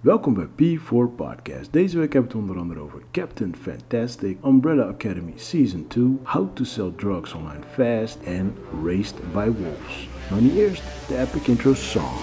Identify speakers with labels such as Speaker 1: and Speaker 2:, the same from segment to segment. Speaker 1: Welkom bij P4 Podcast. Deze week hebben we het onder andere over Captain Fantastic, Umbrella Academy Season 2, How to Sell Drugs Online Fast en Raised by Wolves. Maar nu eerst de epic intro song.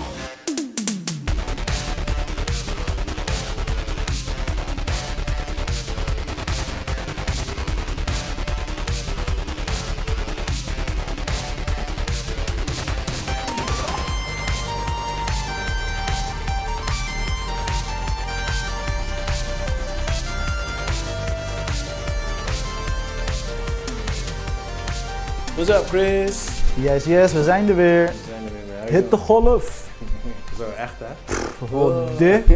Speaker 2: What's up, Chris?
Speaker 3: Yes, yes, we zijn er weer.
Speaker 2: We zijn er weer bij. How you
Speaker 3: Hit de golf.
Speaker 2: doing? Zo, echt hè? Het
Speaker 3: Oh, dit.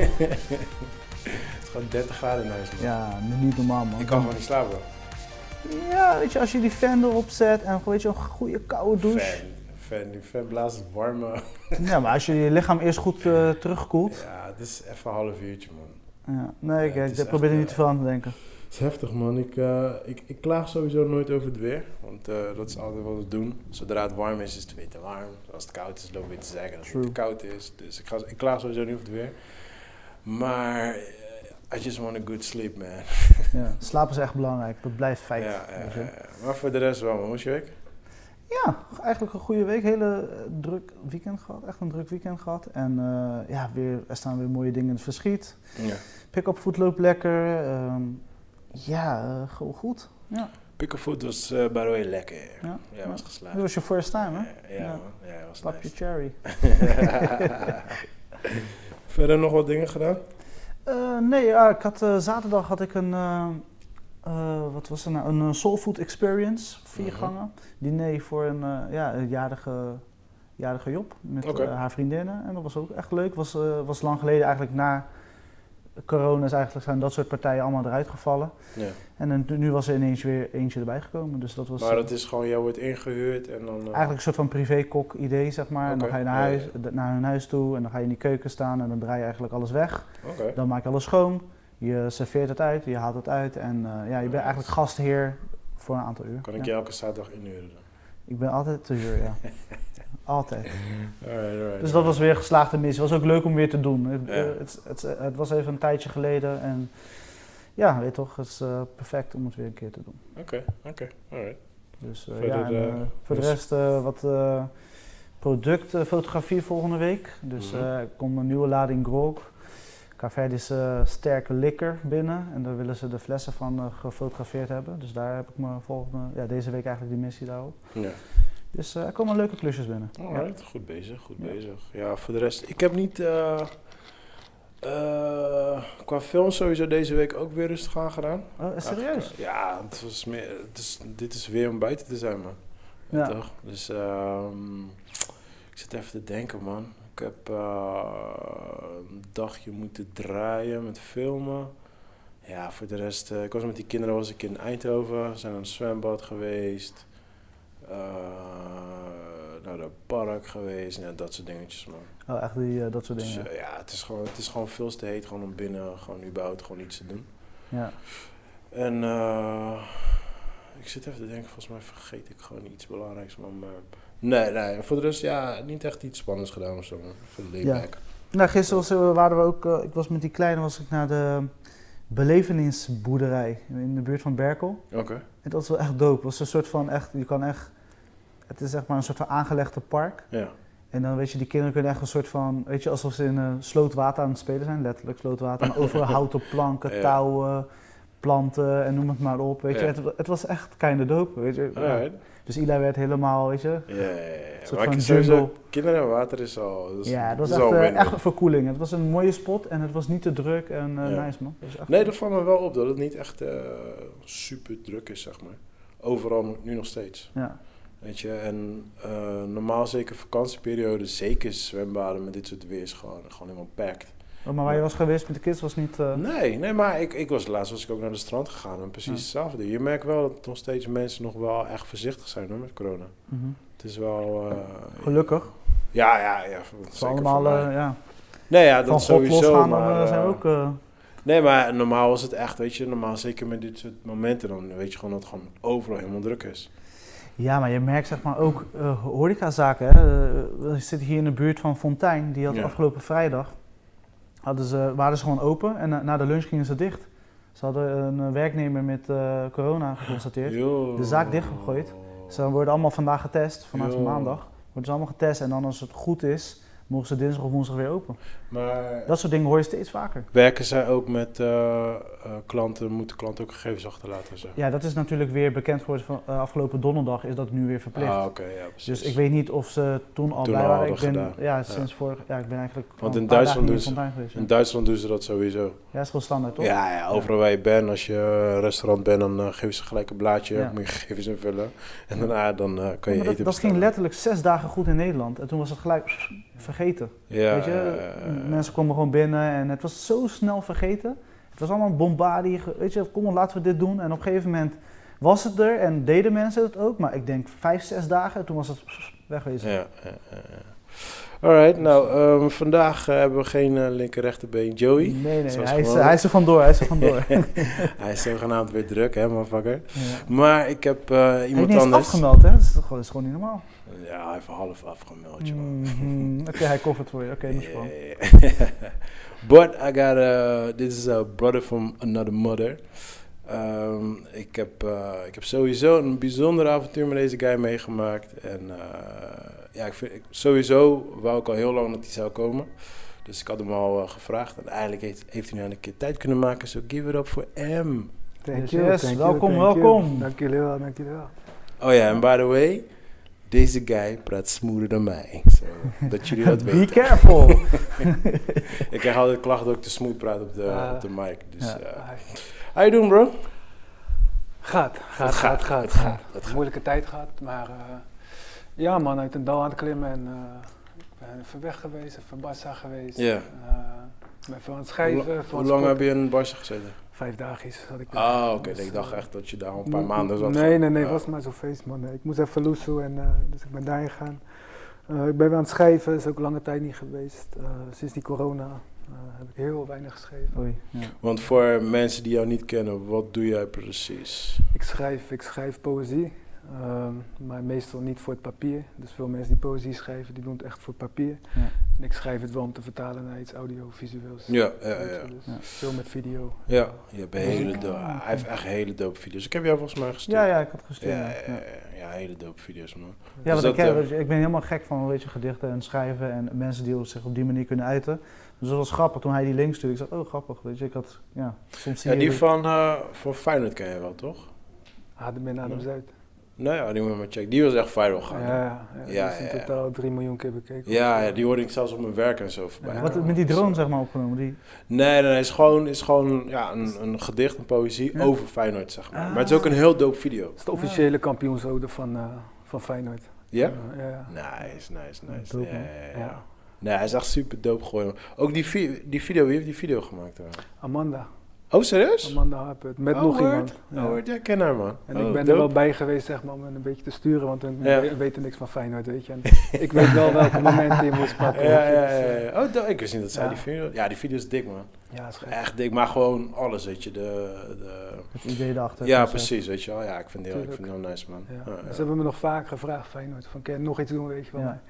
Speaker 2: is gewoon 30 graden in huis, man.
Speaker 3: Ja, niet normaal, man.
Speaker 2: Ik kan gewoon niet slapen, bro.
Speaker 3: Ja, weet je, als je die fan erop zet en gewoon, weet je, een goede koude douche.
Speaker 2: Fan, fan, die fan blaast het warme.
Speaker 3: Ja, maar als je je lichaam eerst goed eh, terugkoelt.
Speaker 2: Ja, het is even een half uurtje, man.
Speaker 3: Ja. Nee,
Speaker 2: Ja, het
Speaker 3: kijk,
Speaker 2: is
Speaker 3: ik
Speaker 2: echt,
Speaker 3: probeer er
Speaker 2: eh,
Speaker 3: niet te veel aan te denken.
Speaker 2: Het is heftig, man. Ik, eh, ik, ik klaag sowieso nooit over het weer, want eh, dat is altijd wat we doen. Zodra het warm is, is het weer te warm. Als het koud is, loop ik weer te zeggen dat het
Speaker 3: True.
Speaker 2: te koud is. Dus ik, ga, ik klaag sowieso niet over het weer. Maar eh, I just want a good sleep, man.
Speaker 3: Ja. Slaap is echt belangrijk, dat blijft feit.
Speaker 2: Ja, ja,
Speaker 3: weet
Speaker 2: ja,
Speaker 3: je.
Speaker 2: ja. Maar voor de rest wel, man. Hoe is je week?
Speaker 3: Ja, eigenlijk een goede week. Hele eh, druk weekend gehad, echt een druk weekend gehad. En eh, ja, weer, er staan weer mooie dingen in het verschiet.
Speaker 2: Ja.
Speaker 3: Pick-up food loopt lekker. ehm, ja, eh, gewoon goed. Ja.
Speaker 2: Pickelfood was eh bij Roy lekker.
Speaker 3: Ja?
Speaker 2: Ja, was
Speaker 3: Dit
Speaker 2: geslaagd.
Speaker 3: was je first time, hè?
Speaker 2: Ja, ja,
Speaker 3: Ja.
Speaker 2: man. Ja, was
Speaker 3: Slap je
Speaker 2: nice.
Speaker 3: cherry.
Speaker 2: Verder nog wat dingen gedaan?
Speaker 3: Eh, nee, ja, ik had, eh, zaterdag had ik een, eh, eh, wat was het nou, een eh, soul food experience, vier
Speaker 2: Mhm.
Speaker 3: gangen, diner voor een, eh, ja, een jarige, jarige Job met
Speaker 2: Oké.
Speaker 3: eh, haar vriendinnen. En dat was ook echt leuk, was, eh, was lang geleden eigenlijk na corona is eigenlijk zijn dat soort partijen allemaal eruit gevallen.
Speaker 2: Ja.
Speaker 3: En dan- nu was er ineens weer eentje erbij gekomen, dus dat was
Speaker 2: Maar dat is gewoon, jij wordt ingehuurd en dan... eh,
Speaker 3: eigenlijk een soort van privékok idee, zeg maar. En dan
Speaker 2: Oké,
Speaker 3: ga je naar,
Speaker 2: ja,
Speaker 3: huis,
Speaker 2: ja,
Speaker 3: naar hun huis toe en dan ga je in die keuken staan en dan draai je eigenlijk alles weg.
Speaker 2: Oké.
Speaker 3: Dan maak je alles schoon, je serveert het uit, je haalt het uit en eh, ja, je bent eigenlijk gastheer voor een aantal uur.
Speaker 2: Kan ik
Speaker 3: ja.
Speaker 2: je elke zaterdag inhuren dan?
Speaker 3: ik ben altijd te huur, ja. altijd.
Speaker 2: Alright, alright.
Speaker 3: Dus dat was weer een geslaagde missie. was ook leuk om weer te doen. Het,
Speaker 2: Ja.
Speaker 3: eh, het, het, het was even een tijdje geleden en ja, weet je toch, het is eh, perfect om het weer een keer te doen.
Speaker 2: Oké, oké. Alright.
Speaker 3: Dus eh,
Speaker 2: Verder,
Speaker 3: ja, en, eh,
Speaker 2: eh,
Speaker 3: voor de
Speaker 2: dus-
Speaker 3: rest eh, wat eh productfotografie volgende week. Dus
Speaker 2: Mhm.
Speaker 3: eh er komt een nieuwe lading grog. Caverdis eh sterke likker binnen en daar willen ze de flessen van eh, gefotografeerd hebben. Dus daar heb ik me volgende, ja, deze week eigenlijk die missie daarop.
Speaker 2: Ja.
Speaker 3: Dus eh, er komen leuke klusjes binnen. Ja.
Speaker 2: Alright, goed bezig, goed
Speaker 3: Ja.
Speaker 2: bezig. Ja, voor de rest, ik heb niet... eh, eh, qua film sowieso deze week ook weer rustig aan gedaan.
Speaker 3: Oh, eh, serieus?
Speaker 2: Eigenlijk, eh, Ja, het was meer, het is, dit is weer om buiten te zijn, man. Ja.
Speaker 3: Ja.
Speaker 2: Toch? Dus ehm, ik zit even te denken, man. Ik heb eh, een dagje moeten draaien met filmen. Ja, voor de rest, eh, ik was met die kinderen was ik in Eindhoven. We zijn aan het zwembad geweest. Eh, naar de park geweest. Ja, dat soort dingetjes, man.
Speaker 3: Oh, echt die, eh, dat soort
Speaker 2: Dus,
Speaker 3: dingen.
Speaker 2: eh, ja, het is, gewoon, het is gewoon veel te heet. Gewoon om binnen, gewoon überhaupt gewoon iets te doen.
Speaker 3: Ja.
Speaker 2: En eh, ik zit even te denken, volgens mij vergeet ik gewoon iets belangrijks. Maar, maar- nee, nee, voor de rest, ja, niet echt iets spannends gedaan of zo. man. Voor de
Speaker 3: Ja.
Speaker 2: layback.
Speaker 3: Nou, gisteren was, eh, waren we ook, eh, ik was met die kleine was ik naar de belevenisboerderij in de buurt van Berkel.
Speaker 2: Oké.
Speaker 3: En dat is wel echt dope. Het was een soort van echt, je kan echt, het is zeg maar een soort van aangelegde park.
Speaker 2: Ja.
Speaker 3: En dan weet je, die kinderen kunnen echt een soort van, weet je, alsof ze in eh slootwater aan het spelen zijn, letterlijk slootwater. Maar overal houten planken,
Speaker 2: Ja.
Speaker 3: touwen, planten en noem het maar op. Weet
Speaker 2: Ja.
Speaker 3: je, het, het was echt kinda dope, weet je.
Speaker 2: Alright.
Speaker 3: Dus Ila werd helemaal, weet je.
Speaker 2: Ja, ja, ja.
Speaker 3: soort
Speaker 2: Maar ik
Speaker 3: van
Speaker 2: sowieso,
Speaker 3: jungle.
Speaker 2: kinderen en water is al. Dat is,
Speaker 3: ja, dat
Speaker 2: dat
Speaker 3: was
Speaker 2: is
Speaker 3: echt,
Speaker 2: al
Speaker 3: eh,
Speaker 2: win-win.
Speaker 3: echt verkoeling. Het was een mooie spot en het was niet te druk en eh,
Speaker 2: Ja.
Speaker 3: nice man. Het was echt-
Speaker 2: Nee, dat valt me wel op dat het niet echt eh, super druk is, zeg maar. Overal nu nog steeds.
Speaker 3: Ja,
Speaker 2: Weet je, en eh, normaal zeker vakantieperiode, zeker zwembaden met dit soort weer is gewoon, gewoon helemaal packed.
Speaker 3: Oh, maar waar je was geweest met de kids was niet... eh,
Speaker 2: Nee, nee, maar ik, ik was laatst was ik ook naar de strand gegaan en precies
Speaker 3: Ja.
Speaker 2: hetzelfde. Je merkt wel dat nog steeds mensen nog wel echt voorzichtig zijn hoor, met corona.
Speaker 3: mhm.
Speaker 2: Het is wel. eh,
Speaker 3: Gelukkig.
Speaker 2: Ja, ja, ja. voor- Zeker
Speaker 3: Het was allemaal,
Speaker 2: voor mij.
Speaker 3: eh, ja,
Speaker 2: nee, ja, dat
Speaker 3: van God
Speaker 2: sowieso.
Speaker 3: losgaan, dan
Speaker 2: maar,
Speaker 3: eh, zijn we
Speaker 2: eh,
Speaker 3: ook... eh,
Speaker 2: Nee, maar normaal was het echt, weet je, normaal zeker met dit soort momenten, dan weet je gewoon dat het gewoon overal helemaal druk is.
Speaker 3: Ja, maar je merkt zeg maar ook eh horecazaken. Hè? Eh, we zitten hier in de buurt van Fontijn. Die had
Speaker 2: Ja.
Speaker 3: afgelopen vrijdag hadden ze, waren ze gewoon open en na, na de lunch gingen ze dicht. Ze hadden een eh, werknemer met eh, corona geconstateerd.
Speaker 2: Yo.
Speaker 3: de zaak dichtgegooid. Ze worden allemaal vandaag getest, vanaf
Speaker 2: Yo.
Speaker 3: maandag. Worden ze allemaal getest en dan als het goed is, mogen ze dinsdag of woensdag weer open.
Speaker 2: Maar
Speaker 3: Dat soort dingen hoor je steeds vaker.
Speaker 2: werken zij ook met eh, eh, klanten, moeten klanten ook gegevens achterlaten en zo?
Speaker 3: Ja, dat is natuurlijk weer bekend geworden van eh, afgelopen donderdag is dat nu weer verplicht.
Speaker 2: Ah, oké, ja, precies.
Speaker 3: Dus ik weet niet of ze toen al
Speaker 2: Toen
Speaker 3: bij
Speaker 2: al
Speaker 3: waren. Ik
Speaker 2: hadden
Speaker 3: ben,
Speaker 2: gedaan.
Speaker 3: ja, sinds vorig ja, ik ben eigenlijk al
Speaker 2: in
Speaker 3: een paar
Speaker 2: Duitsland
Speaker 3: dagen
Speaker 2: doen ze-
Speaker 3: niet meer van tuin
Speaker 2: In
Speaker 3: geweest.
Speaker 2: Duitsland doen ze dat sowieso.
Speaker 3: Ja, dat is gewoon standaard toch?
Speaker 2: Ja, ja, overal waar je bent, als je eh, restaurant bent, dan eh, geven ze gelijk een blaadje,
Speaker 3: Ja.
Speaker 2: moet je gegevens invullen. En daarna dan, eh, kan je
Speaker 3: Maar dat,
Speaker 2: eten
Speaker 3: dat ging
Speaker 2: bestellen.
Speaker 3: letterlijk zes dagen goed in Nederland. En toen was het gelijk vergeten.
Speaker 2: Ja,
Speaker 3: Weet je,
Speaker 2: eh,
Speaker 3: mensen kwamen gewoon binnen en het was zo snel vergeten. Het was allemaal een bombardie. ge- Weet je, kom op, laten we dit doen. En op een gegeven moment was het er en deden mensen het ook. Maar ik denk vijf, zes dagen en toen was het wegwezen.
Speaker 2: Ja, ja, ja, ja. Alright, nou, ehm, vandaag eh, hebben we geen eh, linker rechterbeen Joey.
Speaker 3: Nee, nee,
Speaker 2: Zoals
Speaker 3: hij is,
Speaker 2: gewoonlijk.
Speaker 3: hij is er vandoor, hij is er vandoor. ja.
Speaker 2: Hij is zogenaamd weer druk, hè, motherfucker.
Speaker 3: Hij
Speaker 2: Maar ik heb eh,
Speaker 3: heeft
Speaker 2: iemand
Speaker 3: niet eens
Speaker 2: anders...
Speaker 3: afgemeld, hè? Dat is, gewoon- dat is gewoon niet normaal.
Speaker 2: Ja, hij heeft half
Speaker 3: Mm.
Speaker 2: afgemeld, joh.
Speaker 3: Mhm. Oké, hij koffert voor je. Oké, no problem.
Speaker 2: Eh, Yeah. But I got a, this is a brother from another mother. Ehm, ik, heb, eh, ik heb sowieso een bijzonder avontuur met deze guy meegemaakt. En eh, ja, ik vind, ik- sowieso wou ik al heel lang dat hij zou komen. Dus ik had hem al eh, gevraagd. En eigenlijk heeft, heeft hij nou een keer tijd kunnen maken. So give it up for him.
Speaker 4: Thank
Speaker 3: Yes,
Speaker 4: you,
Speaker 3: yes,
Speaker 4: thank
Speaker 3: welkom,
Speaker 4: you, thank you.
Speaker 3: welkom.
Speaker 4: Dank jullie wel, dank jullie wel.
Speaker 2: Oh ja, en by the way, deze guy praat smoerer dan mij. So, dat jullie dat
Speaker 3: Be
Speaker 2: weten.
Speaker 3: careful.
Speaker 2: Ik krijg altijd klachten dat ik te smooth praat op de,
Speaker 4: Ah.
Speaker 2: op de mic. Dus,
Speaker 3: Ja.
Speaker 2: eh, how you doing, bro?
Speaker 4: Gaat, gaat,
Speaker 2: Het gaat,
Speaker 4: gaat, gaat.
Speaker 2: het gaat, het
Speaker 4: Het
Speaker 2: gaat.
Speaker 4: Moeilijke tijd gehad, maar eh, ja man, uit een dal aan het klimmen en eh, ik ben even weg geweest, even Barça geweest.
Speaker 2: Ja.
Speaker 4: Eh, ik ben veel aan het
Speaker 2: Hoe,
Speaker 4: schrijven,
Speaker 2: la-
Speaker 4: veel
Speaker 2: hoe
Speaker 4: aan
Speaker 2: lang
Speaker 4: het
Speaker 2: heb je in Barca gezeten?
Speaker 4: sporten. Vijf dagjes had ik.
Speaker 2: Ah, oké.
Speaker 4: Dus,
Speaker 2: ik dacht
Speaker 4: eh,
Speaker 2: echt dat je daar al een paar maanden zat.
Speaker 4: Nee, nee, nee, het
Speaker 2: Ah.
Speaker 4: was maar zo'n feest man. Ik moest even loesoe en eh, dus ik ben daarheen gegaan. Eh, ik ben weer aan het schrijven, is ook lange tijd niet geweest. Eh, sinds die corona eh, heb ik heel weinig geschreven.
Speaker 3: Oei, ja.
Speaker 2: Want voor mensen die jou niet kennen, wat doe jij precies?
Speaker 4: Ik schrijf, ik schrijf poëzie, ehm, maar meestal niet voor het papier. Dus veel mensen die poëzie schrijven, die doen het echt voor het papier.
Speaker 3: Ja.
Speaker 4: En ik schrijf het wel om te vertalen naar iets audiovisueels.
Speaker 2: Ja, ja,
Speaker 4: Weet
Speaker 2: ja.
Speaker 4: je, dus
Speaker 3: Ja.
Speaker 4: Veel met video.
Speaker 2: Ja, je hebt een
Speaker 3: Muziek.
Speaker 2: hele dope, hij heeft echt hele dope video's. Ik heb jou volgens mij gestuurd.
Speaker 3: ja, ja, ik had gestuurd.
Speaker 2: ja,
Speaker 3: Ja,
Speaker 2: ja, ja, ja, hele dope video's, man.
Speaker 3: Ja,
Speaker 2: Dus
Speaker 3: want ik,
Speaker 2: dat,
Speaker 3: heb-
Speaker 2: eh,
Speaker 3: weet je, ik ben helemaal gek van weet je, gedichten en schrijven en mensen die zich op die manier kunnen uiten. Dus dat was grappig. Toen hij die link stuurde, ik zei, oh grappig. Weet je, ik had, ja, soms zie
Speaker 2: Ja,
Speaker 3: je
Speaker 2: die
Speaker 3: dat-
Speaker 2: van, eh van Feyenoord ken je wel, toch?
Speaker 4: Adem in, adem
Speaker 2: Ja.
Speaker 4: zuid.
Speaker 2: Nou ja, die moet je maar checken. Die was echt viral gaan. Ja,
Speaker 4: Ja, ja,
Speaker 2: Ja,
Speaker 4: dat is in
Speaker 2: ja, ja.
Speaker 4: totaal 3 miljoen keer bekeken.
Speaker 2: ja, die hoorde ik zelfs op mijn werk en zo voorbij.
Speaker 4: Ja.
Speaker 3: Wat
Speaker 2: komen.
Speaker 3: met die
Speaker 2: Dus,
Speaker 3: drone zeg maar opgenomen. Die,
Speaker 2: Nee, nee, nee. Het is gewoon, is gewoon ja, een, een gedicht, een poëzie
Speaker 3: Ja.
Speaker 2: over Feyenoord, zeg maar.
Speaker 3: Ah.
Speaker 2: Maar het is ook een heel dope video.
Speaker 4: Dat is de officiële kampioensode van, eh, van Feyenoord.
Speaker 2: Ja?
Speaker 4: ja, ja.
Speaker 2: Nice, nice, nice.
Speaker 3: Dope,
Speaker 2: ja,
Speaker 3: man.
Speaker 2: ja, ja.
Speaker 4: Ja.
Speaker 2: Nee, hij is echt super dope gooien. Ook die, vi- die video, wie heeft die video gemaakt? hoor?
Speaker 4: Amanda.
Speaker 2: Oh, serieus?
Speaker 4: Amanda Harpert, met
Speaker 2: Oh,
Speaker 4: nog
Speaker 2: word.
Speaker 4: iemand. Ja.
Speaker 2: Oh, ja, ik ken haar, man.
Speaker 4: En
Speaker 2: Oh,
Speaker 4: ik ben
Speaker 2: dope.
Speaker 4: er wel bij geweest zeg maar, om hen een beetje te sturen, want we
Speaker 2: Ja.
Speaker 4: we weten niks van Feyenoord, weet je. En ik weet wel welke momenten je moest pakken.
Speaker 2: Ja,
Speaker 4: weet je.
Speaker 2: ja,
Speaker 4: Dus,
Speaker 2: ja,
Speaker 4: eh,
Speaker 2: ja. Oh, dope. ik wist niet dat zij
Speaker 4: Ja.
Speaker 2: die video... Ja, die video is dik, man.
Speaker 4: ja, is gek.
Speaker 2: Echt dik, maar gewoon alles, weet je. De, de...
Speaker 3: het idee erachter.
Speaker 2: Ja,
Speaker 3: Dus, eh,
Speaker 2: precies, weet je wel. Ja, ik vind die heel, ik vind
Speaker 4: Tuurlijk.
Speaker 2: die heel nice, man.
Speaker 4: Ja.
Speaker 2: Ja, Oh, ja.
Speaker 4: Ze hebben me nog vaak gevraagd, Feyenoord, van kan je nog iets doen, weet je wel.
Speaker 3: eh, Ja.
Speaker 4: maar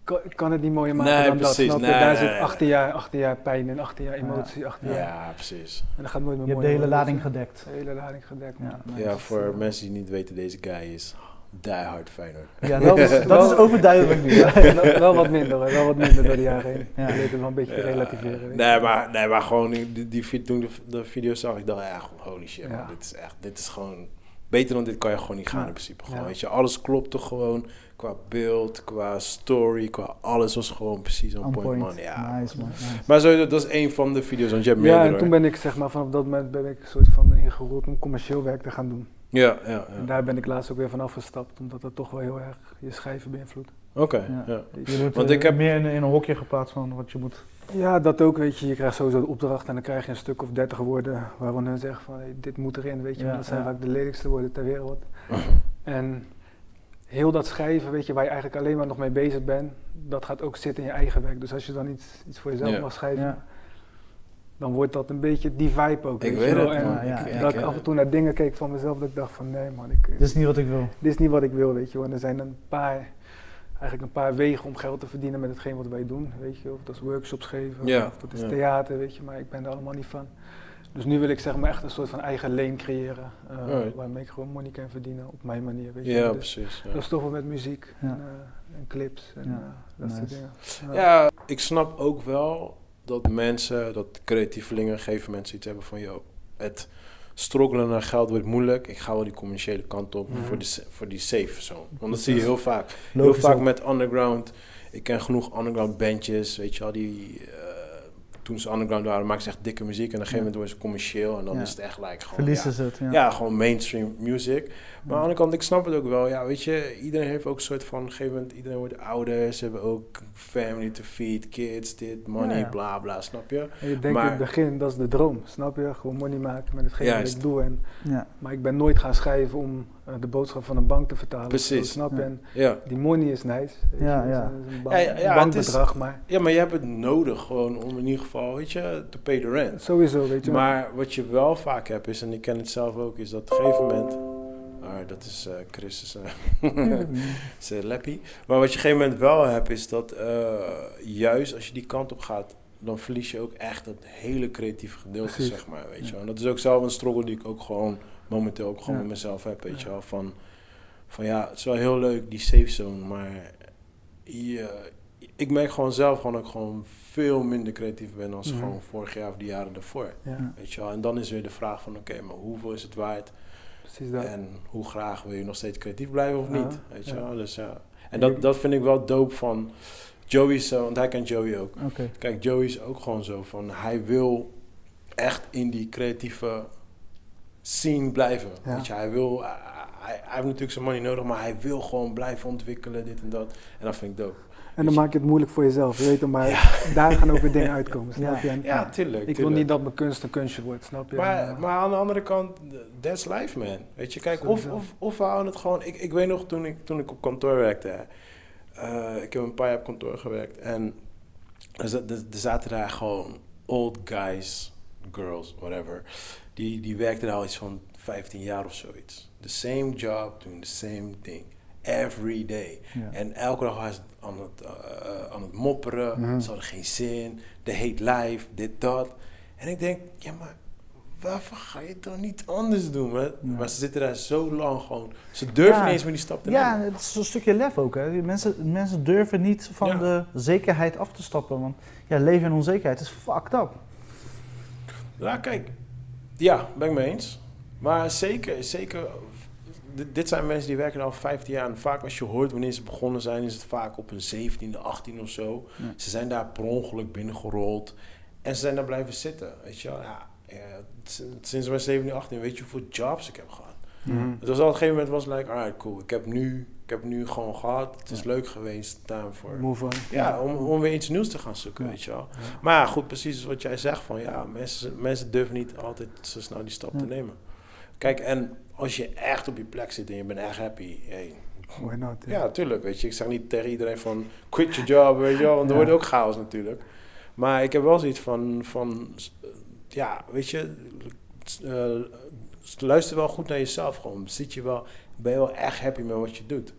Speaker 4: ik Kan, ik kan het niet mooier maken
Speaker 2: Nee,
Speaker 4: dan
Speaker 2: precies.
Speaker 4: dat, snap je?
Speaker 2: Nee,
Speaker 4: Daar
Speaker 2: nee, nee.
Speaker 4: zit 18 jaar, 18 jaar pijn in, 18 jaar emotie, 18 jaar...
Speaker 2: Ja, precies.
Speaker 4: En dat gaat nooit meer
Speaker 3: Je hebt de
Speaker 4: mooier
Speaker 3: hele
Speaker 4: worden,
Speaker 3: lading
Speaker 4: weet
Speaker 3: gedekt.
Speaker 4: je. De hele lading gedekt, man.
Speaker 3: Ja.
Speaker 2: Ja, voor mensen die niet weten, deze guy is die hard Feyenoord.
Speaker 3: Ja, dat is, dat is
Speaker 4: Wel-
Speaker 3: overduidelijk nu. Ja.
Speaker 4: wel, wel wat minder, hoor, wel wat minder door de jaren heen.
Speaker 3: Ja.
Speaker 4: Je weet het wel een beetje te
Speaker 2: Ja.
Speaker 4: relativeren. weet je.
Speaker 2: Nee maar, nee, maar gewoon die, die, die vi- toen de, de video zag, ik dacht, ja, goed, holy shit,
Speaker 4: Ja.
Speaker 2: man, dit is echt, dit is gewoon, beter dan dit kan je gewoon niet gaan
Speaker 4: Ja.
Speaker 2: in principe. Gewoon,
Speaker 4: Ja.
Speaker 2: weet je, alles klopte gewoon qua beeld, qua story, qua alles was gewoon precies on,
Speaker 3: On
Speaker 2: point,
Speaker 3: point.
Speaker 2: man. Ja.
Speaker 3: Nice man. nice.
Speaker 2: Maar sowieso, dat is één van de video's, want jij hebt
Speaker 4: Ja,
Speaker 2: meerdere.
Speaker 4: en toen ben ik zeg maar vanaf dat moment ben ik een soort van ingeroepen om commercieel werk te gaan doen.
Speaker 2: Ja, ja,
Speaker 4: En
Speaker 2: ja.
Speaker 4: daar ben ik laatst ook weer van afgestapt, omdat dat toch wel heel erg je schrijven beïnvloedt.
Speaker 2: Oké,
Speaker 3: Ja.
Speaker 2: ja.
Speaker 3: Je wordt
Speaker 2: Want
Speaker 3: eh,
Speaker 2: ik heb-
Speaker 3: meer in, in een hokje geplaatst van wat je moet.
Speaker 4: Ja, dat ook, weet je. Je krijgt sowieso de opdracht en dan krijg je een stuk of dertig woorden waarvan hun zeggen van hey, dit moet erin, weet je.
Speaker 3: Ja,
Speaker 4: want dat zijn
Speaker 3: ja.
Speaker 4: vaak de lelijkste woorden ter wereld. En heel dat schrijven, weet je, waar je eigenlijk alleen maar nog mee bezig bent, dat gaat ook zitten in je eigen werk. Dus als je dan iets, iets voor jezelf
Speaker 2: Ja.
Speaker 4: mag schrijven,
Speaker 3: Ja.
Speaker 4: dan wordt dat een beetje die vibe ook.
Speaker 2: Ik
Speaker 4: je
Speaker 2: weet
Speaker 4: dus wel.
Speaker 2: het,
Speaker 4: En
Speaker 2: man.
Speaker 3: ja,
Speaker 2: Ik-
Speaker 3: ja.
Speaker 2: ik-
Speaker 4: dat ik
Speaker 2: eh, Dus-
Speaker 4: af en toe naar dingen keek van mezelf, dat ik eh, dacht van nee man, ik,
Speaker 3: Dit is niet wat ik wil.
Speaker 4: dit is niet wat ik wil, weet je wel. En er zijn een paar eigenlijk een paar wegen om geld te verdienen met hetgeen wat wij doen. Weet je, of dat is workshops geven,
Speaker 2: Ja,
Speaker 4: of dat is
Speaker 2: ja.
Speaker 4: theater, weet je, maar ik ben er allemaal niet van. Dus nu wil ik zeg maar echt een soort van eigen leen creëren, eh,
Speaker 2: Alright.
Speaker 4: waarmee ik gewoon money kan verdienen op mijn manier, weet je.
Speaker 2: Ja,
Speaker 4: Dus
Speaker 2: precies.
Speaker 4: dat
Speaker 2: Ja.
Speaker 4: is toch wel met muziek
Speaker 3: Ja.
Speaker 4: en, eh, en clips en
Speaker 3: Ja,
Speaker 4: eh, dat soort
Speaker 3: nice.
Speaker 4: dingen.
Speaker 2: ja, ik snap ook wel dat mensen, dat creatievelingen geven mensen iets hebben van, joh, het strokkelen naar geld wordt moeilijk. Ik ga wel die commerciële kant op
Speaker 4: Mhm.
Speaker 2: voor, die, sa- voor die safe zone. Want dat zie je heel vaak.
Speaker 3: Logisch
Speaker 2: heel vaak
Speaker 3: ook.
Speaker 2: met underground. Ik ken genoeg underground bandjes, weet je wel, die... eh, toen ze underground waren, maakten ze echt dikke muziek. En op een gegeven moment worden ze commercieel. En dan
Speaker 3: Ja.
Speaker 2: is het echt like gewoon... ja,
Speaker 3: Verliezen ze het, ja.
Speaker 2: Ja, gewoon mainstream music. Maar aan de andere kant, ik snap het ook wel. Ja, weet je, iedereen heeft ook een soort van... Op een gegeven moment, iedereen wordt ouder. Ze hebben ook family to feed, kids, dit, money,
Speaker 3: Ja.
Speaker 2: bla bla, snap je?
Speaker 4: En je denkt in
Speaker 2: Maar-
Speaker 4: het begin, dat is de droom, snap je? Gewoon money maken met hetgeen wat
Speaker 2: Juist.
Speaker 4: ik doe. En,
Speaker 3: Ja.
Speaker 4: maar ik ben nooit gaan schrijven om eh, de boodschap van een bank te vertalen. of zo,
Speaker 2: Precies.
Speaker 4: Snap je?
Speaker 3: Ja.
Speaker 4: En
Speaker 2: Ja.
Speaker 4: die money is nice. weet je,
Speaker 3: Ja,
Speaker 4: dat is
Speaker 3: ja.
Speaker 4: een- dat is een, bank,
Speaker 2: Ja, ja, ja,
Speaker 4: een
Speaker 2: het is-
Speaker 4: bankbedrag, maar
Speaker 2: ja, maar je hebt het nodig gewoon om in ieder geval, weet je, to pay the rent.
Speaker 4: sowieso, weet je. wel.
Speaker 2: Maar wat je wel vaak hebt is, en ik ken het zelf ook, is dat op een gegeven moment... Ah, dat is eh Christus. eh, Ze lappie. Maar wat je op een gegeven moment wel hebt, is dat eh, juist als je die kant op gaat, dan verlies je ook echt dat hele creatieve gedeelte,
Speaker 4: Precies.
Speaker 2: zeg maar. Weet je wel. En dat is ook zelf een struggle die ik ook gewoon momenteel ook gewoon
Speaker 3: Ja.
Speaker 2: met mezelf heb, weet
Speaker 4: Ja.
Speaker 2: je wel. Van, van ja, het is wel heel leuk, die safe zone, maar je, ik merk gewoon zelf gewoon dat ik gewoon veel minder creatief ben dan
Speaker 4: Mhm.
Speaker 2: gewoon vorig jaar of die jaren daarvoor.
Speaker 4: ja,
Speaker 2: Weet je wel. En dan is weer de vraag van, oké, maar hoeveel is het waard?
Speaker 4: precies dat.
Speaker 2: En hoe graag wil je nog steeds creatief blijven of
Speaker 4: Ja,
Speaker 2: niet? Weet je
Speaker 4: ja.
Speaker 2: wel? Dus, ja. En dat, dat vind ik wel dope van Joey, is zo, want hij kent Joey ook.
Speaker 3: Oké.
Speaker 2: Kijk, Joey is ook gewoon zo van hij wil echt in die creatieve scene blijven.
Speaker 4: Ja.
Speaker 2: Weet je, hij wil, hij, hij- hij heeft natuurlijk zijn money nodig, maar hij wil gewoon blijven ontwikkelen, dit en dat. En dat vind ik dope.
Speaker 4: En dan maak je het moeilijk voor jezelf, je weet het, maar daar gaan ook weer dingen uitkomen, snap je? En
Speaker 2: Ja, tuurlijk.
Speaker 4: ik wil
Speaker 2: tuurlijk.
Speaker 4: niet dat mijn kunst een kunstje wordt, snap je? En,
Speaker 2: Maar,
Speaker 4: eh,
Speaker 2: maar aan de andere kant, that's life man. Weet je, kijk, of,
Speaker 4: Sowieso.
Speaker 2: of, of we houden het gewoon... Ik, ik weet nog, toen ik, toen ik op kantoor werkte... hè, eh, ik heb een paar jaar op kantoor gewerkt. En er, za- Dus er- er zaten daar gewoon old guys, girls, whatever. Die, die werkten daar al iets van 15 jaar of zoiets. The same job, doing the same thing. Every day.
Speaker 3: Ja.
Speaker 2: En elke dag was het aan het, eh, aan het mopperen.
Speaker 4: Mhm.
Speaker 2: Ze hadden geen zin. De hate life, dit, dat. En ik denk, ja, maar waarvoor ga je het dan niet anders doen? man?
Speaker 3: Ja.
Speaker 2: Maar ze zitten daar zo lang gewoon. Ze durven
Speaker 3: Ja.
Speaker 2: niet eens meer die stap te
Speaker 3: Ja,
Speaker 2: nemen.
Speaker 3: het is een stukje lef ook. Hè. Die Mensen, mensen durven niet van
Speaker 2: Ja.
Speaker 3: de zekerheid af te stappen. Want ja, leven in onzekerheid is fucked up.
Speaker 2: Ja, kijk. Ja, ben ik mee eens. Maar zeker, zeker. Dit dit zijn mensen die werken al 15 jaar. En vaak als je hoort wanneer ze begonnen zijn, is het vaak op hun 17e, 18 of zo.
Speaker 3: Ja.
Speaker 2: Ze zijn daar per ongeluk binnengerold. En ze zijn daar blijven zitten. Weet je wel? Ja, eh, s- sinds mijn 17, 18 weet je hoeveel jobs ik heb gehad.
Speaker 4: Mhm.
Speaker 2: Het was al op een gegeven moment was het like, alright, cool. Ik heb nu, ik heb nu gewoon gehad. Het is leuk geweest. Time for
Speaker 4: Move on.
Speaker 2: ja, om, om weer iets nieuws te gaan zoeken, weet je wel. Maar ja, goed, precies wat jij zegt van ja, mensen, mensen durven niet altijd zo snel die stap te
Speaker 3: Ja.
Speaker 2: nemen. Kijk, en als je echt op je plek zit en je bent echt happy, hey,
Speaker 4: Why not?
Speaker 2: ja, tuurlijk, weet je. Ik zeg niet tegen iedereen van quit your job, weet je wel, want dan
Speaker 3: Ja.
Speaker 2: wordt ook chaos natuurlijk. Maar ik heb wel zoiets van, van eh, ja, weet je, eh, luister wel goed naar jezelf gewoon. Zit je wel, ben je wel echt happy met wat je doet.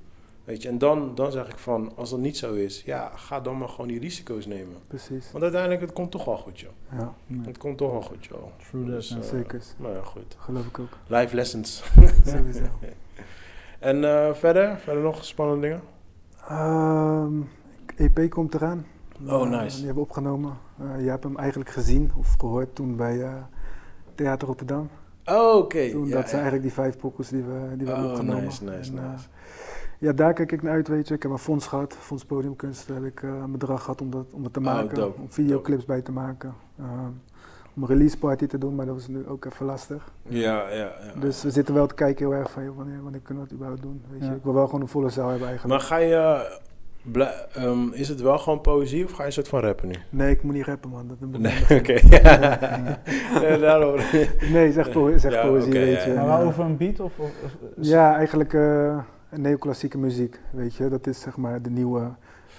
Speaker 2: Weet je, en dan, dan zeg ik van, als dat niet zo is, ja, ga dan maar gewoon die risico's nemen.
Speaker 4: Precies.
Speaker 2: Want uiteindelijk, het komt toch wel goed, joh.
Speaker 4: Ja,
Speaker 2: Het komt toch wel goed, joh.
Speaker 3: True that,
Speaker 2: Dus,
Speaker 3: ja.
Speaker 2: eh,
Speaker 4: zeker.
Speaker 2: Nou ja, goed.
Speaker 4: Geloof ik ook.
Speaker 2: Life lessons.
Speaker 4: Sowieso.
Speaker 2: En eh, verder? Verder nog spannende dingen?
Speaker 4: Ehm, EP komt eraan.
Speaker 2: Oh,
Speaker 4: Eh,
Speaker 2: nice.
Speaker 4: Die hebben we opgenomen. Eh, je hebt hem eigenlijk gezien of gehoord toen bij eh, Theater Rotterdam.
Speaker 2: Oh, oké.
Speaker 4: Toen,
Speaker 2: Ja,
Speaker 4: dat zijn
Speaker 2: ja.
Speaker 4: eigenlijk die vijf pokkels die we, die we hebben
Speaker 2: Oh,
Speaker 4: opgenomen.
Speaker 2: nice, nice,
Speaker 4: eh,
Speaker 2: nice.
Speaker 4: ja, daar kijk ik naar uit, weet je. Ik heb een fonds gehad, Fonds Podiumkunst. Daar heb ik eh, een bedrag gehad om dat, om het te
Speaker 2: Oh,
Speaker 4: maken.
Speaker 2: dope,
Speaker 4: om videoclips bij te maken. ehm, om een release party te doen, maar dat was nu ook even lastig.
Speaker 2: Ja, ja, Oh, ja.
Speaker 4: Dus we zitten wel te kijken heel erg van, joh, wanneer, wanneer kunnen we dat überhaupt doen? Weet je?
Speaker 3: Ja.
Speaker 4: Ik wil wel gewoon een volle zaal hebben eigenlijk.
Speaker 2: Maar ga je... eh, blij- ehm, is het wel gewoon poëzie of ga je een soort van rappen nu?
Speaker 4: Nee, ik moet niet rappen, man. Dat dat moet
Speaker 2: Nee,
Speaker 4: anders.
Speaker 2: oké. nee, daarom.
Speaker 4: Nee, zeg, po zeg
Speaker 2: Ja,
Speaker 4: poëzie,
Speaker 2: oké,
Speaker 4: weet
Speaker 2: ja,
Speaker 4: je.
Speaker 2: ja.
Speaker 3: Maar
Speaker 4: En,
Speaker 3: wel
Speaker 4: eh,
Speaker 3: over een beat of... of, of-
Speaker 4: Ja, eigenlijk eh, neoclassieke muziek, weet je. Dat is zeg maar de nieuwe,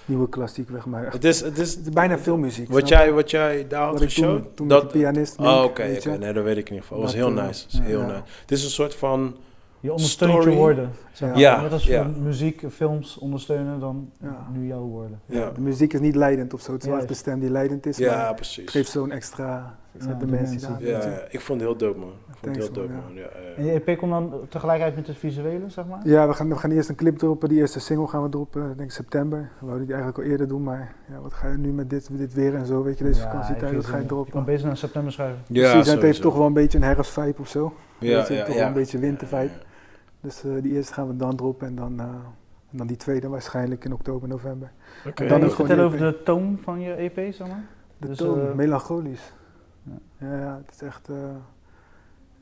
Speaker 4: nieuwe klassiek, zeg maar.
Speaker 2: het is... Het is
Speaker 4: Het is bijna filmmuziek.
Speaker 2: wat,
Speaker 4: snap je?
Speaker 2: jij, wat jij daar had
Speaker 4: Wat ik
Speaker 2: geshowd?
Speaker 4: toen, toen
Speaker 2: dat,
Speaker 4: met die pianist
Speaker 2: oh, oké.
Speaker 4: Mink, weet
Speaker 2: oké,
Speaker 4: je.
Speaker 2: Nee, dat weet ik in ieder geval. Het was
Speaker 4: Dat,
Speaker 2: heel
Speaker 4: eh,
Speaker 2: nice. Het is heel
Speaker 4: ja.
Speaker 2: nice. Het is een soort van...
Speaker 3: Je ondersteunt je
Speaker 2: Story.
Speaker 3: woorden.
Speaker 4: Ja.
Speaker 2: Ja,
Speaker 3: Net als
Speaker 2: ja.
Speaker 3: we muziek, films ondersteunen, dan
Speaker 4: Ja.
Speaker 3: nu jouw woorden.
Speaker 2: Ja,
Speaker 4: De muziek is niet leidend of zo. Het is wel echt de
Speaker 3: Juist.
Speaker 4: stem die leidend is. Maar
Speaker 2: ja
Speaker 4: het
Speaker 2: precies.
Speaker 4: geeft zo'n extra. Dat
Speaker 3: Ja,
Speaker 4: hebben de mensen
Speaker 3: dimensie.
Speaker 4: gedaan.
Speaker 2: Ja,
Speaker 4: natuurlijk.
Speaker 2: ja, ik vond het heel dope, man. Ik vond het
Speaker 4: Thanks,
Speaker 2: heel dope,
Speaker 4: man,
Speaker 2: man. Ja, ja, ja.
Speaker 3: En je EP komt dan tegelijk uit met het visuele, zeg maar?
Speaker 4: Ja, we gaan, we gaan eerst een clip droppen. Die eerste single gaan we droppen, ik denk september. We wouden die eigenlijk al eerder doen, maar ja, wat ga je nu met dit, dit weer en zo, weet je, deze
Speaker 3: Ja, ik
Speaker 4: vakantietijd,
Speaker 3: weet
Speaker 4: wat ga je
Speaker 3: het niet. Je kan
Speaker 4: droppen?
Speaker 3: bezig naar september schuiven.
Speaker 2: Ja,
Speaker 4: Precies, en het heeft
Speaker 2: sowieso.
Speaker 4: toch wel een beetje een herfstvibe of zo. weet je, toch wel een beetje wintervibe.
Speaker 2: Ja,
Speaker 4: Dus eh, die eerste gaan we dan droppen en dan, eh, en dan die tweede waarschijnlijk in oktober, november.
Speaker 2: ja. Oké.
Speaker 3: Kan
Speaker 4: En
Speaker 3: je
Speaker 4: dan
Speaker 3: iets
Speaker 4: ook gewoon
Speaker 3: vertellen over
Speaker 2: E
Speaker 4: die
Speaker 3: de toon van je EP, zeg maar?
Speaker 4: De
Speaker 3: Dus,
Speaker 4: toon,
Speaker 3: eh,
Speaker 4: melancholisch.
Speaker 3: ja.
Speaker 4: Ja. ja, het is echt, eh,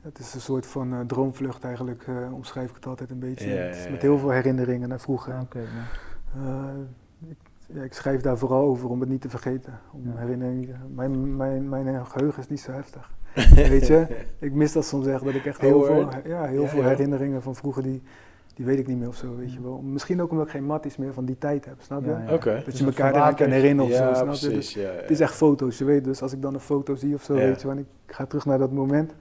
Speaker 4: het is een soort van eh, droomvlucht eigenlijk, eh, omschrijf ik het altijd een beetje.
Speaker 2: Ja,
Speaker 4: Het is
Speaker 2: ja,
Speaker 4: met
Speaker 2: ja.
Speaker 4: heel veel herinneringen naar vroeger.
Speaker 3: Ja, oké. ja.
Speaker 4: Eh, ik, ja, ik schrijf daar vooral over om het niet te vergeten. Om
Speaker 3: Ja.
Speaker 4: herinneringen. Mijn, mijn, mijn geheugen is niet zo heftig. Weet je, ik mis dat soms echt. Dat ik echt
Speaker 2: Oh,
Speaker 4: heel, veel,
Speaker 2: word.
Speaker 4: ja, heel
Speaker 2: Ja,
Speaker 4: veel
Speaker 2: ja.
Speaker 4: herinneringen van vroeger, die, die weet ik niet meer of zo. Weet je wel. Misschien ook omdat ik geen matties meer van die tijd heb, snap je?
Speaker 3: Ja, ja.
Speaker 2: Oké.
Speaker 3: Het
Speaker 4: Dat
Speaker 3: is
Speaker 4: je
Speaker 3: een
Speaker 4: elkaar eraan kan
Speaker 3: verwaterd-
Speaker 4: herinneren of
Speaker 2: Ja,
Speaker 4: zo, snap je? Dus
Speaker 2: precies. Ja, ja.
Speaker 4: het is echt foto's, je weet. Dus als ik dan een foto zie of zo,
Speaker 2: Ja.
Speaker 4: weet je wel, en ik ga terug naar dat moment,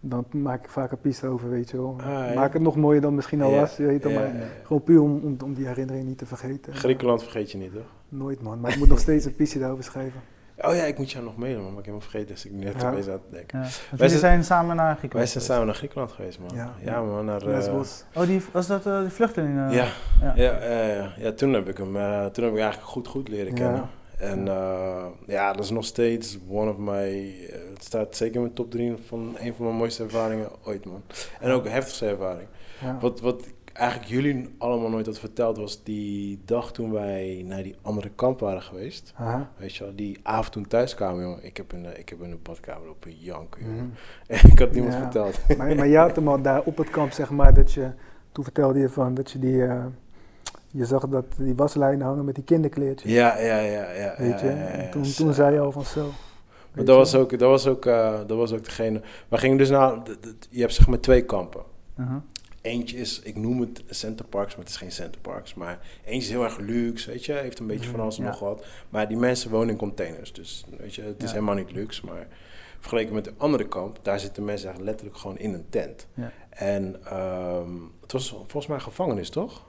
Speaker 4: dan maak ik vaak een piste over, weet je wel.
Speaker 2: Ah, ja.
Speaker 4: Maak het nog mooier dan misschien al
Speaker 2: Ja,
Speaker 4: was, je weet dan
Speaker 2: ja,
Speaker 4: maar.
Speaker 2: ja.
Speaker 4: Gewoon puur om, om, om die herinnering niet te vergeten.
Speaker 2: Griekenland vergeet je niet, toch?
Speaker 4: Nooit man, maar ik moet nog steeds een piece daarover schrijven.
Speaker 2: Oh ja, ik moet jou nog meenemen, maar ik heb helemaal vergeten, dus ik ben net
Speaker 4: Ja.
Speaker 2: opeens aan het denken.
Speaker 3: Ja. Want
Speaker 2: Wij
Speaker 3: jullie
Speaker 2: zijn-
Speaker 3: zijn samen naar Griekenland
Speaker 2: Wij zijn samen naar Griekenland geweest, man.
Speaker 4: Ja.
Speaker 2: Ja, man. Naar, eh,
Speaker 4: Lesbos.
Speaker 3: geweest. Oh, die, was dat eh die vluchtelingen?
Speaker 2: ja,
Speaker 3: ja.
Speaker 2: ja, eh, ja, toen heb ik hem eh, toen heb ik eigenlijk goed, goed leren
Speaker 4: Ja.
Speaker 2: kennen. En eh, ja, dat is nog steeds one of my. eh, het staat zeker in mijn top 3 van een van mijn mooiste ervaringen ooit, man. En ook een heftigste ervaring.
Speaker 4: Ja.
Speaker 2: Wat, wat ik eigenlijk jullie allemaal nooit had verteld was die dag toen wij naar die andere kamp waren geweest.
Speaker 4: Aha.
Speaker 2: Weet je wel, die avond toen thuiskwamen, jongen. Ik heb in de, ik heb in de badkamer op een janken, jongen.
Speaker 4: Mhm.
Speaker 2: En ik had niemand
Speaker 4: Ja.
Speaker 2: verteld.
Speaker 4: Maar, maar je had hem al daar op het kamp, zeg maar, dat je, toen vertelde je van, dat je die, eh, je zag dat die waslijnen hangen met die kinderkleertjes.
Speaker 2: Ja, ja, ja, ja.
Speaker 4: Weet je,
Speaker 2: ja, ja, ja.
Speaker 4: en toen, toen zei je al van zo.
Speaker 2: Maar
Speaker 4: Weet
Speaker 2: dat
Speaker 4: je.
Speaker 2: was ook, dat was ook, eh, dat was ook degene. We gingen dus naar, d- d- je hebt zeg maar twee kampen.
Speaker 3: Uh-huh.
Speaker 2: Eentje is, ik noem het Center Parks, maar het is geen Center Parks. Maar eentje is heel erg luxe, weet je, heeft een
Speaker 4: Mhm,
Speaker 2: beetje van alles en
Speaker 3: ja.
Speaker 2: nog wat. Maar die mensen wonen in containers, dus weet je, het is
Speaker 3: Ja.
Speaker 2: helemaal niet luxe. Maar vergeleken met de andere kamp, daar zitten mensen eigenlijk letterlijk gewoon in een tent.
Speaker 3: Ja.
Speaker 2: En ehm, het was volgens mij een gevangenis, toch?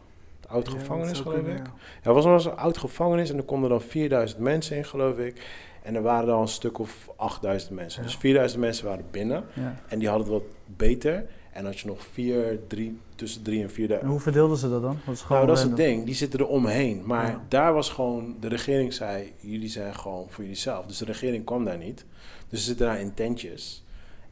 Speaker 2: Oud
Speaker 4: Ja, dat
Speaker 2: gevangenis,
Speaker 4: zou
Speaker 2: geloof ik.
Speaker 4: kunnen, ja.
Speaker 2: Ja, het was nog eens een oud gevangenis en er konden dan 4000 mensen in, geloof ik. En er waren dan een stuk of 8000 mensen.
Speaker 4: Ja.
Speaker 2: Dus 4000 mensen waren binnen
Speaker 3: Ja.
Speaker 2: en die hadden het wat beter. En had je nog vier, drie, tussen 3 en 4000.
Speaker 3: En hoe verdeelden ze dat dan? Dat is
Speaker 2: Nou,
Speaker 3: gewoon
Speaker 2: dat is het
Speaker 3: random.
Speaker 2: ding. Die zitten er omheen. Maar
Speaker 3: Ja.
Speaker 2: daar was gewoon... De regering zei, jullie zijn gewoon voor jullie zelf. Dus de regering kwam daar niet. Dus ze zitten daar in tentjes.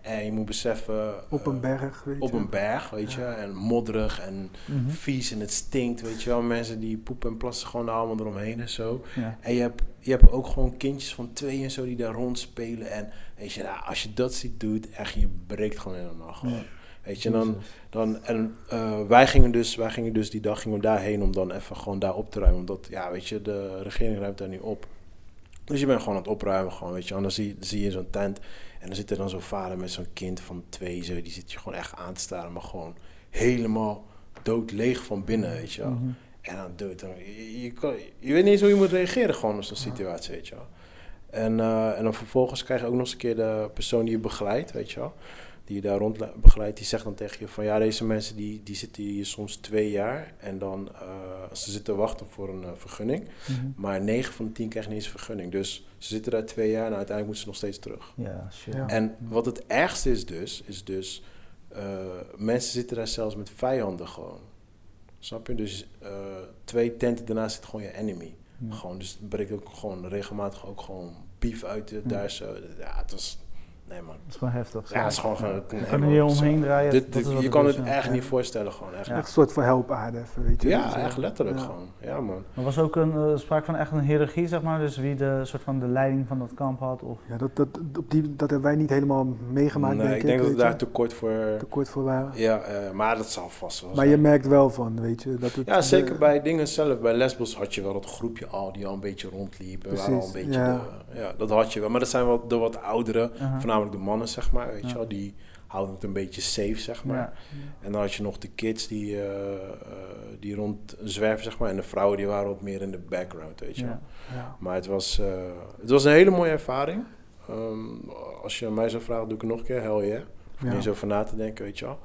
Speaker 2: En je moet beseffen...
Speaker 4: Op een
Speaker 2: eh,
Speaker 4: berg, Hm? weet
Speaker 2: op
Speaker 4: je.
Speaker 2: een berg, weet je. En modderig en
Speaker 3: Mhm.
Speaker 2: vies en het stinkt, weet je wel. Mensen die poepen en plassen gewoon allemaal eromheen en zo.
Speaker 3: Ja.
Speaker 2: En je hebt, je hebt ook gewoon kindjes van twee en zo die daar rondspelen. En weet je, nou, als je dat ziet, doet, echt, je breekt gewoon helemaal gewoon.
Speaker 3: Ja.
Speaker 2: Weet je, en dan, dan, en eh, wij, gingen dus, wij gingen dus die dag gingen we daarheen om dan even gewoon daar op te ruimen. Omdat, ja, weet je, de regering ruimt daar niet op. Dus je bent gewoon aan het opruimen, gewoon, weet je. En dan zie, zie je zo'n tent en dan zit er dan zo'n vader met zo'n kind van twee, zo. Die zit je gewoon echt aan te staren, maar gewoon helemaal doodleeg van binnen, weet je wel.
Speaker 3: Mhm.
Speaker 2: En dan doe je het. dan- Je, je, kan- je weet niet eens hoe je moet reageren gewoon op zo'n situatie, weet je wel. En, eh, en dan vervolgens krijg je ook nog eens een keer de persoon die je begeleidt, weet je wel. Die je daar rond begeleidt, die zegt dan tegen je van... Ja, deze mensen die, die zitten hier soms twee jaar en dan... eh, ze zitten wachten voor een eh, vergunning.
Speaker 3: Mhm.
Speaker 2: Maar negen van de tien krijgen niet eens een vergunning. Dus ze zitten daar twee jaar en uiteindelijk moeten ze nog steeds terug.
Speaker 3: Ja, shit.
Speaker 4: Ja.
Speaker 2: En wat het ergste is dus, is dus... eh, mensen zitten daar zelfs met vijanden gewoon. Snap je? Dus eh, twee tenten daarna zit gewoon je enemy.
Speaker 3: Ja.
Speaker 2: Gewoon, dus het breekt ook gewoon regelmatig ook gewoon beef uit eh, daar zo. Ja, het was... Nee man.
Speaker 3: Dat is gewoon heftig.
Speaker 2: Ja, het is gewoon... gewoon
Speaker 3: Je
Speaker 2: nee,
Speaker 3: kan er
Speaker 2: man.
Speaker 3: niet omheen draaien.
Speaker 2: Dit,
Speaker 3: dat
Speaker 2: dit-
Speaker 3: is wat
Speaker 2: je
Speaker 3: het
Speaker 2: kan
Speaker 3: is,
Speaker 2: het
Speaker 3: ja.
Speaker 2: echt
Speaker 3: Ja.
Speaker 2: niet voorstellen gewoon. Echt,
Speaker 3: Ja.
Speaker 4: Echt een soort van helpaarde even, weet je.
Speaker 2: ja,
Speaker 4: Dus, eh,
Speaker 2: echt letterlijk
Speaker 4: ja.
Speaker 2: gewoon. Ja man.
Speaker 3: Er was ook een eh, sprake van echt een hiërarchie, zeg maar. Dus wie de soort van de leiding van dat kamp had. Of...
Speaker 4: Ja, dat, dat, op die, dat hebben wij niet helemaal meegemaakt,
Speaker 2: nee,
Speaker 4: denk
Speaker 2: ik denk dat
Speaker 4: weet
Speaker 2: het
Speaker 4: je.
Speaker 2: daar tekort voor...
Speaker 4: te kort voor waren.
Speaker 2: Ja, eh, maar dat zal vast wel
Speaker 4: Maar
Speaker 2: zijn.
Speaker 4: je merkt wel van, weet je, dat het... eh,
Speaker 2: Ja, zeker
Speaker 4: de-
Speaker 2: bij dingen zelf. Bij Lesbos had je wel dat groepje al die al een beetje rondliep. En waren al een
Speaker 4: Precies,
Speaker 2: beetje
Speaker 4: ja.
Speaker 2: de- ja, dat had je wel. Maar dat zijn wel de wat oudere,
Speaker 3: Uh-huh.
Speaker 2: voornamelijk de mannen, zeg maar. Weet
Speaker 3: Ja.
Speaker 2: je wel, die houden het een beetje safe, zeg maar.
Speaker 3: Ja.
Speaker 2: En dan had je nog de kids die, eh, eh, die rondzwerven, zeg maar. En de vrouwen die waren wat meer in de background, weet je wel.
Speaker 3: Ja.
Speaker 4: Ja.
Speaker 2: Maar het was, eh, het was een hele mooie ervaring. Ehm, als je aan mij zou vragen, doe ik het nog een keer. Hell yeah. Hoef
Speaker 4: Ja.
Speaker 2: niet zo over na te denken, weet je wel.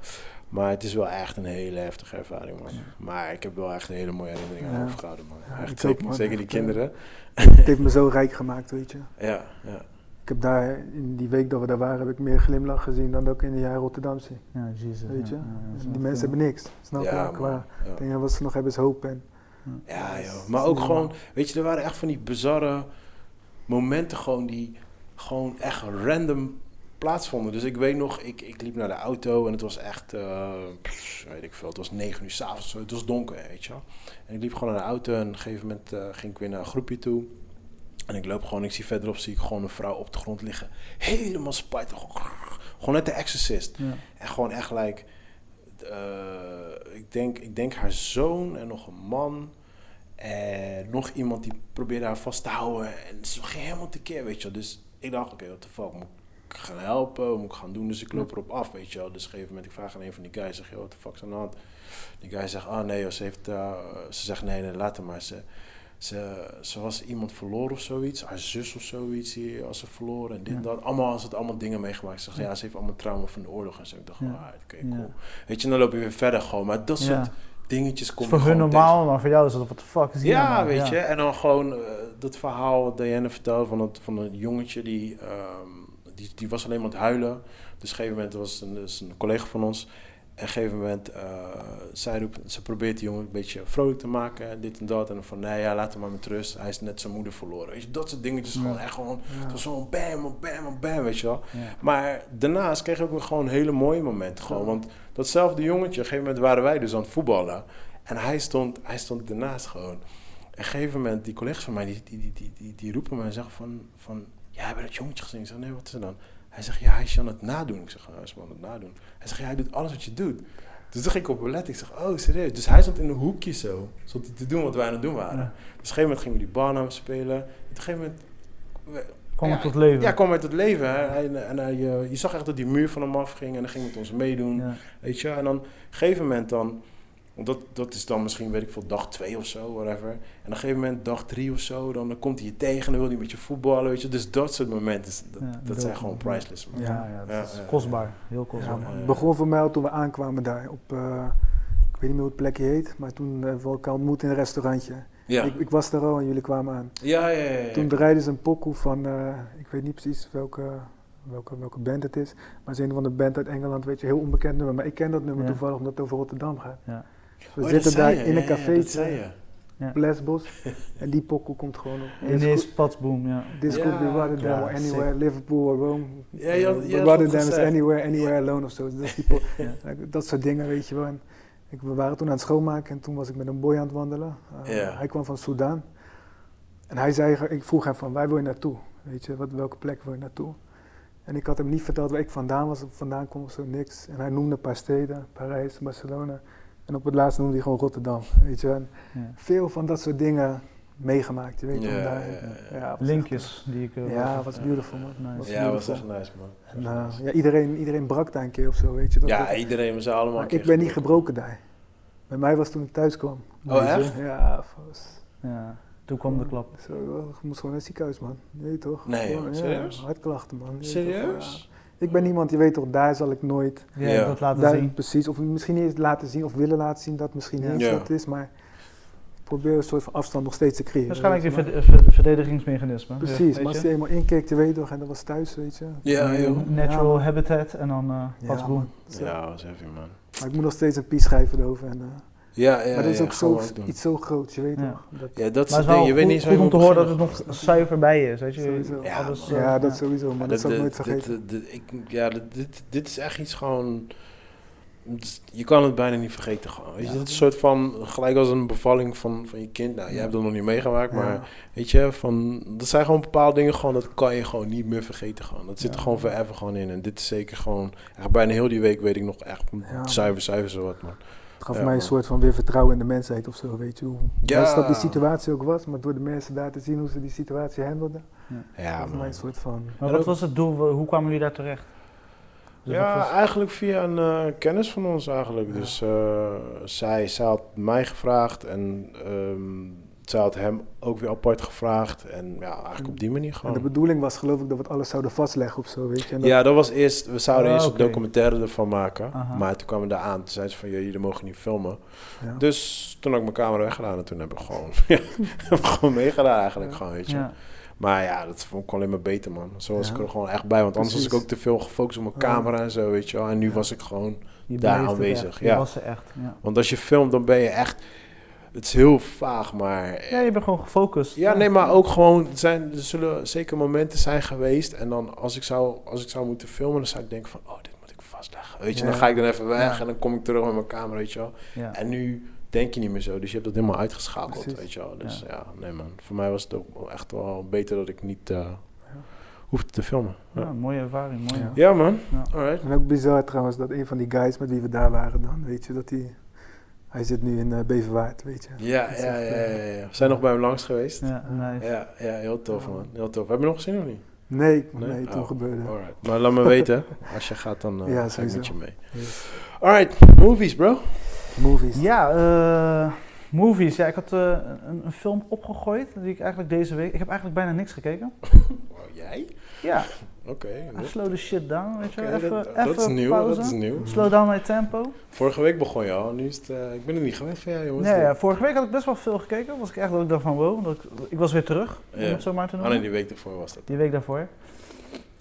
Speaker 2: Maar het is wel echt een hele heftige ervaring, man. Maar ik heb wel echt een hele mooie herinneringen aan
Speaker 4: Ja.
Speaker 2: overgehouden, man. echt,
Speaker 4: Ja, ik ook,
Speaker 2: zeker,
Speaker 4: man.
Speaker 2: zeker die
Speaker 4: Echt, eh,
Speaker 2: kinderen.
Speaker 4: Het heeft me zo rijk gemaakt, weet je.
Speaker 2: Ja, ja.
Speaker 4: Ik heb daar, in die week dat we daar waren, heb ik meer glimlach gezien dan dat ik in de jaar Rotterdam zie.
Speaker 3: Ja, jezus.
Speaker 4: Weet je? Dus
Speaker 3: ja, ja, ja,
Speaker 4: die
Speaker 3: snap
Speaker 4: mensen
Speaker 3: ik,
Speaker 4: hebben niks, snap je?
Speaker 2: ja,
Speaker 4: Qua
Speaker 2: man. Ja.
Speaker 4: dingen wat ze nog hebben is hoop en
Speaker 2: Ja,
Speaker 4: Dat
Speaker 2: joh.
Speaker 4: is
Speaker 2: Maar ook
Speaker 4: niet
Speaker 2: gewoon, weet je, er waren echt van die bizarre momenten gewoon die gewoon echt random plaatsvonden. Dus ik weet nog, ik, ik liep naar de auto en het was echt, eh, pff, weet ik veel, het was negen uur s'avonds, het was donker, weet je wel. En ik liep gewoon naar de auto en op een gegeven moment eh, ging ik weer naar een groepje toe. En ik loop gewoon, ik zie verderop, zie ik gewoon een vrouw op de grond liggen. Helemaal spijtig. Gewoon net de exorcist.
Speaker 3: ja. Ja.
Speaker 2: En gewoon echt like, eh, ik, denk, ik denk haar zoon en nog een man. En nog iemand die probeerde haar vast te houden. En ze ging helemaal tekeer, weet je wel. Dus ik dacht, oké, what the fuck, moet ik gaan helpen? Wat moet ik gaan doen? Dus ik loop erop af, weet je wel. Dus op een gegeven moment, ik vraag aan een van die guys, zeg, joh, what the fuck is aan de hand? Die guy zegt, ah nee, joh, ze, heeft, eh, ze zegt, nee, nee, laat hem maar. Ze, ze, ze was iemand verloren of zoiets. Haar zus of zoiets, die was ze verloren. En dit en
Speaker 3: Ja.
Speaker 2: dat. Allemaal, ze had allemaal dingen meegemaakt. Ze zegt, ja, ze heeft allemaal trauma van de oorlog. En zo, ik dacht,
Speaker 3: Ja.
Speaker 2: ah, oké,
Speaker 3: Ja.
Speaker 2: cool. Weet je, en dan loop je weer verder gewoon. Maar dat
Speaker 3: Ja.
Speaker 2: soort dingetjes
Speaker 3: Het
Speaker 2: komt
Speaker 3: is voor hun normaal, maar voor jou is dat wat de fuck is hier
Speaker 2: Ja,
Speaker 3: normaal?
Speaker 2: weet
Speaker 3: Ja.
Speaker 2: je. En dan gewoon eh, dat verhaal wat Diane vertelde van, het, van een jongetje die, ehm, die, die was alleen maar aan het huilen. Dus op een gegeven moment was een, dus een collega van ons. En op een gegeven moment, eh, zij roept, ze probeert die jongen een beetje vrolijk te maken, dit en dat. En dan van, nee, ja, laat hem maar met rust. Hij is net zijn moeder verloren. Weet je, dat soort dingetjes gewoon echt gewoon, het was zo'n bam, bam, bam, weet je wel.
Speaker 3: Ja.
Speaker 2: Maar daarnaast kreeg ik ook gewoon hele mooie momenten. Gewoon. Want datzelfde jongetje, op een gegeven moment waren wij dus aan het voetballen. En hij stond, hij stond daarnaast gewoon. Op een gegeven moment, die collega's van mij, die, die, die, die, die, die roepen me en zeggen van... van ja, heb je dat jongetje gezien? Ik zeg, nee, wat is er dan? Hij zegt, ja, hij is je aan het nadoen. Ik zeg, hij is me aan het nadoen. Hij zegt, ja, hij doet alles wat je doet. Dus toen ging ik op hem letten. Ik zeg, oh, serieus? Dus hij stond in een hoekje zo. Stond hij te doen wat wij aan het doen waren.
Speaker 3: Ja.
Speaker 2: Dus op een gegeven moment gingen we die bal naar hem spelen. Op een gegeven moment... we-
Speaker 3: Kom
Speaker 2: ja,
Speaker 3: het tot leven.
Speaker 2: ja, kwam uit het leven. Hè. Hij- en hij, eh, je zag echt dat die muur van hem afging en hij ging met ons meedoen.
Speaker 3: Ja.
Speaker 2: Weet je, en dan op een gegeven moment dan, want dat, dat is dan misschien, weet ik veel, dag twee of zo, whatever. En op een gegeven moment, dag drie of zo, dan, dan komt hij je tegen en dan wil hij met je voetballen, weet je. Dus dat soort momenten, dat,
Speaker 3: Ja,
Speaker 2: dat zijn
Speaker 3: dope.
Speaker 2: gewoon priceless. Man.
Speaker 3: Ja, ja,
Speaker 2: Ja,
Speaker 3: dat
Speaker 2: ja,
Speaker 3: is
Speaker 2: ja.
Speaker 3: kostbaar. Heel kostbaar.
Speaker 2: Ja,
Speaker 4: Ja,
Speaker 2: man.
Speaker 4: het begon voor mij al toen we aankwamen daar. Op, eh, ik weet niet meer hoe het plekje heet, maar toen hebben we elkaar ontmoet in een restaurantje.
Speaker 2: Ja,
Speaker 4: Ik, ik was daar al en jullie kwamen aan.
Speaker 2: ja, ja. ja, ja.
Speaker 4: Toen draaiden ze een pokoe van, eh, ik weet niet precies welke, welke, welke band het is. Maar het is een van de band uit Engeland, weet je, heel onbekend nummer. Maar ik ken dat nummer
Speaker 3: Ja.
Speaker 4: toevallig omdat het over Rotterdam gaat.
Speaker 3: Ja.
Speaker 4: We
Speaker 2: Oh, dat
Speaker 4: zitten daar
Speaker 2: zei je,
Speaker 4: in
Speaker 2: ja,
Speaker 4: een
Speaker 2: ja, ja, dat zei
Speaker 4: cafeetje,
Speaker 2: je.
Speaker 4: Lesbos. en die pokoe komt gewoon op.
Speaker 3: Ineens patsboom, ja.
Speaker 4: This
Speaker 2: Ja,
Speaker 4: could be Rotterdam
Speaker 3: ja,
Speaker 4: or anywhere, Liverpool or Rome.
Speaker 2: Ja, je had- je
Speaker 4: Eh,
Speaker 2: had dat
Speaker 4: Rotterdam is
Speaker 2: gezegd.
Speaker 4: anywhere, anywhere alone of zo. Dat, is die po-
Speaker 3: Ja.
Speaker 4: dat soort dingen, weet je wel. En ik, we waren toen aan het schoonmaken en toen was ik met een boy aan het wandelen. Eh,
Speaker 2: Ja.
Speaker 4: Hij kwam van Soudaan. En hij zei, ik vroeg hem van, waar wil je naartoe? Weet je, wat, welke plek wil je naartoe? En ik had hem niet verteld waar ik vandaan was, of vandaan kwam of zo, niks. En hij noemde een paar steden, Parijs, Barcelona. En op het laatst noemde hij gewoon Rotterdam, weet je. En
Speaker 3: Ja.
Speaker 4: veel van dat soort dingen meegemaakt, je weet
Speaker 2: Ja,
Speaker 4: om daar-
Speaker 2: ja, ja, ja.
Speaker 4: ja, op zich-
Speaker 3: Linkjes die ik... eh,
Speaker 4: ja,
Speaker 3: wel-
Speaker 4: was beautiful man.
Speaker 3: Nice.
Speaker 4: Was
Speaker 2: Ja, was
Speaker 4: beautiful.
Speaker 2: echt nice, man.
Speaker 4: En, eh, ja, iedereen, iedereen brak daar een keer of zo, weet je. Dat dat-
Speaker 2: Ja, iedereen, we zijn allemaal
Speaker 4: maar
Speaker 2: een keer
Speaker 4: ik ben niet gebroken daar. Bij mij was toen ik thuis kwam.
Speaker 2: Oh,
Speaker 4: Weet je?
Speaker 2: echt?
Speaker 4: Ja, was,
Speaker 3: ja. Toen kwam de klap.
Speaker 4: zo, ik moest gewoon naar het ziekenhuis man. Je weet toch?
Speaker 2: Nee,
Speaker 4: Gewoon,
Speaker 2: joh,
Speaker 4: ja,
Speaker 2: serieus?
Speaker 4: hartklachten man. Je weet toch?
Speaker 2: Serieus?
Speaker 4: Ja. Ik ben iemand, je weet toch, daar zal ik nooit...
Speaker 3: Ja,
Speaker 2: Ja.
Speaker 3: dat laten
Speaker 4: daar,
Speaker 3: zien.
Speaker 4: Precies, of misschien niet eens laten zien of willen laten zien dat misschien
Speaker 3: Ja.
Speaker 4: niet
Speaker 2: Ja.
Speaker 4: dat is, maar... Ik probeer een soort van afstand nog steeds te creëren.
Speaker 3: Waarschijnlijk die
Speaker 4: weet je, maar-
Speaker 3: verde- ver- verdedigingsmechanisme.
Speaker 4: Precies,
Speaker 3: Ja,
Speaker 4: maar
Speaker 3: weet
Speaker 4: als
Speaker 3: je?
Speaker 4: je eenmaal inkeek, je weet toch, en dat was thuis, weet je.
Speaker 2: Ja, joh.
Speaker 3: Natural
Speaker 4: Ja,
Speaker 3: habitat en dan eh
Speaker 4: Ja,
Speaker 3: patsboom.
Speaker 4: man. Zo.
Speaker 2: Ja, was heavy, man.
Speaker 4: Maar ik moet nog steeds een pie schrijven erover. En, eh,
Speaker 2: Ja, ja,
Speaker 4: maar dat is
Speaker 2: ja,
Speaker 4: ook
Speaker 2: gaan we
Speaker 4: zo,
Speaker 2: doen.
Speaker 4: iets zo groots, je weet
Speaker 3: Ja.
Speaker 2: Ja,
Speaker 4: toch? Dat,
Speaker 2: dat is
Speaker 3: Maar
Speaker 2: het
Speaker 3: het is wel
Speaker 2: ding. Je weet
Speaker 3: goed,
Speaker 2: niet eens
Speaker 3: goed om te
Speaker 2: hoe je
Speaker 3: horen dat
Speaker 2: moet
Speaker 3: het nog zuiver bij je is. Weet je?
Speaker 4: Sowieso.
Speaker 2: Ja,
Speaker 3: Alles,
Speaker 2: man.
Speaker 3: eh,
Speaker 4: ja, dat sowieso, maar dat
Speaker 2: beginnen.
Speaker 4: zal ik
Speaker 2: Ja,
Speaker 4: nooit
Speaker 2: dat- dat- dat-
Speaker 4: vergeten.
Speaker 2: dat- ik- Ja, dat- dit- dit is echt iets gewoon... Je kan het bijna niet vergeten gewoon. Weet je,
Speaker 3: Ja.
Speaker 2: dat is een soort van, gelijk als een bevalling van, van je kind. Nou, jij hebt dat nog niet meegemaakt,
Speaker 4: Ja.
Speaker 2: maar weet je, van, dat zijn gewoon bepaalde dingen gewoon, dat kan je gewoon niet meer vergeten gewoon. Dat zit er gewoon forever gewoon in. En dit is zeker gewoon, echt bijna heel die week weet ik nog echt,
Speaker 4: Ja.
Speaker 2: zuiver, zuiver zo wat man.
Speaker 4: Het gaf
Speaker 2: Ja,
Speaker 4: mij een
Speaker 2: man.
Speaker 4: soort van weer vertrouwen in de mensheid of zo, weet je. Hoe
Speaker 2: Ja.
Speaker 4: best dat die situatie ook was, maar door de mensen daar te zien hoe ze die situatie handelden,
Speaker 2: Ja
Speaker 4: gaf mij
Speaker 2: man.
Speaker 4: een soort van...
Speaker 3: Maar
Speaker 2: En
Speaker 3: wat
Speaker 2: ook-
Speaker 3: was het doel? Hoe kwamen jullie daar terecht? Dus wat
Speaker 2: Ja,
Speaker 3: was-
Speaker 2: eigenlijk via een eh, kennis van ons eigenlijk. Dus eh, zij, zij had mij gevraagd en ehm, zij had hem ook weer apart gevraagd. En ja, eigenlijk op die manier
Speaker 4: En de
Speaker 2: gewoon.
Speaker 4: bedoeling was geloof ik dat we het alles zouden vastleggen of zo, weet je. En dat-
Speaker 2: Ja, dat was eerst. We zouden
Speaker 3: Ah,
Speaker 2: eerst
Speaker 3: oké.
Speaker 2: een documentaire ervan maken.
Speaker 3: Aha.
Speaker 2: Maar toen kwamen we daar aan. Toen zeiden ze van, "Ja, jullie mogen niet filmen.
Speaker 4: ja.
Speaker 2: Dus toen had ik mijn camera weggedaan en toen heb ik gewoon, ja, heb ik gewoon meegedaan eigenlijk gewoon, weet je.
Speaker 3: Ja.
Speaker 2: Maar ja, dat vond ik alleen maar beter, man. Zo was
Speaker 4: Ja.
Speaker 2: ik er gewoon echt bij. Want anders was
Speaker 4: Precies.
Speaker 2: ik ook te veel gefocust op mijn
Speaker 4: Ja.
Speaker 2: camera en zo, weet je wel. En nu
Speaker 4: Ja.
Speaker 2: was ik gewoon...
Speaker 3: Je
Speaker 2: Daar
Speaker 3: beleefde het
Speaker 2: aanwezig,
Speaker 3: echt. Je
Speaker 2: ja.
Speaker 3: was er echt. Ja,
Speaker 2: Want als je filmt, dan ben je echt... Het is heel vaag, maar...
Speaker 3: ja je bent gewoon gefocust.
Speaker 2: Ja, nee, maar ook gewoon, er zijn, er zullen zeker momenten zijn geweest. En dan als ik zou, als ik zou moeten filmen, dan zou ik denken van, oh, dit moet ik vastleggen. Weet je,
Speaker 4: Ja.
Speaker 2: dan ga ik dan even weg
Speaker 3: Ja.
Speaker 2: en dan kom ik terug met mijn camera, weet je wel.
Speaker 3: Ja.
Speaker 2: En nu denk je niet meer zo, dus je hebt dat helemaal uitgeschakeld,
Speaker 4: Precies.
Speaker 2: weet je wel. Dus ja. nee man, voor mij was het ook wel echt wel beter dat ik niet eh hoefde te filmen.
Speaker 3: Ja,
Speaker 2: Ja,
Speaker 3: mooie ervaring, mooie.
Speaker 4: Ja.
Speaker 2: ja man,
Speaker 3: Ja.
Speaker 2: alright.
Speaker 4: En ook bizar trouwens dat een van die guys met wie we daar waren dan, weet je, dat hij... Hij zit nu in eh, Beverwaard, weet je.
Speaker 2: Ja,
Speaker 4: Dat is
Speaker 2: ja,
Speaker 4: echt,
Speaker 2: ja,
Speaker 4: eh,
Speaker 2: ja, ja. Zijn nog bij hem langs geweest? Ja,
Speaker 3: Ja, nice.
Speaker 2: ja, heel tof
Speaker 4: Ja.
Speaker 2: man, heel tof. Heb je nog gezien of niet?
Speaker 4: Nee, ik-
Speaker 2: Nee?
Speaker 4: nee, toen
Speaker 2: Oh.
Speaker 4: gebeurde het.
Speaker 2: Alright. Maar laat me weten, als je gaat dan eh,
Speaker 4: Ja,
Speaker 2: ga ik met
Speaker 4: sowieso.
Speaker 2: je mee.
Speaker 4: Yes.
Speaker 2: Alright, movies bro.
Speaker 4: Movies.
Speaker 3: Ja, eh, movies. Ja, ik had eh, een, een film opgegooid die ik eigenlijk deze week. Ik heb eigenlijk bijna niks gekeken.
Speaker 2: Wow, Oh, jij?
Speaker 3: Ja,
Speaker 2: Oké.
Speaker 3: I
Speaker 2: dat-
Speaker 3: slow the shit down, weet je wel.
Speaker 2: oké,
Speaker 3: even,
Speaker 2: dat,
Speaker 3: even
Speaker 2: dat is nieuw,
Speaker 3: pauze.
Speaker 2: dat is nieuw.
Speaker 3: Slow down my tempo.
Speaker 2: Vorige week begon je al, nu is het, eh, ik ben er niet gewend van jou jongens. Ah,
Speaker 3: Nee, ja, vorige week had ik best wel veel gekeken. Was ik echt dat ik dacht van wow, dat ik, ik was weer terug,
Speaker 2: Ja.
Speaker 3: om het zo maar te
Speaker 2: Ah,
Speaker 3: noemen.
Speaker 2: nee, die week ervoor was dat.
Speaker 3: Die week daarvoor.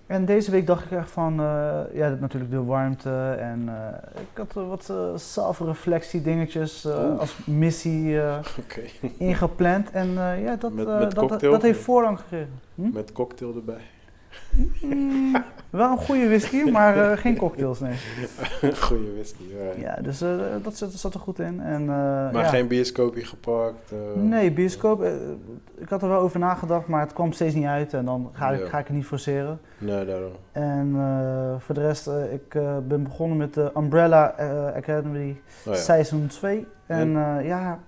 Speaker 3: En deze week dacht ik echt van, eh, ja, dat natuurlijk de warmte en eh, ik had eh, wat eh zelfreflectie dingetjes eh,
Speaker 2: Oeh.
Speaker 3: als missie eh,
Speaker 2: Oké.
Speaker 3: ingepland. En eh, ja, dat,
Speaker 2: Met-
Speaker 3: eh,
Speaker 2: met
Speaker 3: dat,
Speaker 2: cocktail?
Speaker 3: dat heeft voorrang gekregen. Hm?
Speaker 2: Met cocktail erbij.
Speaker 3: Mm, wel een goede whisky, maar eh, geen cocktails, nee.
Speaker 2: Goeie whisky. alright.
Speaker 3: Ja, dus eh, dat zat, zat er goed in. En, eh,
Speaker 2: Maar
Speaker 3: ja.
Speaker 2: geen bioscoopje gepakt. eh,
Speaker 3: Nee, bioscoop. eh, ik had er wel over nagedacht, maar het kwam steeds niet uit en dan ga ik,
Speaker 2: Ja.
Speaker 3: ga ik het niet forceren.
Speaker 2: Nee, daarom.
Speaker 3: En eh, voor de rest, eh, ik eh, ben begonnen met de Umbrella eh, Academy
Speaker 2: Oh, ja.
Speaker 3: seizoen 2. En eh, ja,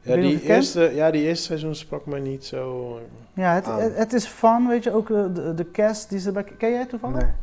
Speaker 2: Ja,
Speaker 3: weet je
Speaker 2: die
Speaker 3: of je het
Speaker 2: eerste, ja, die eerste seizoen sprak mij niet zo.
Speaker 3: ja het,
Speaker 2: Aan.
Speaker 3: het, het is fun, weet je, ook eh, de, de cast die ze bij... Ken jij toevallig?
Speaker 4: Nee.
Speaker 3: Het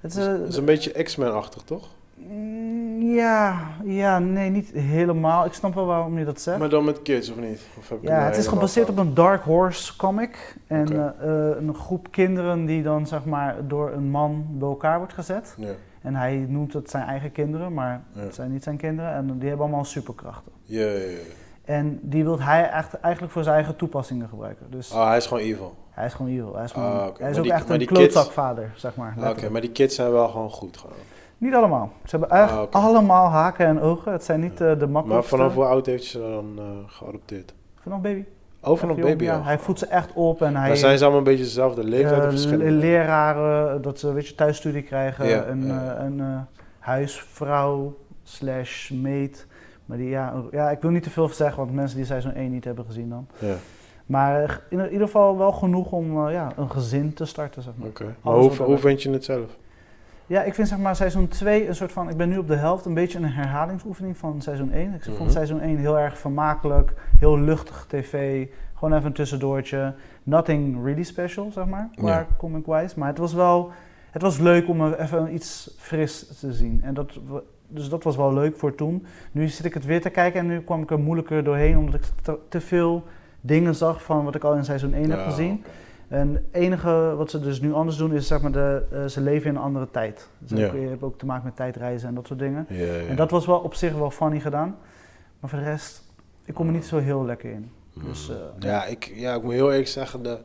Speaker 2: Het
Speaker 3: is,
Speaker 2: is,
Speaker 3: eh,
Speaker 2: het is een beetje X-Men-achtig, toch?
Speaker 3: mm, ja, ja, nee, niet helemaal. Ik snap wel waarom je dat zegt.
Speaker 2: Maar dan met kids, of niet? Of heb ik
Speaker 3: Ja,
Speaker 2: nou
Speaker 3: het is
Speaker 2: helemaal
Speaker 3: gebaseerd op
Speaker 2: fout?
Speaker 3: een Dark Horse comic. En
Speaker 2: Oké.
Speaker 3: eh, eh, een groep kinderen die dan zeg maar door een man bij elkaar wordt gezet.
Speaker 2: Ja,
Speaker 3: En hij noemt het zijn eigen kinderen, maar
Speaker 2: ja.
Speaker 3: het zijn niet zijn kinderen. En die hebben allemaal superkrachten.
Speaker 2: Ja, ja, ja.
Speaker 3: En die wil hij echt, eigenlijk voor zijn eigen toepassingen gebruiken. Dus
Speaker 2: Ah, hij is gewoon evil.
Speaker 3: hij is gewoon evil. Hij is, gewoon,
Speaker 2: Ah, oké.
Speaker 3: hij is
Speaker 2: Maar
Speaker 3: ook
Speaker 2: die-
Speaker 3: echt
Speaker 2: maar
Speaker 3: een
Speaker 2: die kids-
Speaker 3: klootzakvader, zeg maar.
Speaker 2: Ah, Oké,
Speaker 3: letterlijk.
Speaker 2: maar die kids zijn wel gewoon goed. Gewoon.
Speaker 3: Niet allemaal. Ze hebben echt
Speaker 2: Ah, oké.
Speaker 3: allemaal haken en ogen. Het zijn niet eh, de
Speaker 2: Maar
Speaker 3: makkelijkste.
Speaker 2: vanaf hoe oud heeft ze dan eh, geadopteerd?
Speaker 3: Vanaf baby.
Speaker 2: Oh, vanaf
Speaker 3: Echt jong,
Speaker 2: baby
Speaker 3: ja.
Speaker 2: al.
Speaker 3: Hij voedt ze echt op en hij...
Speaker 2: Maar zijn ze allemaal een beetje dezelfde leeftijd
Speaker 3: Eh,
Speaker 2: of verschillende?
Speaker 3: le- leraren, dat ze weet je, thuisstudie krijgen,
Speaker 2: Ja,
Speaker 3: een,
Speaker 2: ja.
Speaker 3: eh, een eh, huisvrouw slash meet. Maar die, ja, ja, ik wil niet te veel zeggen, want mensen die seizoen 1 niet hebben gezien dan.
Speaker 2: ja.
Speaker 3: Maar eh, in ieder geval wel genoeg om eh, ja, een gezin te starten, zeg maar.
Speaker 2: Oké. Maar
Speaker 3: Alles
Speaker 2: hoe,
Speaker 3: wat
Speaker 2: hoe
Speaker 3: erbij.
Speaker 2: vind je het zelf?
Speaker 3: Ja, ik vind zeg maar seizoen 2 een soort van, ik ben nu op de helft, een beetje een herhalingsoefening van seizoen 1. Ik
Speaker 2: Mhm.
Speaker 3: vond seizoen 1 heel erg vermakelijk, heel luchtig tv, gewoon even een tussendoortje. Nothing really special, zeg maar,
Speaker 2: Ja.
Speaker 3: qua comic-wise. Maar het was wel, het was leuk om even iets fris te zien. En dat, wa- dus dat was wel leuk voor toen. Nu zit ik het weer te kijken en nu kwam ik er moeilijker doorheen, omdat ik te, te veel dingen zag van wat ik al in seizoen 1 heb
Speaker 2: Ja,
Speaker 3: gezien.
Speaker 2: oké.
Speaker 3: En het enige wat ze dus nu anders doen is zeg maar de, eh, ze leven in een andere tijd. Dus
Speaker 2: Ja.
Speaker 3: ook- je hebt ook te maken met tijdreizen en dat soort dingen.
Speaker 2: Ja, ja.
Speaker 3: En dat was wel op zich wel funny gedaan. Maar voor de rest, ik kom er niet zo heel lekker in. Dus,
Speaker 2: Mm.
Speaker 3: eh,
Speaker 2: ja, ik, ja, ik moet heel eerlijk zeggen, de,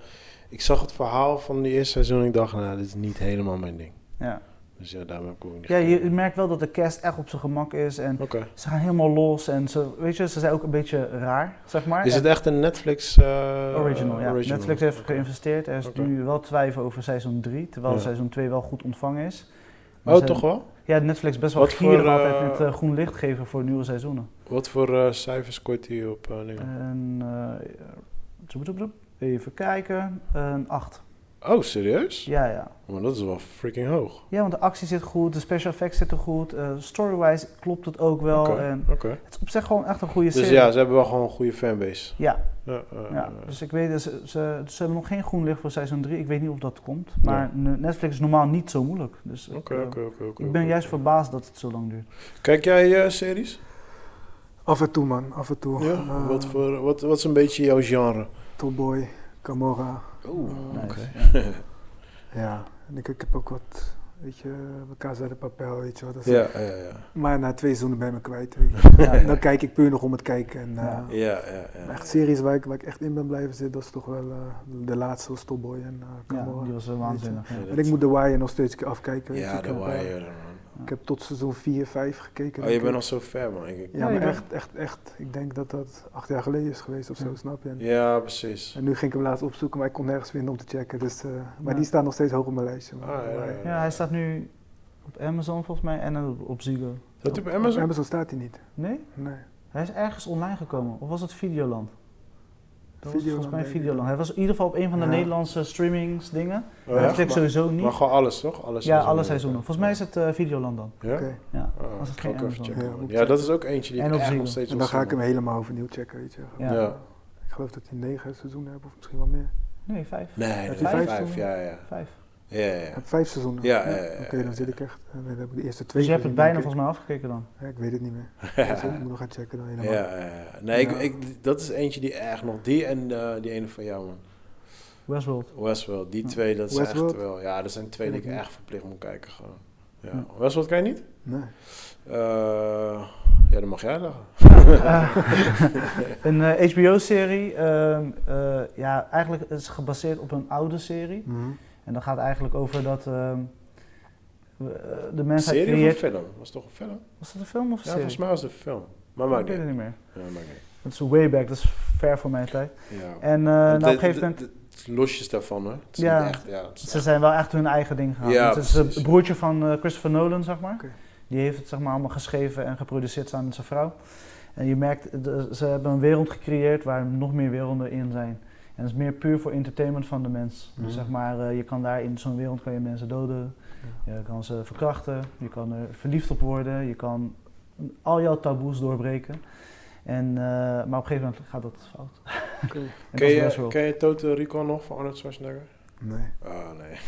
Speaker 2: ik zag het verhaal van de eerste seizoen en ik dacht, nou, dit is niet helemaal mijn ding.
Speaker 3: Ja,
Speaker 2: Dus ja, daarom heb ik ook niet
Speaker 3: ja je, je
Speaker 2: gekeken.
Speaker 3: merkt wel dat de cast echt op zijn gemak is. En
Speaker 2: Oké.
Speaker 3: ze gaan helemaal los. En ze, weet je, ze zijn ook een beetje raar, zeg maar.
Speaker 2: Is
Speaker 3: En-
Speaker 2: het echt een Netflix... eh,
Speaker 3: Original, ja.
Speaker 2: original?
Speaker 3: Netflix heeft
Speaker 2: Oké.
Speaker 3: geïnvesteerd. Er is
Speaker 2: Oké.
Speaker 3: nu wel twijfel over seizoen 3, terwijl
Speaker 2: Ja.
Speaker 3: seizoen 2 wel goed ontvangen is. Maar
Speaker 2: Oh,
Speaker 3: ze-
Speaker 2: toch wel?
Speaker 3: Ja, Netflix best wel
Speaker 2: Wat voor,
Speaker 3: gierig
Speaker 2: eh,
Speaker 3: altijd met eh, groen licht geven voor nieuwe seizoenen.
Speaker 2: Wat voor eh, cijfers scoort hij op eh, dingen?
Speaker 3: En, eh, zoep, zoep, zoep. even kijken, een 8.
Speaker 2: Oh, serieus? Oh,
Speaker 3: Ja, ja.
Speaker 2: Maar dat is wel freaking hoog.
Speaker 3: Ja, want de actie zit goed, de special effects zitten goed, eh, storywise klopt het ook wel.
Speaker 2: Oké,
Speaker 3: En
Speaker 2: Oké.
Speaker 3: het is op zich gewoon echt een goede
Speaker 2: Dus
Speaker 3: serie.
Speaker 2: ja, ze hebben wel gewoon een goede fanbase.
Speaker 3: Ja,
Speaker 2: Ja, eh,
Speaker 3: ja. dus ik weet, dat ze, ze, ze hebben nog geen groen licht voor seizoen 3, ik weet niet of dat komt. Maar ne- Netflix is normaal niet zo moeilijk. Dus ik,
Speaker 2: Oké,
Speaker 3: eh,
Speaker 2: oké, oké. oké,
Speaker 3: ik ben
Speaker 2: oké.
Speaker 3: juist verbaasd dat het zo lang duurt.
Speaker 2: Kijk jij eh, series?
Speaker 4: Eh, Af en toe, man, af en toe.
Speaker 2: Ja?
Speaker 4: Eh,
Speaker 2: wat, voor, wat, wat is een beetje jouw genre?
Speaker 4: Tallboy, Camorra.
Speaker 2: Oeh,
Speaker 3: Nice.
Speaker 2: oké.
Speaker 4: Ja, en ik, ik heb ook wat, weet je, Casa de Papel, weet je wel. dat is-
Speaker 2: Ja, ja, ja.
Speaker 4: Maar na twee seizoenen ben ik me kwijt. weet je.
Speaker 3: Ja.
Speaker 4: Dan kijk ik puur nog om het kijken. En, eh,
Speaker 3: Ja.
Speaker 2: Ja, ja, ja.
Speaker 4: maar Echt series waar ik, waar ik echt in ben blijven zitten, dat is toch wel eh, de laatste was Tallboy en eh,
Speaker 3: Ja,
Speaker 4: Camorra.
Speaker 3: die was eh, waanzinnig. ja.
Speaker 4: en ik moet The Wire nog steeds keer afkijken. weet je.
Speaker 2: Ja,
Speaker 4: Ik
Speaker 2: The
Speaker 4: heb, eh,
Speaker 2: Wire, man.
Speaker 4: Ik heb tot seizoen 4, 5 gekeken.
Speaker 2: Oh,
Speaker 4: denk
Speaker 2: je
Speaker 4: ik.
Speaker 2: bent al zo ver, man. Ik- ik-
Speaker 4: Ja,
Speaker 3: Ja, je
Speaker 4: maar
Speaker 3: bent-
Speaker 4: echt, echt, echt. Ik denk dat dat acht jaar geleden is geweest of zo,
Speaker 3: Ja.
Speaker 4: snap je? En,
Speaker 2: Ja, precies.
Speaker 4: en nu ging ik hem laatst opzoeken, maar ik kon nergens vinden om te checken. Dus, eh, maar
Speaker 3: Ja.
Speaker 4: die staat nog steeds hoog op mijn lijstje. man.
Speaker 2: Ah, ja, ja, ja.
Speaker 3: Ja, hij staat nu op Amazon volgens mij en op, op Ziggo.
Speaker 2: Dat op
Speaker 4: Op
Speaker 2: Amazon?
Speaker 4: Amazon staat hij niet.
Speaker 3: Nee?
Speaker 4: Nee.
Speaker 3: Hij is ergens online gekomen. Of was het Videoland? Dat was
Speaker 4: Videoland,
Speaker 3: volgens mij
Speaker 4: denk ik.
Speaker 3: Videoland. Hij was in ieder geval op een van de
Speaker 4: Ja.
Speaker 3: Nederlandse streamingsdingen.
Speaker 2: Oh,
Speaker 3: Netflix
Speaker 2: echt? Maar-
Speaker 3: sowieso
Speaker 2: Maar
Speaker 3: niet.
Speaker 2: gewoon alles, toch? Alles
Speaker 3: Ja, alle seizoenen. Volgens mij is het eh, Videoland dan.
Speaker 2: Ja?
Speaker 4: Oké.
Speaker 3: Ja.
Speaker 2: Ah,
Speaker 3: Als het
Speaker 2: ga ik
Speaker 3: geen
Speaker 2: ook even
Speaker 3: Amazon
Speaker 2: checken,
Speaker 4: is.
Speaker 2: man.
Speaker 4: Ja, moet
Speaker 2: Ja, dat is ook eentje die
Speaker 3: En
Speaker 2: ik
Speaker 3: op
Speaker 2: echt
Speaker 3: Ziggo.
Speaker 2: nog steeds wil
Speaker 4: En dan ga ik
Speaker 2: zien,
Speaker 4: hem helemaal overnieuw checken, weet je.
Speaker 3: Ja.
Speaker 2: man. Ja.
Speaker 4: Ik geloof dat hij negen seizoenen heeft, of misschien wel meer.
Speaker 3: Nee, vijf.
Speaker 2: Nee,
Speaker 4: Heb
Speaker 2: dat
Speaker 4: je
Speaker 2: vijf,
Speaker 4: vijf
Speaker 2: vijf,
Speaker 4: seizoenen?
Speaker 2: ja, ja.
Speaker 3: Vijf.
Speaker 2: Ja, ja,
Speaker 4: Hij
Speaker 2: ja.
Speaker 4: heeft vijf seizoenen.
Speaker 2: Ja, ja, ja, ja,
Speaker 4: Oké, dan zit ik echt. En dan heb ik de eerste twee.
Speaker 3: Dus je hebt het
Speaker 4: gezien,
Speaker 3: bijna
Speaker 4: denk ik.
Speaker 3: volgens mij afgekeken dan.
Speaker 4: Ja, ik weet het niet meer. Dus ik moet nog gaan checken dan helemaal.
Speaker 2: Ja, ja, ja. Nee,
Speaker 4: Ja.
Speaker 2: Ik, ik, dat is eentje die echt nog. Die en eh, die ene van jou, man.
Speaker 3: Westworld.
Speaker 2: Westworld. Die twee, dat is
Speaker 4: Westworld?
Speaker 2: echt wel... Ja, dat zijn twee die ik
Speaker 4: Ja.
Speaker 2: echt verplicht moet kijken, gewoon. Ja.
Speaker 3: Ja.
Speaker 2: Westworld kan je niet?
Speaker 4: Nee.
Speaker 2: Eh, ja, dan mag jij lachen.
Speaker 3: Eh, een HBO-serie. ehm, eh, ja, eigenlijk is gebaseerd op een oude serie.
Speaker 4: Mhm.
Speaker 3: En dat gaat eigenlijk over dat ehm, we- eh, de mensheid
Speaker 2: Serie of
Speaker 3: creëert...
Speaker 2: een film? Was het toch een film?
Speaker 3: Was dat een film
Speaker 2: Ja,
Speaker 3: of een serie?
Speaker 2: volgens mij was het een film. Maar
Speaker 3: ik
Speaker 2: maakt
Speaker 3: weet
Speaker 2: niet.
Speaker 3: het niet meer.
Speaker 2: Ja, maakt niet.
Speaker 3: Dat is way back, dat is ver voor mijn tijd.
Speaker 2: Ja.
Speaker 3: En eh, nou, op
Speaker 2: Het-
Speaker 3: een gegeven
Speaker 2: het-
Speaker 3: moment...
Speaker 2: het- het Losjes daarvan, hè? Het is
Speaker 3: Ja.
Speaker 2: niet echt, ja. het is
Speaker 3: Dus Ze
Speaker 2: echt-
Speaker 3: zijn wel echt hun eigen ding gegaan.
Speaker 2: Ja,
Speaker 3: het is het
Speaker 2: precies.
Speaker 3: broertje van eh, Christopher Nolan, zeg maar.
Speaker 4: Oké.
Speaker 3: Die heeft het zeg maar, allemaal geschreven en geproduceerd samen met zijn vrouw. En je merkt, de- ze hebben een wereld gecreëerd waar nog meer werelden in zijn. En dat is meer puur voor entertainment van de mens.
Speaker 4: Mhm.
Speaker 3: Dus zeg maar, eh, je kan daar in zo'n wereld kan je mensen doden. Je kan ze verkrachten. Je kan er verliefd op worden. Je kan al jouw taboes doorbreken. En, eh, maar op een gegeven moment gaat dat fout. En
Speaker 4: Oké.
Speaker 3: dat
Speaker 2: Ken
Speaker 3: is
Speaker 2: je,
Speaker 3: Westworld.
Speaker 2: ken je Total Recall nog van Arnold Schwarzenegger?
Speaker 4: Nee.
Speaker 2: Ah, nee.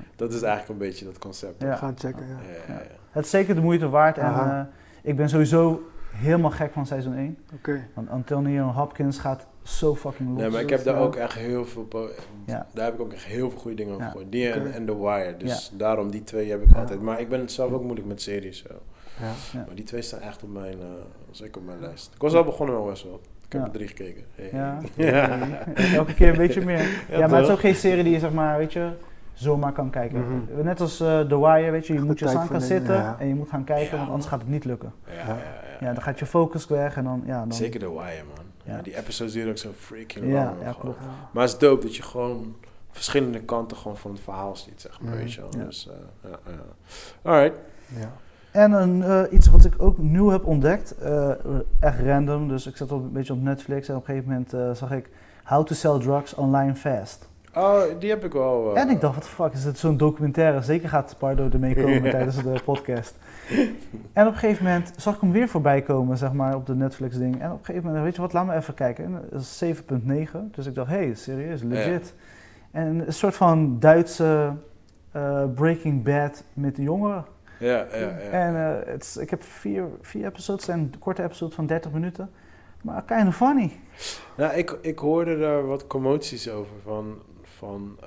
Speaker 2: dat is eigenlijk een beetje dat concept.
Speaker 3: Ja.
Speaker 2: Ja.
Speaker 4: Gaan checken, ja.
Speaker 2: Ja, ja, ja.
Speaker 3: Het is zeker de moeite waard. En
Speaker 4: Aha.
Speaker 3: eh, ik ben sowieso helemaal gek van seizoen 1.
Speaker 4: Oké.
Speaker 3: Want Antonio Hopkins gaat zo fucking los.
Speaker 2: Nee, maar ik
Speaker 4: dat
Speaker 2: heb daar
Speaker 4: wel-
Speaker 2: ook echt heel veel... po-
Speaker 3: Ja.
Speaker 2: Daar heb ik ook echt heel veel goede dingen over
Speaker 3: Ja.
Speaker 2: gehoord. Die en,
Speaker 4: Oké.
Speaker 2: en The Wire. Dus daarom, die twee heb ik
Speaker 4: Ja.
Speaker 2: altijd. Maar ik ben het zelf ook moeilijk met series. Zo.
Speaker 4: Ja.
Speaker 3: Ja.
Speaker 2: Maar die twee staan echt op mijn, eh, zeker op mijn lijst. Ik was al begonnen met Westworld. Ik heb
Speaker 3: Ja.
Speaker 2: er drie gekeken. Hey.
Speaker 3: Ja.
Speaker 2: Ja.
Speaker 3: Elke keer een beetje meer. Ja, maar het is
Speaker 2: toch?
Speaker 3: ook geen serie die je zeg maar, weet je, zomaar kan kijken.
Speaker 4: Mhm.
Speaker 3: Net als eh The Wire, weet je, je
Speaker 4: Echt
Speaker 3: moet
Speaker 4: de
Speaker 3: je
Speaker 4: tijd
Speaker 3: aan
Speaker 4: voor
Speaker 3: gaan
Speaker 4: nemen,
Speaker 3: zitten
Speaker 4: ja.
Speaker 3: en je moet gaan kijken,
Speaker 2: Ja,
Speaker 3: want anders
Speaker 2: man.
Speaker 3: gaat het niet lukken.
Speaker 2: Ja, ja, ja,
Speaker 3: Ja, dan gaat je focus weg en dan, ja, dan...
Speaker 2: Zeker The Wire, man. Ja.
Speaker 3: Ja.
Speaker 2: die episodes duren ook zo freaking
Speaker 3: Ja,
Speaker 2: lang. man,
Speaker 3: ja,
Speaker 2: gewoon.
Speaker 3: klopt.
Speaker 4: Ja.
Speaker 2: Maar het is dope dat je gewoon verschillende kanten gewoon van het verhaal ziet, zeg maar.
Speaker 4: Mhm.
Speaker 2: Weet je wel.
Speaker 3: Ja.
Speaker 2: Dus, eh, ja, ja. Alright.
Speaker 4: Ja.
Speaker 3: En een, eh, iets wat ik ook nieuw heb ontdekt, eh, echt random, dus ik zat op, een beetje op Netflix en op een gegeven moment eh, zag ik How to Sell Drugs Online Fast.
Speaker 2: Oh, die heb ik wel. eh,
Speaker 3: En ik dacht, wat de fuck is dit zo'n documentaire? Zeker gaat Pardo ermee komen tijdens de podcast. En op een gegeven moment zag ik hem weer voorbij komen, zeg maar, op de Netflix ding. En op een gegeven moment, weet je wat, laat me even kijken. En dat is 7.9, dus ik dacht, hé, hey, serieus, legit. En een soort van Duitse eh, Breaking Bad met de jongeren.
Speaker 2: Ja, ja, ja.
Speaker 3: En eh, het is- ik heb vier, vier episodes, en korte episodes van 30 minuten. Maar kind of funny.
Speaker 2: Nou, ik, ik hoorde daar wat commoties over. Van, van eh,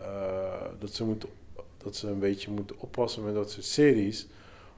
Speaker 2: dat, ze moeten, dat ze een beetje moeten oppassen met dat soort series.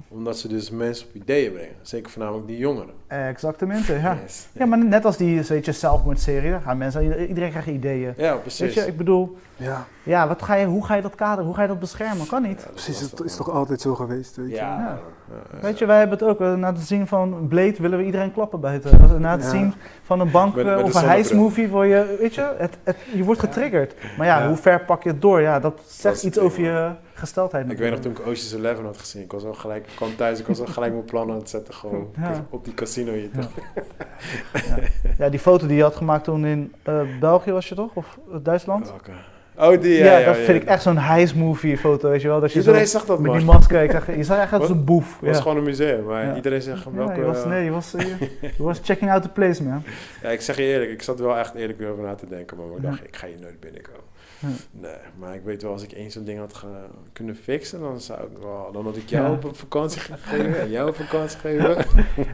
Speaker 2: Omdat ze dus mensen op ideeën brengen. Zeker voornamelijk die jongeren.
Speaker 3: Exactamente, ja.
Speaker 2: Yes.
Speaker 3: Ja, maar net als die, weet je, zelfmoordserie, daar gaan mensen, iedereen krijgt ideeën.
Speaker 2: Ja, precies.
Speaker 3: Weet je, ik bedoel,
Speaker 4: Ja,
Speaker 3: Ja, wat ga je, hoe ga je dat kaderen? Hoe ga je dat beschermen? Kan niet.
Speaker 4: precies. Het is toch altijd zo geweest, weet je.
Speaker 2: Ja.
Speaker 3: Ja.
Speaker 2: ja, ja.
Speaker 3: Weet je, wij hebben het ook. eh, Na het zien van Blade willen we iedereen klappen buiten. Als- Na het
Speaker 4: Ja.
Speaker 3: zien van een bank
Speaker 2: Met- met
Speaker 3: eh, of
Speaker 2: een
Speaker 3: een
Speaker 2: zonnebril.
Speaker 3: hijsmovie word je, weet je, het, het, je wordt getriggerd. Maar ja,
Speaker 2: Ja.
Speaker 3: hoe ver pak je het door? Ja, dat
Speaker 2: Dat
Speaker 3: zegt
Speaker 2: is
Speaker 3: iets
Speaker 2: het ding,
Speaker 3: over je gesteldheid.
Speaker 2: Ik weet nog toen ik Ocean's Eleven had gezien. Ik was al gelijk, ik kwam thuis, ik was al gelijk mijn plannen aan het zetten. Gewoon
Speaker 3: Ja.
Speaker 2: op die casino hier.
Speaker 3: Ja. Ja, die foto die je had gemaakt toen in eh, België was je toch? Of eh, Duitsland?
Speaker 2: Welke? Oh, die, ja.
Speaker 3: ja,
Speaker 2: ja,
Speaker 3: dat
Speaker 2: ja,
Speaker 3: vind ik echt zo'n hijsmovie foto, weet je wel. Dat je zo
Speaker 2: Iedereen
Speaker 3: met
Speaker 2: zag dat, man.
Speaker 3: die
Speaker 2: Het
Speaker 3: masker, ik zeg, je zag echt als
Speaker 2: Wat?
Speaker 3: een boef.
Speaker 2: was
Speaker 3: Ja.
Speaker 2: gewoon een museum. Maar
Speaker 3: Ja.
Speaker 2: iedereen zegt
Speaker 3: Ja,
Speaker 2: welke...
Speaker 3: je was, nee, je was, eh, je was checking out the place, man.
Speaker 2: Ja, ik zeg je eerlijk, ik zat er wel echt eerlijk over na te denken, maar ik dacht, ik ga hier nooit binnenkomen.
Speaker 3: Ja.
Speaker 2: Nee, maar ik weet wel, als ik één zo'n ding had ge- kunnen fixen, dan zou ik wel, dan had ik jou
Speaker 3: Ja.
Speaker 2: op een vakantie gegeven en jou op vakantie gegeven.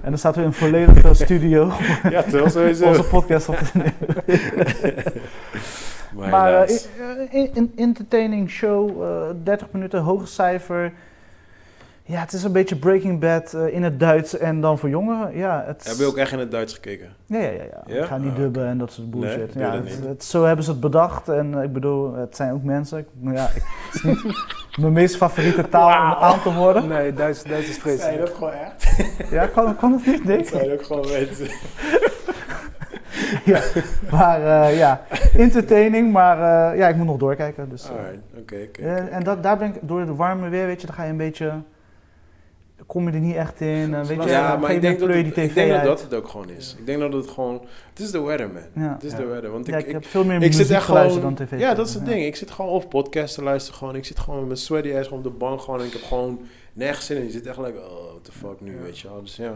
Speaker 3: En dan zaten we in een volledige studio
Speaker 2: ja, toch sowieso.
Speaker 3: onze podcast op te nemen.
Speaker 2: maar
Speaker 3: Maar eh,
Speaker 2: helaas.
Speaker 3: in- in- een entertaining show, eh 30 minuten, hoge cijfer. Ja, het is een beetje Breaking Bad eh, in het Duits en dan voor jongeren. Ja, het is-
Speaker 2: Heb je ook echt in het Duits gekeken?
Speaker 3: Ja, ja, ja. ja.
Speaker 2: Ja?
Speaker 3: Ik ga
Speaker 2: Ah,
Speaker 3: niet
Speaker 2: oké.
Speaker 3: dubben en dat soort bullshit.
Speaker 2: doe
Speaker 3: ja,
Speaker 2: dat
Speaker 3: het-
Speaker 2: niet.
Speaker 3: het- zo hebben ze het bedacht en eh, ik bedoel, het zijn ook mensen. Ik- Ja, ik, het is niet mijn meest favoriete taal om aan te worden.
Speaker 4: Nee, Duits, Duits is
Speaker 2: Zijn
Speaker 4: vreselijk.
Speaker 2: dat gewoon echt?
Speaker 3: Ja, kan, kan het niet, Dick?
Speaker 2: Zijn ook gewoon weten?
Speaker 3: Maar eh, ja, entertaining, maar eh, ja, ik moet nog doorkijken. Dus, eh,
Speaker 2: Alright, oké, oké.
Speaker 3: eh,
Speaker 2: oké.
Speaker 3: en dat, daar ben ik door het warme weer, weet je, dan ga je een beetje. kom je er niet echt in. eh, weet je,
Speaker 2: ja, maar ik denk, dat
Speaker 3: je
Speaker 2: het,
Speaker 3: die
Speaker 2: ik
Speaker 3: tv
Speaker 2: denk dat
Speaker 3: uit.
Speaker 2: dat het ook gewoon is. Ik denk dat het gewoon... Het is de weather, man.
Speaker 3: Ja.
Speaker 2: Het is
Speaker 4: Ja.
Speaker 2: de weather. Want
Speaker 3: Ja,
Speaker 2: ik,
Speaker 3: ik
Speaker 2: ik,
Speaker 3: heb veel meer
Speaker 2: ik
Speaker 3: muziek
Speaker 2: zit echt
Speaker 3: geluisterd
Speaker 2: gewoon...
Speaker 3: dan tv.
Speaker 2: ja, dat is het ding. Ik zit gewoon of podcasts te luisteren gewoon. Ik zit gewoon met mijn sweaty ass gewoon op de bank gewoon. En ik heb gewoon nergens zin in. Je zit echt like, oh, what the fuck nu,
Speaker 4: Ja.
Speaker 2: weet je wel. Dus ja.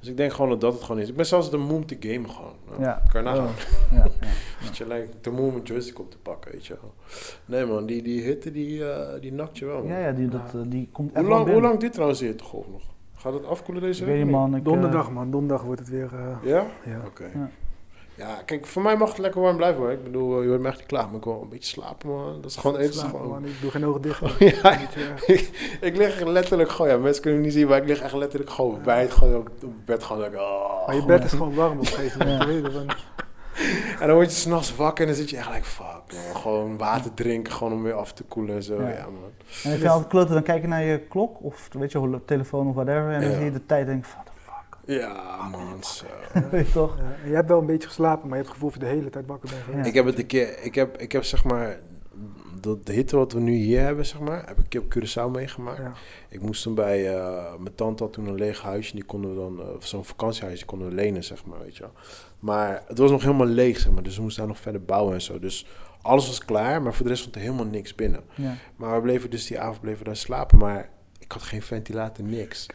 Speaker 2: Dus ik denk gewoon dat dat het gewoon is. Ik ben zelfs de moe om te gamen gewoon. Nou,
Speaker 3: Ja. Oh,
Speaker 2: Kan je nagaan.
Speaker 3: Ja,
Speaker 2: Dat je lijkt te moe om een joystick op te pakken, weet je wel. Nee man, die, die hitte die, eh, die nakt je wel man.
Speaker 3: ja. ja, ja, die, dat, eh, die komt echt
Speaker 2: Hoe
Speaker 3: wel
Speaker 2: lang, hoe
Speaker 3: binnen.
Speaker 2: lang dit trouwens hier toch golf nog? Gaat het afkoelen deze
Speaker 3: Ik
Speaker 2: week?
Speaker 3: weet niet,
Speaker 2: of
Speaker 3: man. Ik, eh,
Speaker 4: Donderdag, man. Donderdag wordt het weer. eh,
Speaker 2: niet? Ja?
Speaker 4: ja.
Speaker 2: Oké.
Speaker 3: Ja.
Speaker 2: Ja. kijk, voor mij mag het lekker warm blijven hoor. Ik bedoel, eh, je wordt me echt niet klaar, maar ik wil een beetje slapen man. Dat is gewoon even
Speaker 4: Slapen,
Speaker 2: gewoon-
Speaker 4: man. Ik doe geen ogen dicht. man.
Speaker 2: Ja,
Speaker 4: Weet je, eh,
Speaker 2: ik, ik lig letterlijk gewoon, ja, mensen kunnen het niet zien, maar ik lig echt letterlijk gewoon bij het gewoon op op bed gewoon like, oh.
Speaker 4: Maar je bed is gewoon warm op een gegeven moment.
Speaker 3: Ja.
Speaker 4: weet je, want-
Speaker 2: En dan word je s'nachts wakker en dan zit je echt like, fuck man. Gewoon water drinken, gewoon om weer af te koelen en zo.
Speaker 3: Ja.
Speaker 2: Ja, man.
Speaker 3: En als je altijd kloten, dan kijk je naar je klok of weet je, hol- telefoon of whatever. En dan
Speaker 2: Ja.
Speaker 3: zie je de tijd en denk je, what the fuck.
Speaker 2: Ja, man, zo.
Speaker 3: Weet je toch?
Speaker 4: Ja, eh, en je hebt wel een beetje geslapen, maar je hebt het gevoel dat je de hele tijd wakker bent geweest.
Speaker 3: Ja.
Speaker 2: Ik heb het een keer, ik heb, ik heb zeg maar, dat, de hitte wat we nu hier hebben, zeg maar, heb ik een keer op Curaçao meegemaakt.
Speaker 4: Ja.
Speaker 2: Ik moest toen bij, eh, mijn tante had toen een leeg huisje, en die konden we dan, eh, of zo'n vakantiehuis, die konden we lenen, zeg maar, weet je wel. Maar het was nog helemaal leeg, zeg maar, dus we moesten daar nog verder bouwen en zo. Dus alles was klaar, maar voor de rest stond er helemaal niks binnen.
Speaker 3: Ja.
Speaker 2: Maar we bleven dus die avond bleven we daar slapen, maar ik had geen ventilator, niks.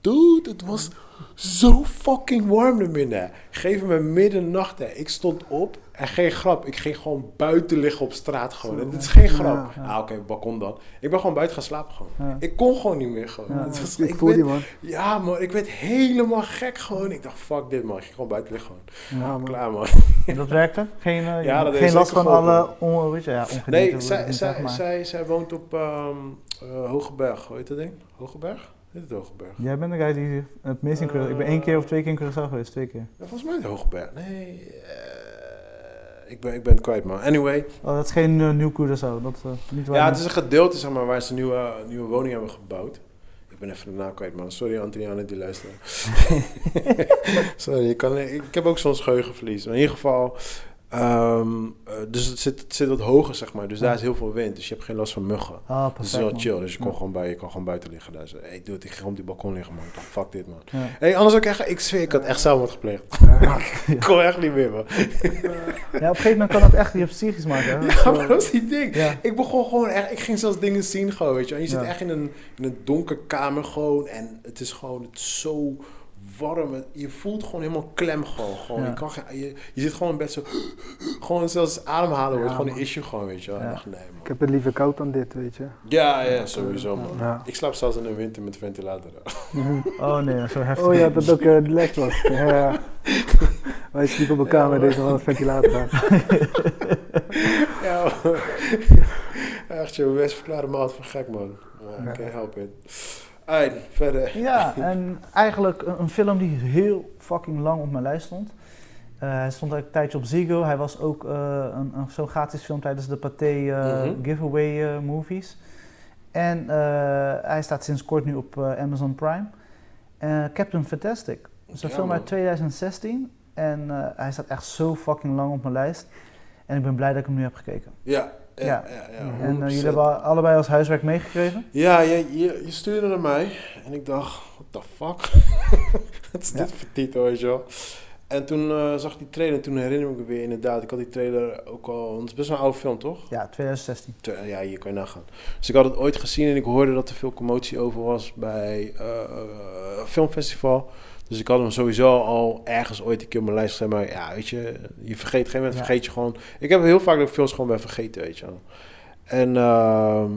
Speaker 2: Dude, het was zo fucking warm naar binnen. Geef me middernacht, hè. Ik stond op en geen grap. Ik ging gewoon buiten liggen op straat gewoon.
Speaker 4: Zo,
Speaker 2: En dit is geen
Speaker 4: ja,
Speaker 2: grap.
Speaker 4: ja.
Speaker 2: Ah, oké, balkon dan. Ik ben gewoon buiten gaan slapen gewoon.
Speaker 3: Ja.
Speaker 2: Ik kon gewoon niet meer gewoon.
Speaker 3: Ja.
Speaker 2: Het was-
Speaker 4: Ik
Speaker 2: ik
Speaker 4: voel
Speaker 2: werd-
Speaker 4: die man.
Speaker 2: ja, man, ik werd helemaal gek gewoon. Ik dacht, fuck dit, man. Ik ging gewoon buiten liggen gewoon.
Speaker 4: Ja, man.
Speaker 2: Oh, Klaar, man.
Speaker 3: En dat werkte? Geen, eh,
Speaker 2: Ja, dat
Speaker 3: geen
Speaker 2: heeft
Speaker 3: last van
Speaker 2: zeker
Speaker 3: alle on, weet je, ja, ongedierte.
Speaker 2: Nee,
Speaker 3: hoe je
Speaker 2: zij,
Speaker 3: het
Speaker 2: zij,
Speaker 3: zegt, maar-
Speaker 2: zij, zij woont op ehm eh, Hogeberg. Hoe heet dat ding? Hogeberg? Heet het Hogeberg?
Speaker 3: Jij bent de guy die het meest in Curaçao... Ik ben één
Speaker 4: Eh.
Speaker 3: keer of twee keer in Curaçao geweest, twee keer.
Speaker 2: Ja, volgens mij het Hogeberg. Nee, eh, ik, ben, ik ben het kwijt, man. Anyway,
Speaker 3: Oh, dat is geen eh, nieuw Curaçao, dat eh, niet waar.
Speaker 2: ja, het is een gedeelte zeg maar, waar ze een nieuwe, nieuwe woning hebben gebouwd. Ik ben even de naam kwijt, man. Sorry, Antriane, die luistert. Sorry, ik, kan, ik heb ook soms geheugenverlies. Maar in ieder geval, ehm, eh, dus het zit, het zit wat hoger, zeg maar. Dus daar is heel veel wind, dus je hebt geen last van muggen.
Speaker 3: Ah, perfect,
Speaker 2: Dat is wel
Speaker 3: man.
Speaker 2: chill, dus je kon,
Speaker 3: Ja.
Speaker 2: gewoon, bij, je kon gewoon buiten liggen. Daar. Zo, hey, dude, ik ging op die balkon liggen, man. Ik dacht, Fuck dit, man.
Speaker 3: Ja.
Speaker 2: Hey, anders ook echt, ik zweer, ik had echt zelfmoord gepleegd. ik kon echt niet meer, man.
Speaker 3: Ja, op een gegeven moment kan dat echt je psychisch maken. Hè?
Speaker 2: Ja, maar dat is die ding.
Speaker 3: Ja.
Speaker 2: Ik begon gewoon echt, ik ging zelfs dingen zien gewoon, weet je. wel. En je zit
Speaker 3: Ja.
Speaker 2: echt in een, in een donkere kamer gewoon en het is gewoon het is zo warm. En Je voelt gewoon helemaal klem gewoon. gewoon.
Speaker 3: Ja.
Speaker 2: Je, kan, geen- je, je zit gewoon in bed zo, gewoon zelfs ademhalen wordt
Speaker 4: Ja,
Speaker 2: gewoon een
Speaker 4: man.
Speaker 2: issue gewoon, weet je. wel.
Speaker 3: Ja.
Speaker 2: Ik dacht, nee
Speaker 4: Ik
Speaker 2: man.
Speaker 4: heb het liever koud dan dit, weet je.
Speaker 2: Ja, ja, sowieso man.
Speaker 4: Ja.
Speaker 2: Ik slaap zelfs in de winter met ventilator.
Speaker 3: Oh nee, zo heftig.
Speaker 4: Oh ja, dat ook eh, lek was. Ja, ja. Wij sliepen op elkaar met deze man ventilator aan.
Speaker 2: Ja, man. Echt, je best verklaren me altijd van gek man. Ja, I can't help it. Alright, verder.
Speaker 3: Ja, en eigenlijk een een film die heel fucking lang op mijn lijst stond. Eh, hij stond een tijdje op Ziggo. Hij was ook eh, een, een zo'n gratis film tijdens de Pathé eh,
Speaker 2: Mhm.
Speaker 3: giveaway eh, movies. En eh, hij staat sinds kort nu op eh, Amazon Prime. Eh, Captain Fantastic. Dat is een
Speaker 2: Ja,
Speaker 3: film
Speaker 2: man.
Speaker 3: uit 2016. En eh, hij staat echt zo fucking lang op mijn lijst. En ik ben blij dat ik hem nu heb gekeken.
Speaker 2: Ja, ja,
Speaker 3: Ja.
Speaker 2: ja. ja,
Speaker 3: en eh,
Speaker 2: 100%.
Speaker 3: jullie hebben allebei als huiswerk meegekregen.
Speaker 2: Ja, je, je, je stuurde naar mij en ik dacht, what the fuck? Wat is
Speaker 3: Ja.
Speaker 2: dit voor titel, weet je wel? En toen eh, zag ik die trailer en toen herinner ik me weer inderdaad. Ik had die trailer ook al, want het is best wel een oude film, toch?
Speaker 3: Ja, 2016.
Speaker 2: Te- Ja, hier kan je nagaan. Dus ik had het ooit gezien en ik hoorde dat er veel commotie over was bij eh, eh, een filmfestival. Dus ik had hem sowieso al ergens ooit een keer op mijn lijst gezet. Maar ja, weet je, je vergeet op een gegeven moment,
Speaker 3: Ja.
Speaker 2: vergeet je gewoon. Ik heb heel vaak dat ik films gewoon ben vergeten, weet je wel. En ehm,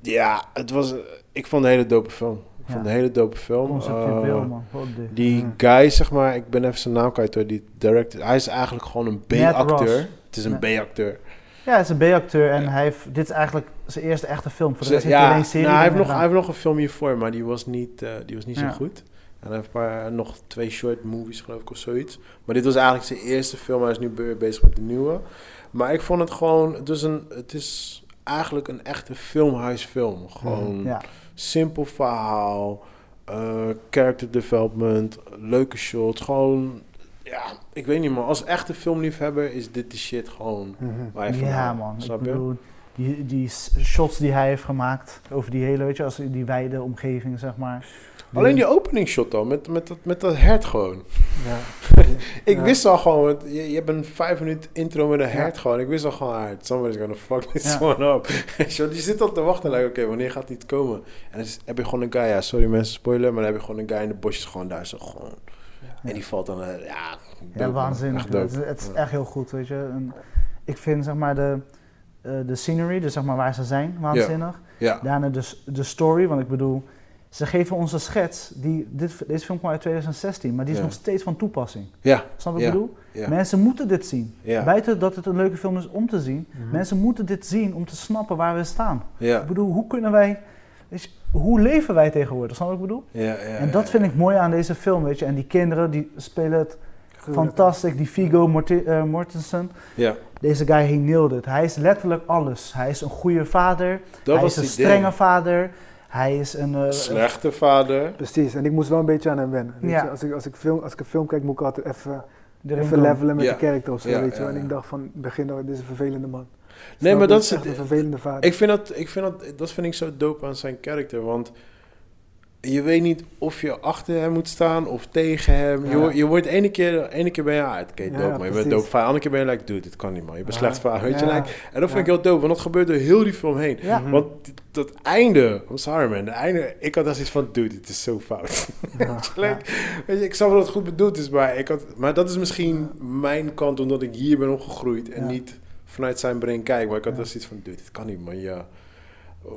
Speaker 2: ja, het was, ik vond een hele dope film. Ik
Speaker 3: Ja.
Speaker 2: vond een hele dope film. Eh,
Speaker 3: Conceptueel, man. Wat dik.
Speaker 2: die
Speaker 4: Mm.
Speaker 2: guy, zeg maar, ik ben even zijn naam kwijt hoor, die director. Hij is eigenlijk gewoon een
Speaker 3: Matt
Speaker 2: B-acteur.
Speaker 3: Ross.
Speaker 2: Het is een
Speaker 3: Ja.
Speaker 2: B-acteur.
Speaker 3: Ja, hij is een B-acteur en hij heeft, dit is eigenlijk zijn eerste echte film. Voor de rest heeft hij alleen serie.
Speaker 2: nou, hij, heeft nog,
Speaker 3: dingen
Speaker 2: hij
Speaker 3: gedaan.
Speaker 2: heeft nog een film hiervoor, maar die was niet, eh, die was niet
Speaker 3: Ja.
Speaker 2: zo goed. En hij heeft een paar, nog twee short movies, geloof ik, of zoiets. Maar dit was eigenlijk zijn eerste film. Hij is nu be- bezig met de nieuwe. Maar ik vond het gewoon... Het is, een, het is eigenlijk een echte filmhuisfilm. Gewoon
Speaker 3: Ja.
Speaker 2: simpel verhaal, eh, character development, leuke shots. Gewoon, ja, ik weet niet man. Als echte filmliefhebber is dit de shit gewoon
Speaker 4: Mhm.
Speaker 2: waar je van
Speaker 3: ja,
Speaker 2: houdt,
Speaker 3: man. Ik
Speaker 2: Snap je?
Speaker 3: bedoel, die, die s- shots die hij heeft gemaakt over die hele, weet je, als die wijde omgeving, zeg maar.
Speaker 2: Alleen die opening shot al, met, met, dat, met dat hert gewoon.
Speaker 4: Ja.
Speaker 2: Ik
Speaker 4: Ja.
Speaker 2: wist al gewoon, want je, je hebt een vijf minuut intro met een hert gewoon. Ik wist al gewoon, ah, somebody's gonna fuck this
Speaker 3: Ja.
Speaker 2: one up. Zo, je zit al te wachten, like, oké, wanneer gaat dit komen? En dan is- heb je gewoon een guy, ja, sorry mensen, spoiler, maar dan heb je gewoon een guy in de bosjes gewoon daar zo gewoon. En die valt dan, eh, ja, dope,
Speaker 3: Ja,
Speaker 2: man.
Speaker 3: waanzinnig.
Speaker 2: Echt
Speaker 3: joh.
Speaker 2: dope.
Speaker 3: Het, is- het is
Speaker 2: Ja.
Speaker 3: echt heel goed, weet je. En ik vind, zeg maar, de, eh, de scenery, dus zeg maar waar ze zijn, waanzinnig.
Speaker 2: Ja,
Speaker 3: Daarna de, s- de story, want ik bedoel, ze geven ons een schets. Die, dit, deze film kwam uit 2016, maar die is
Speaker 2: Ja.
Speaker 3: nog steeds van toepassing.
Speaker 2: ja,
Speaker 3: Snap wat
Speaker 2: Ja.
Speaker 3: ik bedoel?
Speaker 2: ja.
Speaker 3: Mensen moeten dit zien.
Speaker 2: ja,
Speaker 3: Buiten dat het een leuke film is om te zien,
Speaker 4: Mhm.
Speaker 3: mensen moeten dit zien om te snappen waar we staan.
Speaker 2: ja,
Speaker 3: Ik bedoel, hoe kunnen wij, weet je, hoe leven wij tegenwoordig? Snap wat ik bedoel?
Speaker 2: ja, ja,
Speaker 3: En dat
Speaker 2: ja,
Speaker 3: vind ik mooi aan deze film, weet je. En die kinderen, die spelen het
Speaker 4: Gruwelijk.
Speaker 3: fantastisch. Die Vigo Mortensen,
Speaker 2: ja.
Speaker 3: deze guy, he nailed it. Hij is letterlijk alles. Hij is een goede vader,
Speaker 2: Dat
Speaker 3: hij
Speaker 2: was
Speaker 3: is een
Speaker 2: die
Speaker 3: strenge
Speaker 2: ding.
Speaker 3: vader, hij is een... eh,
Speaker 2: Slechte vader.
Speaker 4: Precies, en ik moest wel een beetje aan hem wennen. weet
Speaker 3: Ja.
Speaker 4: je. Als, ik, als, ik film, als ik een film kijk, moet ik altijd even,
Speaker 3: erin
Speaker 4: even
Speaker 3: doen.
Speaker 4: levelen met
Speaker 2: Ja.
Speaker 4: de character of zo.
Speaker 2: Ja,
Speaker 4: weet je.
Speaker 2: ja,
Speaker 4: wel. En
Speaker 2: ja.
Speaker 4: ik dacht van, begin nou, dit is een vervelende man.
Speaker 2: Nee,
Speaker 4: Snap
Speaker 2: maar
Speaker 4: je?
Speaker 2: dat
Speaker 4: Het
Speaker 2: is
Speaker 4: is echt
Speaker 2: het.
Speaker 4: een vervelende vader.
Speaker 2: Ik vind dat, ik vind dat, dat vind ik zo dope aan zijn karakter, want je weet niet of je achter hem moet staan of tegen hem. Je,
Speaker 4: Ja.
Speaker 2: wo- je wordt ene keer, ene keer ben je, ah, oké,
Speaker 4: Ja,
Speaker 2: dope, maar je bent
Speaker 4: precies.
Speaker 2: dope vader. Andere keer ben je, like, dude, dit kan niet, man. Je bent
Speaker 4: Ja.
Speaker 2: slecht vader, weet je.
Speaker 4: Ja.
Speaker 2: Like, en dat vind ik
Speaker 4: Ja.
Speaker 2: heel dope, want dat gebeurt door heel die film heen.
Speaker 3: Ja.
Speaker 4: Mhm.
Speaker 2: Want dit- dat einde, I'm sorry man, dat einde, ik had daar zoiets van, dude, dit is zo fout.
Speaker 4: Ja.
Speaker 2: Like, weet je, ik snap wel dat het goed bedoeld is, maar, ik had, maar dat is misschien mijn kant omdat ik hier ben opgegroeid en
Speaker 4: Ja.
Speaker 2: niet vanuit zijn brein kijk. Maar ik had
Speaker 4: Ja.
Speaker 2: dus zoiets van, dude, dit kan niet, man. Ja.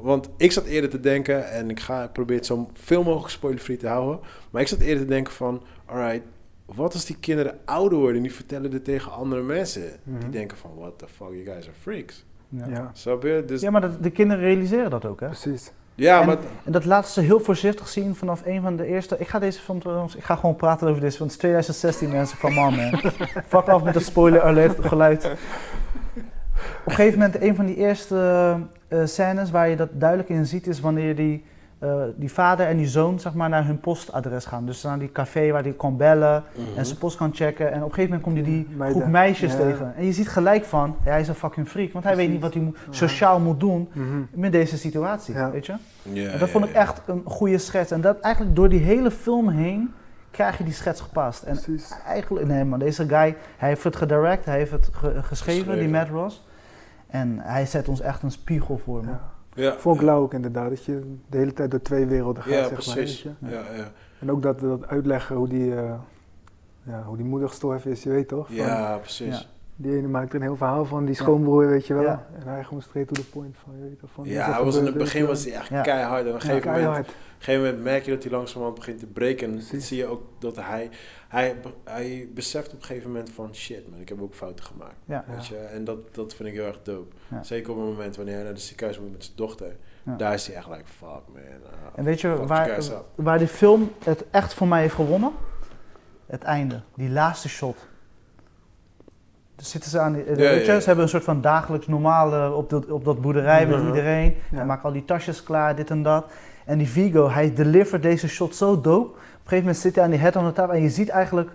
Speaker 2: Want ik zat eerder te denken, en ik ga proberen het zo veel mogelijk spoilerfree te houden. Maar ik zat eerder te denken van, alright, wat als die kinderen ouder worden en die vertellen dit tegen andere mensen? Die
Speaker 4: Mhm.
Speaker 2: denken van, what the fuck, you guys are freaks.
Speaker 3: Ja.
Speaker 4: Ja,
Speaker 2: Snap je? Dus, ja,
Speaker 3: Ja, maar dat, de kinderen realiseren dat ook, hè?
Speaker 4: precies.
Speaker 3: en-
Speaker 2: maar...
Speaker 3: En dat laat ze heel voorzichtig zien vanaf een van de eerste. Ik ga deze film trouwens, ik ga gewoon praten over deze, want het is 2016 mensen van man, man. Fuck af met dat spoiler alert geluid. Op een gegeven moment, een van die eerste eh, scènes waar je dat duidelijk in ziet, is wanneer die, eh, die vader en die zoon zeg maar, naar hun postadres gaan. Dus naar die café waar die kan bellen
Speaker 2: Mhm.
Speaker 3: en zijn post kan checken. En op een gegeven moment komt hij die
Speaker 4: Mhm. Meiden.
Speaker 3: groep meisjes
Speaker 4: Ja.
Speaker 3: tegen. En je ziet gelijk van, ja, hij is een fucking freak, want hij weet niet wat hij moet-
Speaker 4: Ja.
Speaker 3: sociaal moet doen
Speaker 4: Mhm.
Speaker 3: met deze situatie,
Speaker 4: Ja.
Speaker 3: weet je?
Speaker 2: Ja,
Speaker 3: En dat vond ik
Speaker 2: ja, ja.
Speaker 3: echt een goede schets. En dat eigenlijk door die hele film heen krijg je die schets gepast. En
Speaker 4: Precies.
Speaker 3: eigenlijk, nee man, deze guy, hij heeft het gedirect, hij heeft het ge- geschreven, die
Speaker 2: Geschreven.
Speaker 3: Matt Ross. En hij zet ons echt een spiegel voor, man.
Speaker 4: Ja.
Speaker 2: Ja,
Speaker 4: Vond ik
Speaker 2: ja.
Speaker 4: lauw ook inderdaad, dat je de hele tijd door twee werelden gaat,
Speaker 2: Ja,
Speaker 4: zeg maar. weet
Speaker 2: precies.
Speaker 4: je.
Speaker 2: Ja, ja.
Speaker 4: En ook dat, dat uitleggen hoe die, eh ja, hoe die moeder gestorven is, je weet toch? Van,
Speaker 2: Ja, precies.
Speaker 3: Ja.
Speaker 4: Die ene maakt er een heel verhaal van, die schoonbroer, weet je wel.
Speaker 3: Ja.
Speaker 4: En hij gewoon straight to the point van, je weet toch? Van,
Speaker 2: Ja, hij was in het begin was
Speaker 4: hij
Speaker 2: hij echt
Speaker 3: Ja.
Speaker 2: keihard. En op een gegeven, moment,
Speaker 4: keihard.
Speaker 2: op een gegeven moment merk je dat hij langzamerhand begint te breken. En dan
Speaker 4: Precies.
Speaker 2: zie je ook dat hij, hij, hij beseft op een gegeven moment van shit man, ik heb ook fouten gemaakt.
Speaker 3: Ja.
Speaker 2: Weet je? En dat, dat vind ik heel erg dope.
Speaker 3: Ja.
Speaker 2: Zeker op het moment wanneer hij naar de ziekenhuis moet met zijn dochter.
Speaker 3: Ja.
Speaker 2: Daar is hij echt like, fuck man. ah,
Speaker 3: En weet je
Speaker 2: fuck
Speaker 3: waar-
Speaker 2: you guys up.
Speaker 3: Waar die film het echt voor mij heeft gewonnen? Het einde, die laatste shot. Dus zitten ze aan die, eh,
Speaker 2: Ja,
Speaker 3: weet
Speaker 2: ja,
Speaker 3: je,
Speaker 2: ja.
Speaker 3: ze hebben een soort van dagelijks normale op dat, op dat boerderij met
Speaker 2: Mhm.
Speaker 3: iedereen.
Speaker 4: Ja.
Speaker 3: Hij maakt al die tasjes klaar, dit en dat. En die Vigo, hij delivert deze shot zo dope. Op een gegeven moment zit hij aan die head on the tafel en je ziet eigenlijk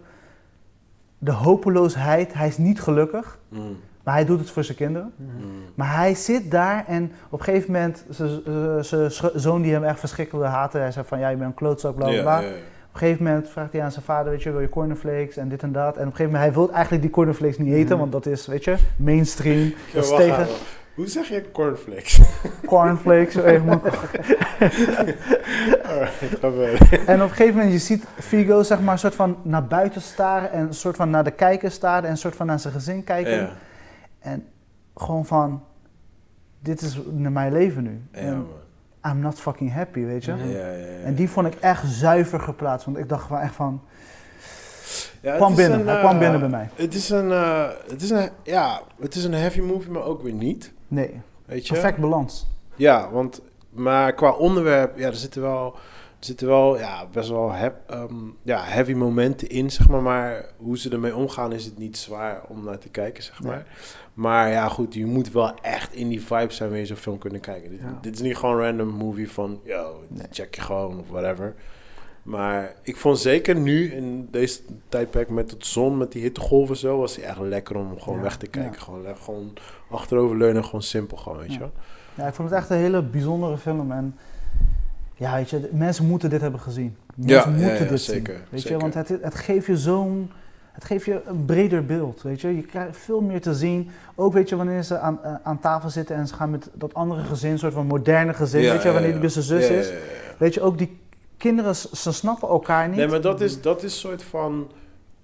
Speaker 3: de hopeloosheid. Hij is niet gelukkig,
Speaker 2: Mm,
Speaker 3: maar hij doet het voor zijn kinderen.
Speaker 2: mm.
Speaker 3: Maar hij zit daar en op een gegeven moment, zijn zoon die hem echt verschrikkelijk haatte, hij zei van ja, je bent een klootzak, bla bla
Speaker 2: Ja,
Speaker 3: bla.
Speaker 2: ja, ja.
Speaker 3: Op een gegeven moment vraagt hij aan zijn vader, weet je, wil je cornflakes en dit en dat. En op een gegeven moment, hij wil eigenlijk die cornflakes niet eten,
Speaker 4: Mhm.
Speaker 3: want dat is, weet je, mainstream.
Speaker 2: Ja,
Speaker 3: Dat is
Speaker 2: wacht
Speaker 3: tegen.
Speaker 2: even. Hoe zeg je cornflakes?
Speaker 3: cornflakes, zo even moeilijk.
Speaker 2: Alright, ga verder.
Speaker 3: En op een gegeven moment, je ziet Figo zeg maar soort van naar buiten staren en soort van naar de kijker staren en soort van naar zijn gezin kijken.
Speaker 2: Ja,
Speaker 3: En gewoon van, dit is n- mijn leven nu.
Speaker 2: ja,
Speaker 3: En
Speaker 2: man.
Speaker 3: I'm not fucking happy, weet je.
Speaker 2: Ja, ja, ja.
Speaker 3: En die vond ik echt zuiver geplaatst, want ik dacht wel echt van,
Speaker 2: Ja, het
Speaker 3: kwam
Speaker 2: is
Speaker 3: binnen,
Speaker 2: een,
Speaker 3: hij
Speaker 2: eh,
Speaker 3: kwam binnen bij mij.
Speaker 2: Het is een, eh, het is een, ja, het is een heavy movie, maar ook weer niet.
Speaker 3: Nee,
Speaker 2: Weet je?
Speaker 3: perfect balans.
Speaker 2: Ja, want, maar qua onderwerp, ja, er zitten wel, er zitten wel ja, best wel hep- ehm, ja, heavy momenten in, zeg maar. Maar hoe ze ermee omgaan is het niet zwaar om naar te kijken, zeg
Speaker 3: Nee.
Speaker 2: maar. Maar ja, goed, je moet wel echt in die vibe zijn wil je zo'n film kunnen kijken. Dit,
Speaker 4: Ja.
Speaker 2: dit is niet gewoon een random movie van, yo, dit
Speaker 3: Nee.
Speaker 2: check je gewoon of whatever. Maar ik vond zeker nu in deze tijdperk met het zon, met die hittegolven zo, was hij echt lekker om gewoon
Speaker 4: Ja.
Speaker 2: weg te kijken.
Speaker 3: Ja.
Speaker 2: Gewoon, le- gewoon achteroverleunen, gewoon simpel gewoon, weet
Speaker 3: Ja.
Speaker 2: je wel.
Speaker 3: Ja, ik vond het echt een hele bijzondere film. En ja, weet je, de- mensen moeten dit hebben gezien. Mensen moeten dit
Speaker 2: zeker.
Speaker 3: zien. Weet
Speaker 2: zeker.
Speaker 3: je, want het, het geeft je zo'n. Het geeft je een breder beeld, weet je. Je krijgt veel meer te zien. Ook, weet je, wanneer ze aan, eh, aan tafel zitten en ze gaan met dat andere gezin, een soort van moderne gezin,
Speaker 2: Ja,
Speaker 3: weet je,
Speaker 2: ja,
Speaker 3: wanneer
Speaker 2: ja.
Speaker 3: die dus zijn zus
Speaker 2: Ja, ja,
Speaker 3: is.
Speaker 2: ja, ja.
Speaker 3: Weet je, ook die kinderen, ze ze snappen elkaar niet.
Speaker 2: Nee, maar dat is, dat is soort van.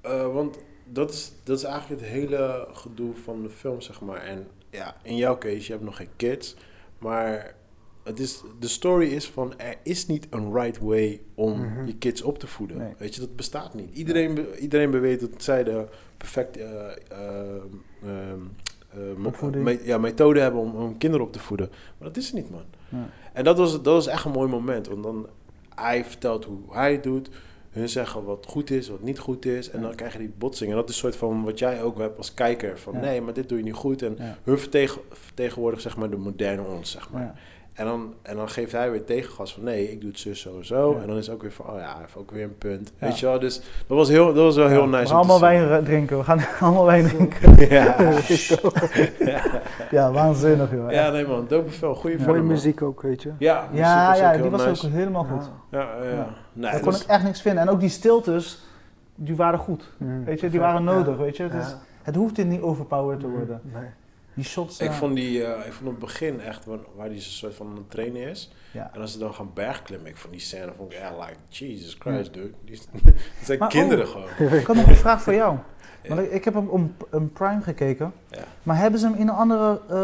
Speaker 2: eh, want dat is, dat is eigenlijk het hele gedoe van de film, zeg maar. En ja, in jouw case, je hebt nog geen kids. Maar het is, de story is van er is niet een right way om
Speaker 4: Mhm.
Speaker 2: je kids op te voeden.
Speaker 3: Nee.
Speaker 2: Weet je, dat bestaat niet. Iedereen, be- iedereen beweert dat zij de perfecte eh, eh, ehm, eh, me-
Speaker 3: Opvoeding.
Speaker 2: me- ja, methode hebben om, om kinderen op te voeden. Maar dat is het niet, man.
Speaker 3: Ja.
Speaker 2: En dat was, dat was echt een mooi moment. Want dan hij vertelt hoe hij het doet. Hun zeggen wat goed is, wat niet goed is. En
Speaker 3: Ja.
Speaker 2: dan krijg je die botsing. En dat is een soort van wat jij ook hebt als kijker. Van
Speaker 3: Ja.
Speaker 2: nee, maar dit doe je niet goed. En
Speaker 3: Ja.
Speaker 2: hun vertegen, vertegenwoordigt zeg maar de moderne ons, zeg maar.
Speaker 3: Ja.
Speaker 2: En, dan, en dan geeft hij weer tegengas van nee, ik doe het zus zo en zo.
Speaker 3: Ja.
Speaker 2: En dan is ook weer van, oh ja, hij heeft ook weer een punt.
Speaker 3: Ja.
Speaker 2: Weet je wel, dus dat was, heel, dat was wel heel
Speaker 3: Ja,
Speaker 2: nice.
Speaker 3: we
Speaker 2: om
Speaker 3: gaan
Speaker 2: te
Speaker 3: allemaal
Speaker 2: zien.
Speaker 3: wijn eh, drinken, we gaan allemaal wijn drinken.
Speaker 2: Ja.
Speaker 3: Ja, waanzinnig, joh.
Speaker 2: ja, nee man, dope film. Goede film.
Speaker 4: Mooie
Speaker 2: man.
Speaker 4: muziek ook, weet je.
Speaker 2: Ja, muziek
Speaker 3: ja,
Speaker 2: was
Speaker 3: ja
Speaker 2: ook
Speaker 3: die
Speaker 2: heel
Speaker 3: was
Speaker 2: nice.
Speaker 3: ook helemaal goed.
Speaker 2: Ja, ja, ja.
Speaker 3: Ja.
Speaker 2: Nee,
Speaker 3: Daar
Speaker 2: dat
Speaker 3: kon
Speaker 2: is-
Speaker 3: ik echt niks vinden. En ook die stiltes, die waren goed.
Speaker 4: Mm.
Speaker 3: Weet je, die waren nodig, weet je. Het, is,
Speaker 4: Ja.
Speaker 3: het hoeft dit niet overpowered te worden.
Speaker 4: Nee.
Speaker 3: Die shots...
Speaker 2: Ik
Speaker 3: eh,
Speaker 2: vond, die, eh, ik vond het begin echt waar, waar die zo soort van aan het trainen is.
Speaker 3: Ja.
Speaker 2: En als ze dan gaan bergklimmen, ik vond die scène vond ik echt like, Jesus Christ, dude. Die, dat zijn
Speaker 3: Maar,
Speaker 2: kinderen gewoon.
Speaker 3: Ik had nog een vraag voor jou.
Speaker 2: Ja.
Speaker 3: Want ik, ik heb hem om een Prime gekeken.
Speaker 2: Ja.
Speaker 3: Maar hebben ze hem in een andere eh,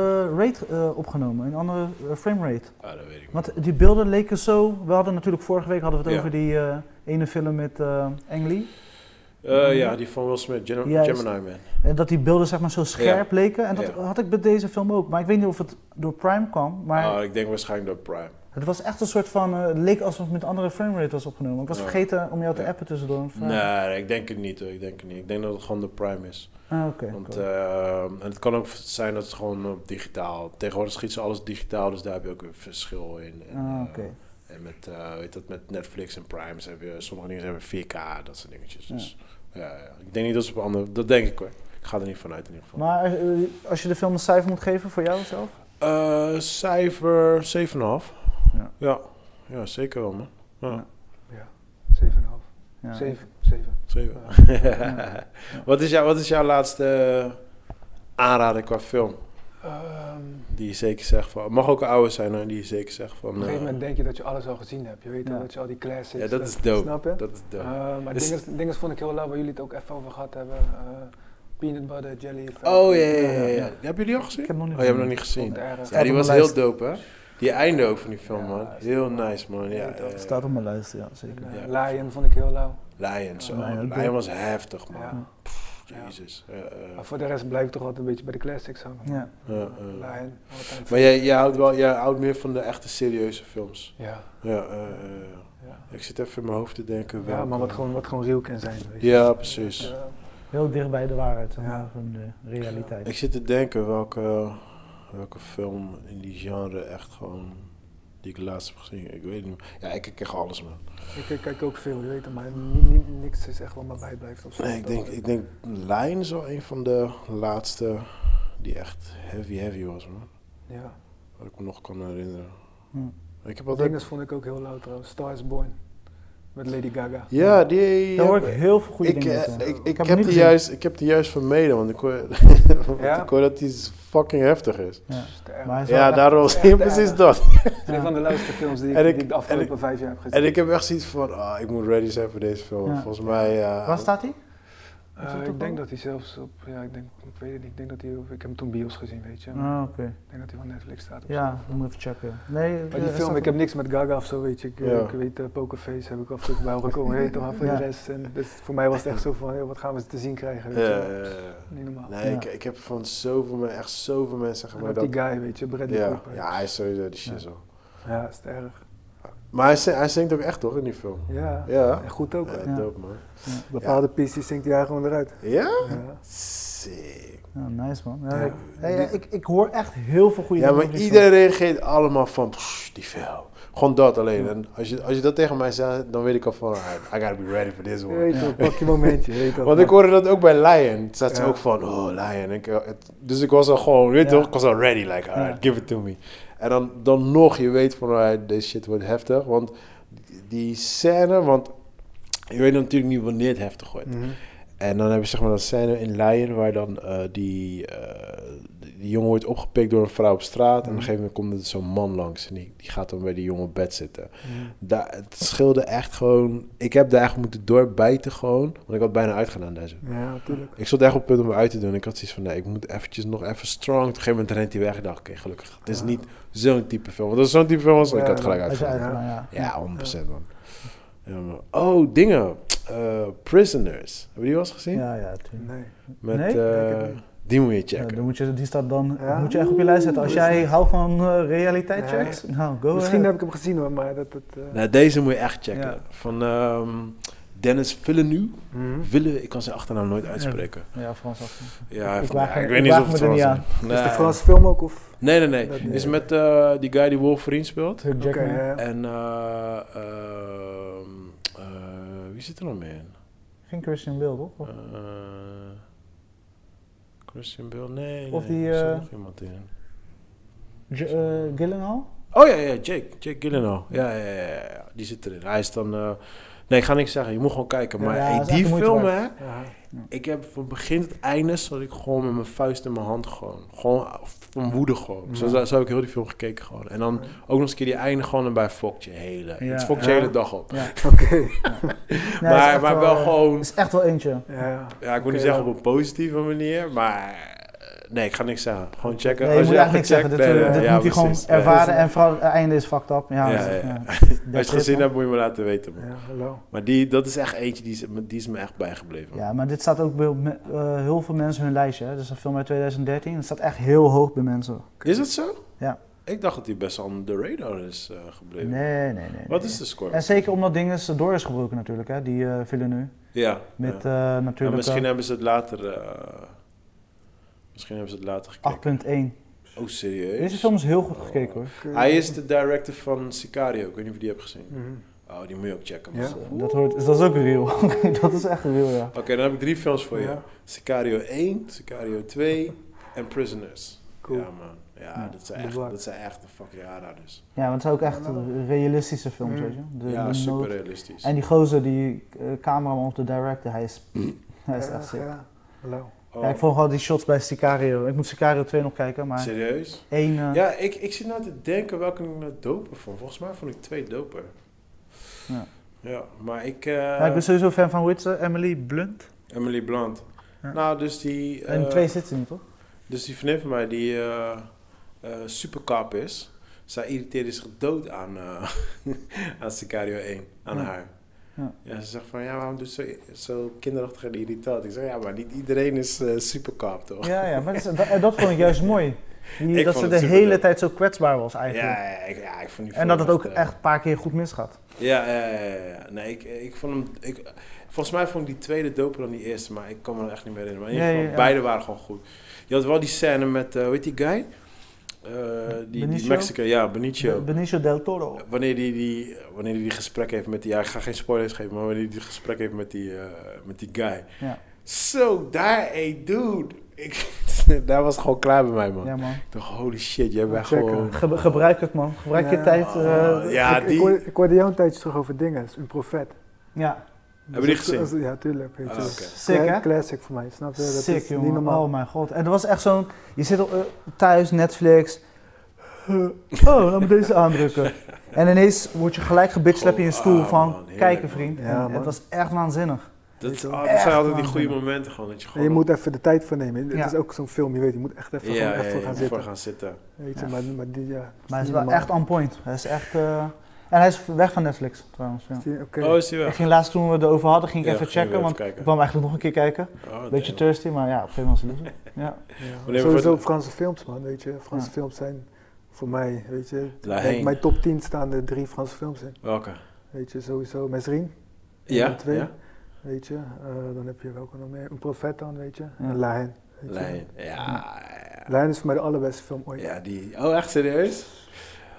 Speaker 3: rate eh, opgenomen? In een andere eh, frame rate?
Speaker 2: Ah, dat weet ik niet.
Speaker 3: Want die beelden leken zo... We hadden natuurlijk vorige week hadden we het
Speaker 2: Ja.
Speaker 3: over die eh, ene film met eh Ang Lee.
Speaker 2: Eh, ja, die van Will Smith, Gem-
Speaker 3: Juist.
Speaker 2: Gemini Man.
Speaker 3: En dat die beelden zeg maar zo scherp leken. En dat
Speaker 2: Ja.
Speaker 3: had ik bij deze film ook. Maar ik weet niet of het door Prime kwam. Maar
Speaker 2: Ah, ik denk waarschijnlijk door Prime.
Speaker 3: Het was echt een soort van, eh, het leek alsof het met een andere framerate was opgenomen. Ik was
Speaker 2: Ja.
Speaker 3: vergeten om jou te
Speaker 2: Ja.
Speaker 3: appen tussendoor. Of, eh,
Speaker 2: Nee, ik denk het niet hoor. Ik denk het niet. Ik denk dat het gewoon de Prime is.
Speaker 3: Ah, oké.
Speaker 2: Want,
Speaker 3: cool.
Speaker 2: eh, en het kan ook zijn dat het gewoon op digitaal. Tegenwoordig schiet ze alles digitaal, dus daar heb je ook weer verschil in. En,
Speaker 3: ah,
Speaker 2: eh,
Speaker 3: oké.
Speaker 2: En met, eh, weet dat, met Netflix en Primes heb je sommige dingen hebben 4K, dat soort dingetjes.
Speaker 3: Ja.
Speaker 2: Dus ja. ja. ik denk niet dat ze op andere. Dat denk ik hoor. Ik ga er niet vanuit in ieder geval.
Speaker 3: Maar eh, als je de film een cijfer moet geven voor jou zelf?
Speaker 2: Eh, cijfer 7,5. Ja.
Speaker 3: Ja.
Speaker 2: ja. zeker wel man. Ja,
Speaker 3: Ja.
Speaker 4: 7,5.
Speaker 3: Ja.
Speaker 4: 7. 7.
Speaker 2: zeven.
Speaker 3: Ja.
Speaker 2: wat, is jou, wat is jouw laatste aanrader qua film?
Speaker 4: Ehm,
Speaker 2: Die je zeker zegt van. mag ook een oude zijn hoor, die je zeker zegt van.
Speaker 4: op een gegeven
Speaker 2: eh,
Speaker 4: moment denk je dat je alles al gezien hebt. Je weet al
Speaker 3: Ja.
Speaker 4: dat je al die classics...
Speaker 2: ja, dat
Speaker 4: eh,
Speaker 2: is dope.
Speaker 4: Snap je?
Speaker 2: Dat is dope.
Speaker 3: Ah.
Speaker 4: Eh, maar
Speaker 2: Dus-
Speaker 4: dingen, dingen vond ik heel leuk waar jullie het ook even over gehad hebben. Eh, peanut butter, jelly. Eh,
Speaker 2: oh ja, ja, ja, ja.
Speaker 3: ja.
Speaker 2: Hebben jullie al gezien?
Speaker 3: Ik heb hem nog niet
Speaker 2: oh, je hebt hem nog
Speaker 3: gezien.
Speaker 2: niet gezien. Ja,
Speaker 4: Ja,
Speaker 2: die
Speaker 3: op
Speaker 2: was
Speaker 3: mijn
Speaker 2: heel
Speaker 3: lijst.
Speaker 2: dope, hè? Die einde ook van die film,
Speaker 4: Ja,
Speaker 2: man.
Speaker 4: is
Speaker 2: Heel
Speaker 4: helemaal-
Speaker 2: nice, man. Ja, Eh,
Speaker 4: Ja,
Speaker 2: ja, ja.
Speaker 3: Staat op mijn lijst, ja, zeker.
Speaker 2: Ja.
Speaker 4: Eh, Lion vond ik heel leuk.
Speaker 2: Lion, zo.
Speaker 3: Lion,
Speaker 2: Lion,
Speaker 3: dope.
Speaker 2: was heftig, man.
Speaker 4: Ja. Ja.
Speaker 2: Jezus. Ja, eh,
Speaker 4: Maar voor de rest blijf ik toch altijd een beetje bij de classics hangen.
Speaker 3: Ja.
Speaker 2: ja, eh.
Speaker 4: Lion. altijd.
Speaker 2: Maar jij, jij, houdt wel, jij houdt meer van de echte serieuze films.
Speaker 4: Ja,
Speaker 2: Ja, eh, eh,
Speaker 4: ja.
Speaker 2: ik zit even in mijn hoofd te denken.
Speaker 4: ja,
Speaker 2: welke-
Speaker 4: maar wat gewoon, wat gewoon real kan zijn. Weet je.
Speaker 2: Ja, precies.
Speaker 4: Ja.
Speaker 3: Heel dicht bij de waarheid, zeg maar,
Speaker 4: Ja.
Speaker 3: van de realiteit.
Speaker 2: Ik zit te denken welke, welke film in die genre echt gewoon. die ik laatst heb gezien. Ik weet niet. Ja, ik kijk echt alles, man.
Speaker 4: Ik, ik kijk ook veel, je weet het, maar ni- ni- niks is echt wat me bijblijft. Of zo.
Speaker 2: Nee, ik denk, ik denk Lijn is wel een van de laatste die echt heavy heavy was, man.
Speaker 4: Ja.
Speaker 2: Wat ik me nog kan herinneren.
Speaker 3: Hm.
Speaker 2: Ik heb
Speaker 4: Wat
Speaker 2: altijd...
Speaker 4: Dinges vond ik ook heel leuk trouwens. Stars Born. met Lady Gaga.
Speaker 2: Ja, die...
Speaker 3: Daar hoor ik heel veel goede
Speaker 2: ik,
Speaker 3: dingen
Speaker 2: eh,
Speaker 3: over.
Speaker 2: ik, ik,
Speaker 3: Ik heb
Speaker 2: heb
Speaker 3: hem niet
Speaker 2: die
Speaker 3: gezien.
Speaker 2: juist, ik heb die juist vermeden, want ik hoor, want
Speaker 4: Ja?
Speaker 2: ik hoor dat die fucking heftig is.
Speaker 3: Ja.
Speaker 4: Sterk.
Speaker 3: Maar hij is wel
Speaker 2: Ja,
Speaker 3: echt-
Speaker 2: daarom was
Speaker 4: echt
Speaker 2: precies
Speaker 4: erg.
Speaker 2: dat.
Speaker 4: Het is een van de leukste films die ik,
Speaker 2: En ik-
Speaker 4: die ik de afgelopen vijf jaar heb gezien.
Speaker 2: En ik heb echt zoiets van, ah, ik moet ready zijn voor deze film.
Speaker 3: Ja.
Speaker 2: Volgens mij... eh,
Speaker 3: Waar staat hij?
Speaker 4: Eh,
Speaker 3: Is het ook
Speaker 4: ik denk
Speaker 3: wel?
Speaker 4: dat hij zelfs op, ja, ik, denk, ik weet het niet, ik denk dat hij, op- ik heb hem toen bios gezien, weet je.
Speaker 3: Ah, oké.
Speaker 4: Ik denk dat hij van Netflix staat. of zo.
Speaker 3: Ja, moet even checken. Nee,
Speaker 4: Maar die
Speaker 3: eh,
Speaker 4: film,
Speaker 3: staat
Speaker 4: ik heb niks met Gaga of zo, weet je. Ik, eh,
Speaker 2: Ja.
Speaker 4: ik weet, eh, Pokerface heb ik af en toe bij horen komen, hey, toch maar voor
Speaker 3: Ja.
Speaker 4: de rest. En dus voor mij was het echt zo van, hey, wat gaan we te zien krijgen, weet
Speaker 2: Ja,
Speaker 4: je.
Speaker 2: ja, ja.
Speaker 4: Niet normaal.
Speaker 2: Nee,
Speaker 3: Ja.
Speaker 2: ik, ik heb van zoveel mensen, echt zoveel mensen
Speaker 4: En
Speaker 2: zeggen mij
Speaker 4: ook
Speaker 2: dat...
Speaker 4: die guy, weet je, Bradley
Speaker 2: Ja,
Speaker 4: Cooper.
Speaker 2: ja, hij is sowieso de shizzle.
Speaker 4: Ja, is het erg.
Speaker 2: Maar hij, zing- hij zingt ook echt toch in die film?
Speaker 4: Ja.
Speaker 2: Ja.
Speaker 4: En goed ook.
Speaker 2: Ja,
Speaker 4: hè.
Speaker 3: Ja.
Speaker 2: dope man.
Speaker 4: Bepaalde pieces zingt hij gewoon eruit.
Speaker 2: Ja?
Speaker 4: Ja.
Speaker 2: Sick.
Speaker 3: Ja, nice man. Ja,
Speaker 2: Ja.
Speaker 3: Ik, hey, ja, ik, ik hoor echt heel veel goede
Speaker 2: Ja,
Speaker 3: dingen
Speaker 2: maar
Speaker 3: over die film.
Speaker 2: iedereen reageert allemaal van, "Pff, die film. Gewoon dat alleen. En als je, als je dat tegen mij zegt, dan weet ik al van, alright, I gotta be ready for this
Speaker 4: Je
Speaker 2: one.
Speaker 4: weet
Speaker 3: Ja.
Speaker 4: toch, pak je momentje, je weet toch.
Speaker 2: Want ik hoorde dat ook bij Lion. Toen Zat ze
Speaker 4: Ja.
Speaker 2: ook van, oh Lion. Ik, eh, het- dus ik was al gewoon, weet je
Speaker 3: Ja.
Speaker 2: toch, ik was al ready. Like, alright, give it to me. En dan, dan nog, je weet van, alright, deze shit wordt heftig. Want die scène, want je weet natuurlijk niet wanneer het heftig wordt.
Speaker 4: Mhm.
Speaker 2: En dan heb je zeg maar dat scène in Lion waar dan eh, die, eh, die jongen wordt opgepikt door een vrouw op straat. En op een gegeven moment komt er dus zo'n man langs en die, die gaat dan bij die jongen op bed zitten.
Speaker 4: Mhm.
Speaker 2: Da het scheelde echt gewoon... Ik heb daar echt moeten doorbijten gewoon, want ik had bijna uitgedaan deze.
Speaker 4: Ja, natuurlijk.
Speaker 2: Ik stond echt op het punt om uit te doen. Ik had zoiets van, nee, ik moet eventjes nog even strong. Op een gegeven moment rent hij weg. Ik dacht, oké, gelukkig. Het is niet zo'n type film. Want als het zo'n type film was, ik
Speaker 4: Ja,
Speaker 2: had het gelijk
Speaker 4: dan-
Speaker 3: Als je
Speaker 2: uitgedaan.
Speaker 3: uitgaan, ja.
Speaker 2: Ja, 100% man. Ja, man. Oh, dingen. Eh, Prisoners. Hebben jullie wel eens gezien?
Speaker 3: nou Ja, ja, tuurlijk.
Speaker 4: Nee.
Speaker 2: Met,
Speaker 3: Nee?
Speaker 2: eh,
Speaker 4: Ik heb hem
Speaker 2: die moet je
Speaker 3: Ja,
Speaker 2: checken.
Speaker 3: dan moet je, die staat dan
Speaker 4: Ja.
Speaker 3: moet je echt op je lijst zetten. Als jij houdt van eh,
Speaker 4: Ja.
Speaker 3: realiteit checks, nou go
Speaker 4: Misschien heb
Speaker 3: ahead.
Speaker 4: ik hem gezien hoor, maar dat het... eh,
Speaker 2: nou, deze moet je echt checken.
Speaker 3: Ja.
Speaker 2: Van ehm, Dennis Villeneuve.
Speaker 4: mhm.
Speaker 2: Villeneuve, ik kan zijn achternaam nooit uitspreken.
Speaker 3: Ja, Frans af.
Speaker 2: Ja,
Speaker 3: Ik
Speaker 2: van-
Speaker 3: waag
Speaker 2: ja,
Speaker 3: me-
Speaker 2: ik
Speaker 3: ik
Speaker 2: weet niet
Speaker 3: waag
Speaker 2: of het
Speaker 3: me er
Speaker 2: Frans
Speaker 3: niet
Speaker 2: is.
Speaker 3: aan.
Speaker 4: Is
Speaker 2: Nee.
Speaker 4: de Franse film ook of...
Speaker 2: Nee, nee,
Speaker 4: Dat-
Speaker 2: nee. Is met eh, die guy die Wolverine speelt.
Speaker 3: Hugh
Speaker 4: Oké,
Speaker 3: Jackman.
Speaker 4: ja.
Speaker 2: En eh, ehm, eh, wie zit er nog meer in?
Speaker 3: Geen Christian Bale, toch? Of-
Speaker 2: Eh, Christian Bale? Nee.
Speaker 3: Of
Speaker 2: nee,
Speaker 3: die,
Speaker 2: Er zit
Speaker 3: eh,
Speaker 2: nog iemand in.
Speaker 3: J- eh, Gyllenhaal?
Speaker 2: Oh ja, ja, Jake. Jake Gyllenhaal. Ja, ja, ja, ja, ja. Die zit erin. Hij is dan... eh, Nee, ik ga niks zeggen. Je moet gewoon kijken. Maar
Speaker 3: Ja,
Speaker 2: hey,
Speaker 3: dat is echt
Speaker 2: die
Speaker 3: de moeite
Speaker 2: film,
Speaker 3: waard.
Speaker 2: hè.
Speaker 4: Ja.
Speaker 2: Ik heb van begin tot einde zat ik gewoon met mijn vuist in mijn hand gewoon. Gewoon eh, van woede gewoon. Zo, zo heb ik heel die film gekeken gewoon. En dan ook nog eens een keer die einde gewoon en bij fokt je hele.
Speaker 3: Ja.
Speaker 2: Het fokt je
Speaker 4: Ja.
Speaker 2: hele dag op.
Speaker 3: Ja.
Speaker 4: Oké.
Speaker 3: Nee, het is
Speaker 2: maar
Speaker 3: echt
Speaker 2: maar wel
Speaker 3: eh,
Speaker 2: gewoon...
Speaker 3: is echt wel eentje.
Speaker 4: Ja.
Speaker 2: Ja, ik wil
Speaker 4: Oké,
Speaker 2: niet zeggen
Speaker 4: dan.
Speaker 2: op een positieve manier, maar... eh, Nee, ik ga niks zeggen. Gewoon checken.
Speaker 3: Nee, je
Speaker 2: Als
Speaker 3: moet
Speaker 2: je
Speaker 3: eigenlijk niks zeggen. Dit,
Speaker 2: gecheckt
Speaker 3: eh,
Speaker 2: bent,
Speaker 3: dit
Speaker 2: ja,
Speaker 3: moet hij gewoon
Speaker 2: precies. Ja.
Speaker 3: ervaren en vooral het einde is fucked up. Ja,
Speaker 2: Ja,
Speaker 3: dat is-
Speaker 2: ja, ja.
Speaker 3: ja.
Speaker 2: Als je het gezien hebt, moet je me laten weten. Man.
Speaker 4: Ja, hallo.
Speaker 2: Maar die, dat is echt eentje, die is, die is me echt bijgebleven.
Speaker 3: Ja, maar dit staat ook bij me- eh, heel veel mensen hun lijstje. Hè. Dit is een film uit 2013. Het staat echt heel hoog bij mensen.
Speaker 2: Is dat zo?
Speaker 3: Ja.
Speaker 2: Ik dacht dat die best on the radar is eh,
Speaker 3: Nee,
Speaker 2: gebleven.
Speaker 3: nee, nee. nee.
Speaker 2: Wat is de score?
Speaker 3: En zeker omdat dingen door is gebroken natuurlijk, hè, die eh Villeneuve.
Speaker 2: Ja. ja.
Speaker 3: Met eh,
Speaker 2: Ja,
Speaker 3: natuurlijk
Speaker 2: misschien
Speaker 3: eh,
Speaker 2: hebben ze het later. eh, misschien hebben ze het later gekeken.
Speaker 3: 8.1.
Speaker 2: Oh, serieus?
Speaker 3: Deze film Ah. is heel goed gekeken hoor.
Speaker 4: Oké.
Speaker 2: Hij is de director van Sicario. Ik weet niet of je die hebt gezien.
Speaker 4: Mhm.
Speaker 2: Oh, die moet je ook checken.
Speaker 4: Ja.
Speaker 2: man.
Speaker 3: Dat, hoort, is- dat is ook real. dat is echt real, ja.
Speaker 2: Oké, dan heb ik drie films voor je:
Speaker 4: Ja.
Speaker 2: Sicario 1, Sicario 2 en Prisoners.
Speaker 4: Cool.
Speaker 2: Ja, man. Ja,
Speaker 3: Ja,
Speaker 2: dat, zijn
Speaker 4: de
Speaker 2: echt,
Speaker 4: bak.
Speaker 2: dat zijn echt de fucking aanraders.
Speaker 3: Ja, want het zijn ook echt realistische films,
Speaker 4: Mm.
Speaker 3: weet je. De
Speaker 2: Ja,
Speaker 3: nood-
Speaker 2: super realistisch.
Speaker 3: En die gozer, die eh, cameraman of de director, hij is,
Speaker 2: Mm.
Speaker 3: hij is
Speaker 4: Ja,
Speaker 3: echt sick.
Speaker 4: ja. Hallo.
Speaker 2: Oh,
Speaker 3: Ja, ik volg al die shots bij Sicario. Ik moet Sicario 2 nog kijken, maar
Speaker 2: Serieus?
Speaker 3: één... eh,
Speaker 2: Ja, ik, ik zit nou te denken welke ik nou doper vond. Volgens mij vond ik twee doper.
Speaker 3: Ja.
Speaker 2: Ja, maar ik... eh,
Speaker 3: maar ik ben sowieso fan van Witse, Emily Blunt.
Speaker 2: Emily Blunt.
Speaker 3: Ja.
Speaker 2: Nou, dus die...
Speaker 3: en
Speaker 2: eh,
Speaker 3: twee zitten ze niet, toch?
Speaker 2: Dus die vriendin van mij, die eh, eh, superkap is... Zij irriteerde zich dood aan, eh, aan Sicario 1. Aan
Speaker 3: Ja.
Speaker 2: haar.
Speaker 3: Ja.
Speaker 2: Ja. ze zegt van... Ja, waarom doet ze zo, zo kinderachtig en irritant? Ik zeg, ja, maar niet iedereen is eh superkap, toch?
Speaker 3: Ja, ja, maar dat, is- dat, dat vond ik juist mooi. Die-
Speaker 2: Ik
Speaker 3: dat ze
Speaker 2: vond
Speaker 3: de
Speaker 2: het
Speaker 3: hele
Speaker 2: superdope.
Speaker 3: tijd zo kwetsbaar was
Speaker 2: Ja,
Speaker 3: eigenlijk.
Speaker 2: ja, ik, ja, ik vond die
Speaker 3: En dat het
Speaker 2: film
Speaker 3: ook
Speaker 2: eh,
Speaker 3: echt een paar keer goed misgaat.
Speaker 2: Ja, ja, ja, ja, ja. Nee, ik, ik vond hem... Ik, volgens mij vond ik die tweede doper dan die eerste, maar ik kan me dat echt niet meer herinneren. Maar in ieder
Speaker 3: Ja,
Speaker 2: geval,
Speaker 3: ja, ja.
Speaker 2: beide waren gewoon goed. Je had wel die scène met, eh, hoe heet die guy? Eh, die, die
Speaker 3: Benicio?
Speaker 2: Mexican, ja, Benicio.
Speaker 3: Benicio del Toro.
Speaker 2: Wanneer die, die, wanneer die, die gesprek heeft met die... Ja, ik ga geen spoilers geven, maar wanneer die, die gesprek heeft met die, eh, met die guy.
Speaker 3: Ja.
Speaker 2: Zo, daar, hey, dude. Ik, daar was het gewoon klaar bij mij, man.
Speaker 3: Ja, man.
Speaker 2: Ik dacht, holy shit, jij bent
Speaker 4: Checken.
Speaker 2: gewoon...
Speaker 3: Ge- gebruik het, man. Gebruik je
Speaker 4: Ja.
Speaker 3: tijd. eh,
Speaker 2: Ah, ja,
Speaker 4: ik, ik,
Speaker 2: die...
Speaker 4: hoorde, ik hoorde jou een tijdje terug over dingen, een profet.
Speaker 3: Ja,
Speaker 2: Hebben die
Speaker 4: als-
Speaker 2: gezien?
Speaker 4: als- Ja, tuurlijk. Weet je.
Speaker 2: Ah,
Speaker 4: Dat
Speaker 2: oké. eh,
Speaker 4: is
Speaker 3: Sick,
Speaker 4: cla-
Speaker 3: hè?
Speaker 4: Classic voor mij, snap je? Dat
Speaker 3: sick
Speaker 4: is
Speaker 3: jongen.
Speaker 4: niet normaal.
Speaker 3: Oh mijn god. En dat was echt zo'n, je zit op, eh, thuis, Netflix. Eh, oh, laat me deze aandrukken. En ineens word je gelijk gebitchlap in je stoel
Speaker 2: Oh,
Speaker 3: van,
Speaker 2: man, heerlijk,
Speaker 3: kijken
Speaker 2: man.
Speaker 3: vriend.
Speaker 4: Ja,
Speaker 3: En
Speaker 4: man.
Speaker 3: het was echt waanzinnig.
Speaker 2: Dat,
Speaker 4: Weet je
Speaker 2: ah,
Speaker 4: wel.
Speaker 2: dat zijn
Speaker 3: Echt
Speaker 2: altijd die goede
Speaker 3: waanzinnig.
Speaker 2: momenten gewoon. Dat je
Speaker 4: En
Speaker 2: gewoon
Speaker 4: je moet even de tijd voor nemen. Het
Speaker 3: Ja.
Speaker 4: is ook zo'n film, je weet, je moet echt even,
Speaker 2: ja,
Speaker 4: gewoon
Speaker 2: ja,
Speaker 4: echt voor
Speaker 2: ja,
Speaker 4: gaan
Speaker 2: voor
Speaker 4: zitten.
Speaker 2: gaan zitten.
Speaker 4: Weet je,
Speaker 3: Ja.
Speaker 4: maar, maar die, ja.
Speaker 3: Maar hij is
Speaker 4: niet
Speaker 3: wel
Speaker 4: normaal.
Speaker 3: echt on point. Hij is echt, eh, en hij is weg van Netflix trouwens. Ja.
Speaker 4: Is die- Oké.
Speaker 2: Oh, is die
Speaker 3: Ik
Speaker 2: weg?
Speaker 3: ging laatst toen we het erover hadden, ging ik
Speaker 2: Ja,
Speaker 3: even
Speaker 2: gingen we
Speaker 3: checken, want ik
Speaker 2: kijken.
Speaker 3: kwam eigenlijk nog een keer kijken.
Speaker 2: Oh,
Speaker 3: Beetje
Speaker 2: damn.
Speaker 3: thirsty, maar ja, op een gegeven moment was het. Ja.
Speaker 4: Ja,
Speaker 2: Wanneer we
Speaker 4: Sowieso
Speaker 2: voor-
Speaker 4: Franse films, man, weet je. Franse
Speaker 3: Ja.
Speaker 4: films zijn voor mij, weet je. Ik
Speaker 2: Daarheen.
Speaker 4: denk mijn top 10 staan er drie Franse films in.
Speaker 2: Welke?
Speaker 4: Weet je, sowieso Mesrin,
Speaker 2: Ja,
Speaker 4: en twee.
Speaker 2: ja.
Speaker 4: weet je. Eh, dan heb je welke nog meer? Een profet dan, weet je.
Speaker 3: Ja.
Speaker 4: En Lahen. weet je.
Speaker 2: Lijn. Ja, ja.
Speaker 4: Lahen is voor mij de allerbeste film ooit.
Speaker 2: Ja, die. Oh, echt serieus?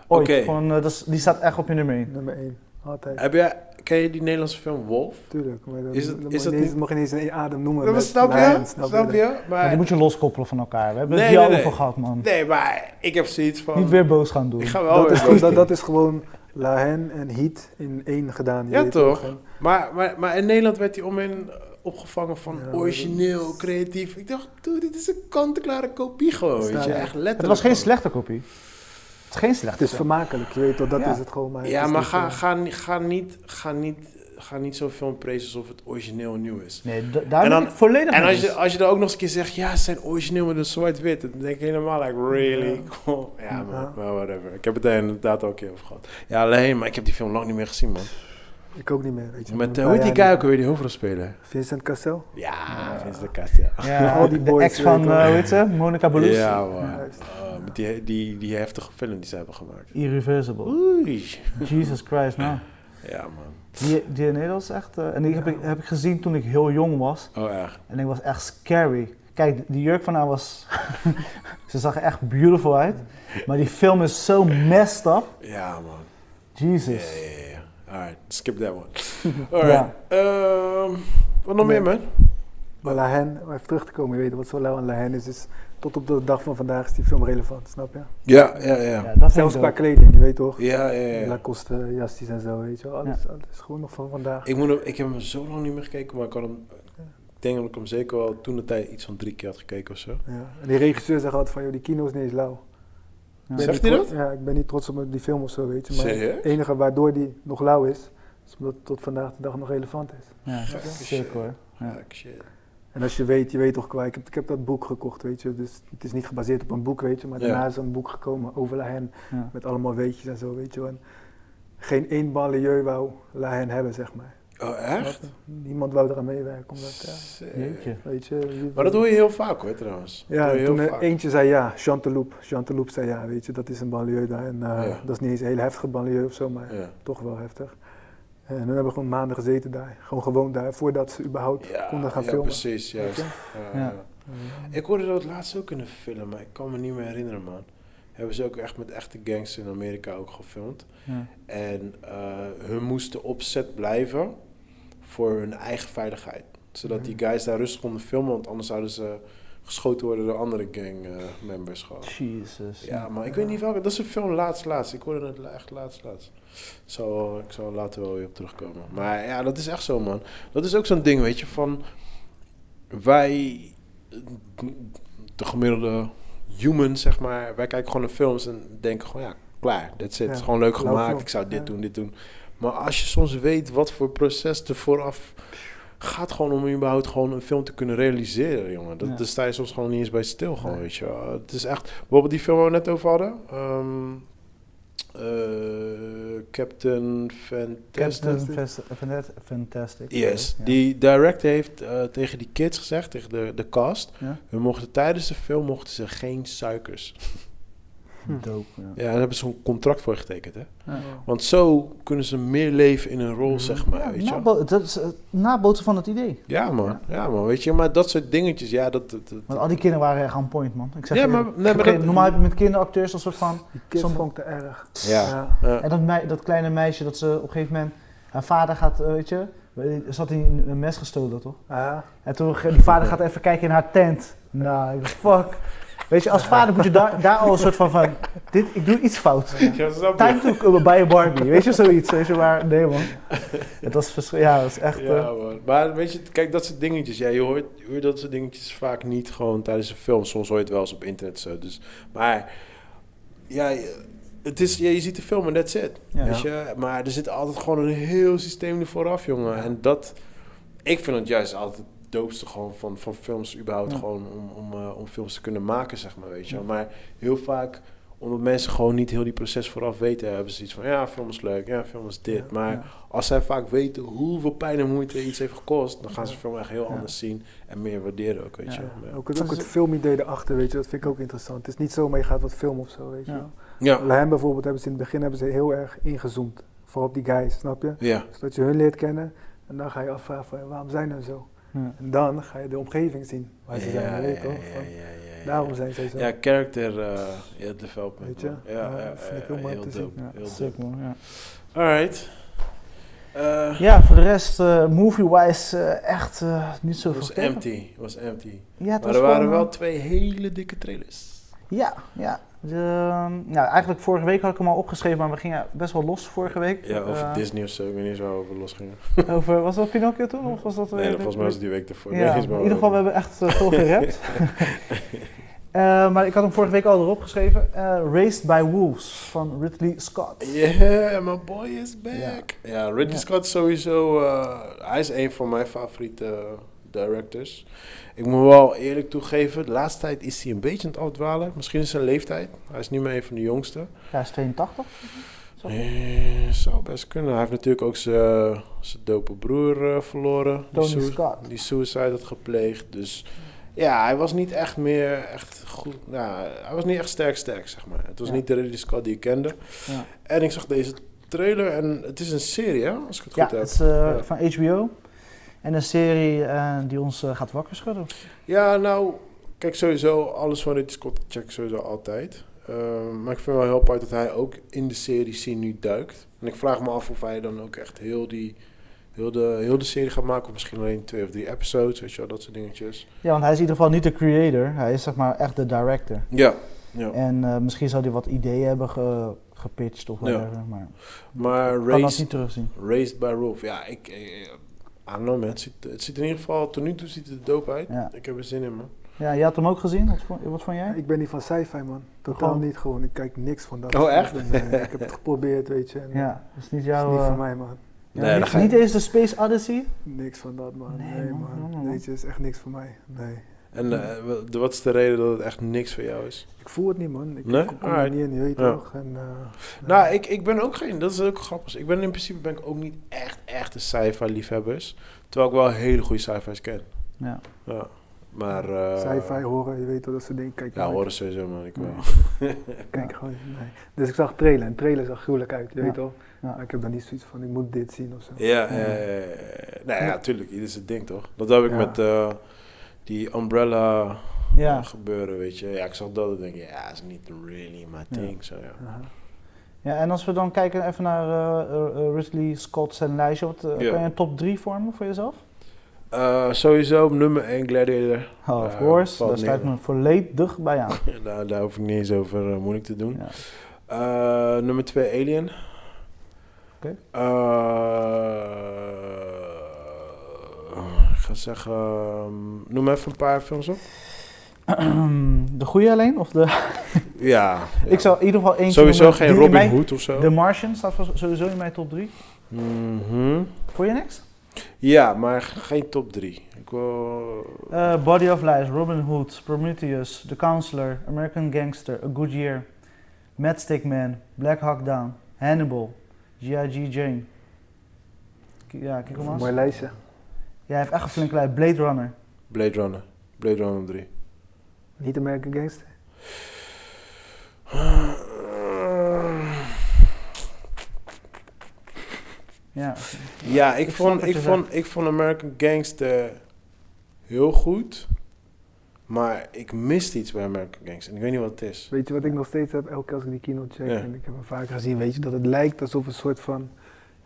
Speaker 3: Ooit,
Speaker 2: Oké.
Speaker 3: gewoon, eh, dat is- die staat echt op je nummer 1.
Speaker 4: Nummer 1, altijd.
Speaker 2: Heb jij, ken je die Nederlandse film Wolf?
Speaker 4: Tuurlijk, maar dat,
Speaker 2: Is
Speaker 4: is
Speaker 2: het-
Speaker 4: dat,
Speaker 2: is dat
Speaker 4: mag, je
Speaker 2: niet-
Speaker 4: ineens, mag je ineens in één adem noemen.
Speaker 2: Dat
Speaker 4: met
Speaker 2: snap je?
Speaker 4: Lion, snap je?
Speaker 2: Snap je?
Speaker 3: Maar die
Speaker 2: Maar,
Speaker 3: moet je loskoppelen van elkaar. We hebben
Speaker 2: Nee,
Speaker 3: het hier
Speaker 2: nee,
Speaker 3: al
Speaker 2: nee.
Speaker 3: over gehad, man.
Speaker 2: nee, maar ik heb zoiets van...
Speaker 3: Niet weer boos gaan doen.
Speaker 2: Oh, Ik ga wel
Speaker 4: Dat, is,
Speaker 2: weer
Speaker 4: gewoon-
Speaker 2: boos
Speaker 4: dat,
Speaker 2: doen.
Speaker 4: dat is gewoon Lahen en Heat in één gedaan. je
Speaker 2: Ja,
Speaker 4: weet het
Speaker 2: toch?
Speaker 4: gewoon.
Speaker 2: Maar, maar, maar in Nederland werd hij omheen eh, opgevangen van
Speaker 4: Ja,
Speaker 2: origineel, creatief. Ik dacht, dude, dit is een kant-en-klare kopie gewoon, weet
Speaker 4: Staat
Speaker 2: je.
Speaker 4: er.
Speaker 2: Echt letterlijk.
Speaker 3: Het was geen
Speaker 2: gewoon.
Speaker 3: slechte kopie. Het is geen
Speaker 4: Het
Speaker 3: slechte
Speaker 4: is
Speaker 3: film.
Speaker 4: vermakelijk, je weet toch? Dat
Speaker 3: Ja.
Speaker 4: is het gewoon. Maar het
Speaker 2: Ja,
Speaker 4: is
Speaker 2: maar
Speaker 4: niet,
Speaker 2: ga,
Speaker 4: eh,
Speaker 2: ga, ni- ga niet, ga niet, ga niet zo'n film prezen alsof het origineel nieuw is.
Speaker 3: Nee, da- daar
Speaker 2: En
Speaker 3: ben
Speaker 2: dan-
Speaker 3: ik volledig
Speaker 2: En
Speaker 3: mee
Speaker 2: als je,
Speaker 3: eens.
Speaker 2: als je dan ook nog eens een keer zegt, ja, ze zijn origineel met een zwart-wit, dan denk ik helemaal, like, really?
Speaker 4: Ja.
Speaker 2: Cool. Ja, maar,
Speaker 4: Ja.
Speaker 2: maar whatever. Ik heb het daar inderdaad al een keer over gehad. Ja, alleen, maar ik heb die film lang niet meer gezien, man.
Speaker 4: eh, Ik ook niet meer, weet je.
Speaker 2: Met,
Speaker 4: Een
Speaker 2: eh, hoe
Speaker 4: paar
Speaker 2: heet die Oh,
Speaker 4: jaar
Speaker 2: guy
Speaker 4: niet.
Speaker 2: ook weer, die hoofdrolspeler?
Speaker 4: Vincent Cassel.
Speaker 2: Ja, Vince de Kast, ja.
Speaker 3: Ja,
Speaker 4: al die
Speaker 3: de
Speaker 4: boys,
Speaker 3: ex van,
Speaker 4: weet je wel.
Speaker 3: eh, hoe heet ze? Monica Bellucci.
Speaker 2: Ja, man.
Speaker 4: Juist.
Speaker 2: Oh, met die, die, die heftige film die ze hebben gemaakt.
Speaker 3: Irreversible.
Speaker 2: Oei.
Speaker 3: Jesus Christ, man.
Speaker 2: Ja, man.
Speaker 3: Die, die Nederlands is echt... eh, en die heb ik, heb ik gezien toen ik heel jong was.
Speaker 2: Oh, echt.
Speaker 3: En ik was echt scary. Kijk, die jurk van haar was... ze zag er echt beautiful uit. Maar die film is zo messed up.
Speaker 2: Ja, man. Ja,
Speaker 3: Jesus.
Speaker 2: ja, ja, ja. Alright, skip that one. Alright.
Speaker 3: Ja.
Speaker 2: Ehm, wat nog meer, man?
Speaker 4: Maar Lahen, om even terug te komen, je weet wat zo lauw aan Lahen is, is tot op de dag van vandaag is die film relevant, snap je?
Speaker 2: Ja, ja,
Speaker 3: Ja,
Speaker 2: ja.
Speaker 3: dat vind
Speaker 4: Zelfs
Speaker 3: ik
Speaker 4: qua
Speaker 3: dope.
Speaker 4: kleding, je weet toch?
Speaker 2: Ja, ja, ja.
Speaker 4: Lacoste, jasjes en zo, weet je wel. Alles, alles gewoon nog van vandaag.
Speaker 2: Ik, moet hem- ik heb hem zo lang niet meer gekeken, maar ik, had hem, ik denk dat ik hem zeker wel toen de tijd iets van drie keer had gekeken of zo.
Speaker 4: Ja. En die regisseur zegt altijd van, joh, die kino is niet eens lauw.
Speaker 3: Ja.
Speaker 4: Ik ben
Speaker 2: Zegt
Speaker 4: niet
Speaker 2: hij
Speaker 4: trots- Ja, ik ben niet trots op die film of zo, weet je. Maar
Speaker 2: Serieus?
Speaker 4: het enige waardoor die nog lauw is, is omdat het tot vandaag de dag nog relevant is.
Speaker 3: Ja, sick hoor. Ja.
Speaker 2: Ah, shit.
Speaker 4: En als je weet, je weet toch kwijt. Ik heb, ik heb dat boek gekocht, weet je. Dus het is niet gebaseerd op een boek, weet je. Maar
Speaker 2: Ja.
Speaker 4: daarna is er een boek gekomen over Lahen.
Speaker 3: Ja.
Speaker 4: Met allemaal weetjes en zo, weet je. wel. En geen één banlieue wou Lahen hebben, zeg maar.
Speaker 2: Oh, echt?
Speaker 4: Niemand wou eraan meewerken. Omdat, ja,
Speaker 2: Sick.
Speaker 3: Jeetje.
Speaker 4: weet je. wie-
Speaker 2: Maar dat hoor je heel vaak hoor, trouwens. Dat
Speaker 4: Ja,
Speaker 2: hoor je heel
Speaker 4: en toen eh, er
Speaker 2: vaak.
Speaker 4: eentje zei ja, Chanteloup. Chanteloup zei ja, weet je, dat is een banlieue daar. En eh,
Speaker 2: Ja.
Speaker 4: dat is niet eens een hele heftige banlieue of zo, maar
Speaker 2: Ja.
Speaker 4: toch wel heftig. Eh, En dan hebben we gewoon maanden gezeten daar. Gewoon gewoond daar, voordat ze überhaupt
Speaker 2: Ja,
Speaker 4: konden gaan
Speaker 2: ja,
Speaker 4: filmen. Eh,
Speaker 2: precies, juist.
Speaker 4: je?
Speaker 2: Ja,
Speaker 3: Ja.
Speaker 2: ja. Ik hoorde dat laatst ook in een film, maar ik kan me niet meer herinneren, man. Hebben ze ook echt met echte gangs in Amerika ook gefilmd.
Speaker 3: Ja.
Speaker 2: En eh, hun moesten op set blijven voor hun eigen veiligheid. Zodat die guys daar rustig konden filmen, want anders zouden ze geschoten worden door andere gang-members gewoon.
Speaker 3: Jesus.
Speaker 2: Ja, maar ik weet niet welke. Dat is een film laatst, laatst. Ik hoorde het la- echt laatst, laatst. Zo, ik zal er later wel weer op terugkomen. Maar ja, dat is echt zo, man. Dat is ook zo'n ding, weet je, van... Wij, de gemiddelde human, zeg maar... Wij kijken gewoon naar films en denken gewoon, ja, klaar. That's it.
Speaker 4: Ja,
Speaker 2: Het is gewoon leuk
Speaker 4: lauw
Speaker 2: gemaakt.
Speaker 4: film.
Speaker 2: Ik zou dit
Speaker 4: Ja.
Speaker 2: doen, dit doen. Maar als je soms weet wat voor proces er vooraf gaat gewoon om überhaupt gewoon een film te kunnen realiseren, jongen. Dat,
Speaker 3: Ja.
Speaker 2: Daar sta je soms gewoon niet eens bij stil, gewoon, weet je wel. Het is echt... Bijvoorbeeld die film waar we net over hadden. ehm, eh, Captain Fantastic.
Speaker 3: Captain Fast- Fanta- Fantastic.
Speaker 2: Yes.
Speaker 3: Ja.
Speaker 2: Die director heeft eh, tegen die kids gezegd, tegen de, de cast...
Speaker 3: Ja.
Speaker 2: we mochten tijdens de film mochten ze geen suikers.
Speaker 3: Dope, ja.
Speaker 2: Ja, daar hebben ze een contract voor getekend, hè.
Speaker 3: Ja.
Speaker 2: Want zo kunnen ze meer leven in hun rol, zeg maar, weet je wel.
Speaker 3: Nabo- dat is het nabootsen van het idee.
Speaker 2: Ja, man. Ja, man. Weet je, maar dat soort dingetjes, ja, dat... dat, dat-
Speaker 3: Want al die kinderen waren echt on point, man. Ik zeg
Speaker 2: Ja,
Speaker 3: je
Speaker 2: maar-
Speaker 3: eerlijk.
Speaker 2: nee, maar
Speaker 3: Oké,
Speaker 2: dat-
Speaker 3: normaal heb je met kinderacteurs een soort van...
Speaker 4: Die kids
Speaker 3: Sommige-
Speaker 4: vond ik te erg.
Speaker 2: Ja. Ja.
Speaker 3: En dat, mei- dat kleine meisje, dat ze op een gegeven moment... Haar vader gaat, eh, weet je... Zat in een mes gestolen, toch?
Speaker 4: Ja.
Speaker 3: En toen, ge- die vader gaat even kijken in haar tent. Nou, ik dacht, fuck. Weet je, als vader moet je daar, daar al een soort van van, dit, ik doe iets fout.
Speaker 2: Ja, snap je?
Speaker 3: Time to uh, buy a Barbie, weet je, zoiets. Weet je, maar nee man, het was, verschri- ja, het was echt... eh,
Speaker 2: Ja, man. Maar weet je, kijk, dat soort dingetjes. Ja, je hoort, je hoort dat soort dingetjes vaak niet gewoon tijdens een film. Soms hoor je het wel eens op internet zo. Dus, maar ja, je- het is, ja, je ziet de film en that's it.
Speaker 3: Ja.
Speaker 2: Weet je? Maar er zit altijd gewoon een heel systeem er vooraf, jongen. En dat, ik vind het juist altijd het doopste gewoon van, van films überhaupt
Speaker 3: Ja.
Speaker 2: gewoon om, om, eh, om films te kunnen maken, zeg maar, weet je. wel. Maar heel vaak, omdat mensen gewoon niet heel die proces vooraf weten, hebben ze iets van, ja, film is leuk, ja, film is dit.
Speaker 4: Ja,
Speaker 2: maar
Speaker 3: ja.
Speaker 2: als zij vaak weten hoeveel pijn en moeite iets heeft gekost, dan gaan ze film echt heel
Speaker 3: Ja.
Speaker 2: anders zien en meer waarderen ook, weet
Speaker 3: Ja.
Speaker 2: je. wel.
Speaker 4: Ook, het- ook
Speaker 3: Dat is-
Speaker 4: het filmidee erachter, weet je, dat vind ik ook interessant. Het is niet zomaar je gaat wat filmen of zo, weet je
Speaker 3: Ja.
Speaker 4: wel.
Speaker 2: Ja, ja.
Speaker 4: Lijn bijvoorbeeld hebben ze in het begin hebben ze heel erg ingezoomd. Vooral op die guys, snap je?
Speaker 2: ja.
Speaker 4: Zodat je hun leert kennen en dan ga je afvragen van, waarom zijn ze zo?
Speaker 3: ja.
Speaker 4: En dan ga je de omgeving zien waar ze
Speaker 2: ja,
Speaker 4: zijn, weet je
Speaker 2: ja,
Speaker 4: toch?
Speaker 2: ja,
Speaker 4: Van,
Speaker 2: ja, ja, ja.
Speaker 4: Daarom zijn ze zo.
Speaker 2: Ja, character eh, ja, development.
Speaker 4: Weet je?
Speaker 2: man. Ja,
Speaker 4: Ja,
Speaker 2: ja,
Speaker 4: dat vind
Speaker 2: ja,
Speaker 4: ik heel
Speaker 2: ja,
Speaker 4: mooi
Speaker 2: heel
Speaker 4: te zien.
Speaker 2: dope.
Speaker 3: Ja,
Speaker 2: Heel
Speaker 3: sick,
Speaker 2: dope.
Speaker 3: man, ja.
Speaker 2: Alright. Eh,
Speaker 3: Ja, voor de rest, eh, movie-wise, eh, echt eh, niet
Speaker 2: Het
Speaker 3: zoveel
Speaker 2: was
Speaker 3: gekeken.
Speaker 2: empty, was empty.
Speaker 3: Ja, het
Speaker 2: Maar
Speaker 3: was
Speaker 2: er waren
Speaker 3: gewoon,
Speaker 2: wel
Speaker 3: eh,
Speaker 2: twee hele dikke trailers.
Speaker 3: Ja, ja. De, ehm, nou, eigenlijk vorige week had ik hem al opgeschreven, maar we gingen best wel los vorige week.
Speaker 2: Ja, over
Speaker 3: Eh,
Speaker 2: Disney of zo, ik weet niet zo over losgingen.
Speaker 3: over- was dat Pinocchio toen? Of was dat
Speaker 2: Nee,
Speaker 3: eh,
Speaker 2: dat volgens mij was het die week ervoor.
Speaker 3: Ja,
Speaker 2: Nee, is
Speaker 3: in
Speaker 2: maar
Speaker 3: ieder geval, we
Speaker 2: over.
Speaker 3: hebben echt eh, veel gerapt. Eh, maar ik had hem vorige week al erop geschreven. eh, Raised by Wolves van Ridley Scott.
Speaker 2: Yeah, my boy is back. Ja, Ridley
Speaker 3: Ja.
Speaker 2: Scott sowieso, eh, hij is een van mijn favoriete directors. Ik moet wel eerlijk toegeven, de laatste tijd is hij een beetje aan het afdwalen. Misschien is zijn leeftijd, hij is niet meer een van de jongste.
Speaker 3: Ja, hij is 82. Zo.
Speaker 2: Eh, zou best kunnen. Hij heeft natuurlijk ook zijn zijn dope broer eh, verloren.
Speaker 3: Tony
Speaker 2: die, sui-
Speaker 3: Scott.
Speaker 2: die suicide had gepleegd. Dus ja, hij was niet echt meer echt goed. Nou, hij was niet echt sterk sterk, zeg maar. Het was
Speaker 3: Ja.
Speaker 2: niet de Ridley Scott die ik kende.
Speaker 3: Ja.
Speaker 2: En ik zag deze trailer en het is een serie, hè? Als ik het
Speaker 3: Ja,
Speaker 2: goed heb.
Speaker 3: het is eh,
Speaker 2: Ja.
Speaker 3: van HBO. En een serie eh, die ons eh, gaat wakker schudden.
Speaker 2: Ja, nou, kijk sowieso, alles van Ridley Scott check ik sowieso altijd. Ehm, maar ik vind wel heel apart dat hij ook in de serie scene nu duikt. En ik vraag me af of hij dan ook echt heel, die, heel, de, heel de serie gaat maken. Of misschien alleen twee of drie episodes, weet je wel, dat soort dingetjes.
Speaker 3: Ja, want hij is in ieder geval niet de creator. Hij is zeg maar echt de director.
Speaker 2: Ja, ja.
Speaker 3: En eh, misschien zou hij wat ideeën hebben ge- gepitcht of
Speaker 2: Ja.
Speaker 3: whatever. Maar
Speaker 2: Maar
Speaker 3: ik kan dat
Speaker 2: Raised,
Speaker 3: niet terugzien.
Speaker 2: raised by Roof, ja, ik... eh, I don't know, man. Het ziet, het ziet in ieder geval, tot nu toe ziet het er dope uit.
Speaker 3: Ja.
Speaker 2: Ik heb er zin in, man.
Speaker 3: Ja, je had hem ook gezien. Wat vond, wat vond jij?
Speaker 4: Ik ben niet van sci-fi, man. Totaal
Speaker 3: Gewoon.
Speaker 4: niet gewoon. Ik kijk niks van dat.
Speaker 2: Oh,
Speaker 4: soort
Speaker 2: echt?
Speaker 4: dingen. Nee, ik heb het geprobeerd, weet je. En eh,
Speaker 3: Ja, dat is niet
Speaker 4: Het is
Speaker 3: jouw...
Speaker 4: niet
Speaker 3: eh,
Speaker 4: voor mij, man.
Speaker 3: ja,
Speaker 2: Nee,
Speaker 3: niet-
Speaker 2: dan ga je-
Speaker 3: niet eens de Space Odyssey?
Speaker 4: Niks van dat, man.
Speaker 3: Nee,
Speaker 4: Nee,
Speaker 3: man,
Speaker 4: man.
Speaker 3: jammer, man.
Speaker 4: Weet je, het is echt niks voor mij. Nee.
Speaker 2: En eh, wa- de- wat is de reden dat het echt niks voor jou is?
Speaker 4: Ik voel het niet, man. Ik
Speaker 2: Nee?
Speaker 4: kom kom er
Speaker 2: Alright.
Speaker 4: niet in, je weet
Speaker 2: Ja.
Speaker 4: toch. En, eh,
Speaker 2: Nou, ik, ik ben ook geen, dat is ook grappig. Ik ben in principe ben ik ook niet echt, echt een sci-fi liefhebbers. Terwijl ik wel hele goede sci-fi's ken.
Speaker 3: Ja.
Speaker 2: Ja. Maar, eh
Speaker 4: Sci-fi, horen, je weet wel, dat soort dingen. Kijk,
Speaker 2: Ja,
Speaker 4: maar
Speaker 2: horen sowieso, man. Ik wel.
Speaker 4: Ik kijk gewoon, nee. Dus ik zag trailer en trailer zag gruwelijk uit, je
Speaker 3: Ja.
Speaker 4: weet toch.
Speaker 3: Ja.
Speaker 4: Maar ik heb dan niet zoiets van, ik moet dit zien of zo.
Speaker 2: Ja, ja, ja, ja. Nou ja, tuurlijk. Ieder zijn ding, toch? Dat heb ik
Speaker 4: Ja.
Speaker 2: met eh, die umbrella
Speaker 3: Ja.
Speaker 2: gebeuren, weet je. Ja, ik zag dat en denk ik, ja, is niet really my
Speaker 3: Ja.
Speaker 2: thing. Zo, ja.
Speaker 4: Aha.
Speaker 3: ja, en als we dan kijken even naar eh, eh, eh, Ridley Scott zijn lijstje. Wat, eh,
Speaker 2: Ja.
Speaker 3: Kan je een top 3 vormen voor jezelf?
Speaker 2: Eh, sowieso op nummer 1 Gladiator.
Speaker 3: Oh, of
Speaker 2: Eh,
Speaker 3: course,
Speaker 2: valt
Speaker 3: daar
Speaker 2: niet
Speaker 3: sluit ik
Speaker 2: in.
Speaker 3: me volledig bij aan.
Speaker 2: daar, daar hoef ik niet eens over eh, moeilijk te doen.
Speaker 3: Ja.
Speaker 2: Eh, nummer 2 Alien.
Speaker 3: Oké.
Speaker 2: Eh, ik ga zeggen. ehm, noem even een paar films op.
Speaker 3: de goede alleen? Of de...
Speaker 2: Ja. ja.
Speaker 3: Ik zou in ieder geval eentje
Speaker 2: Sowieso
Speaker 3: noemen
Speaker 2: geen
Speaker 3: die in
Speaker 2: Robin
Speaker 3: mijn-
Speaker 2: Hood of zo.
Speaker 3: The Martian staat voor- sowieso in mijn top 3.
Speaker 2: Mhm.
Speaker 3: Voor je niks?
Speaker 2: Ja, maar geen top 3. Ik wil.
Speaker 3: Eh, Body of Lies, Robin Hood, Prometheus, The Counselor, American Gangster, A Good Year, Mad Stick Man, Black Hawk Down, Hannibal, G.I.G. Jane. K- Ja, kijk
Speaker 4: Een
Speaker 3: hem aan.
Speaker 4: mooi lijstje.
Speaker 3: Jij hebt echt een flinke lijst. Blade Runner.
Speaker 2: Blade Runner. Blade Runner 3.
Speaker 4: Niet American Gangster?
Speaker 3: Ja.
Speaker 2: Ja, ik,
Speaker 3: Ik snap
Speaker 2: vond,
Speaker 3: wat
Speaker 2: ik,
Speaker 3: je
Speaker 2: vond, ik vond American Gangster heel goed. Maar ik miste iets bij American Gangster. En ik weet niet wat het is.
Speaker 4: Weet je wat ik nog steeds heb? Elke keer als ik die kino check,
Speaker 2: Ja.
Speaker 4: en ik heb hem vaker gezien, weet je, dat het lijkt alsof een soort van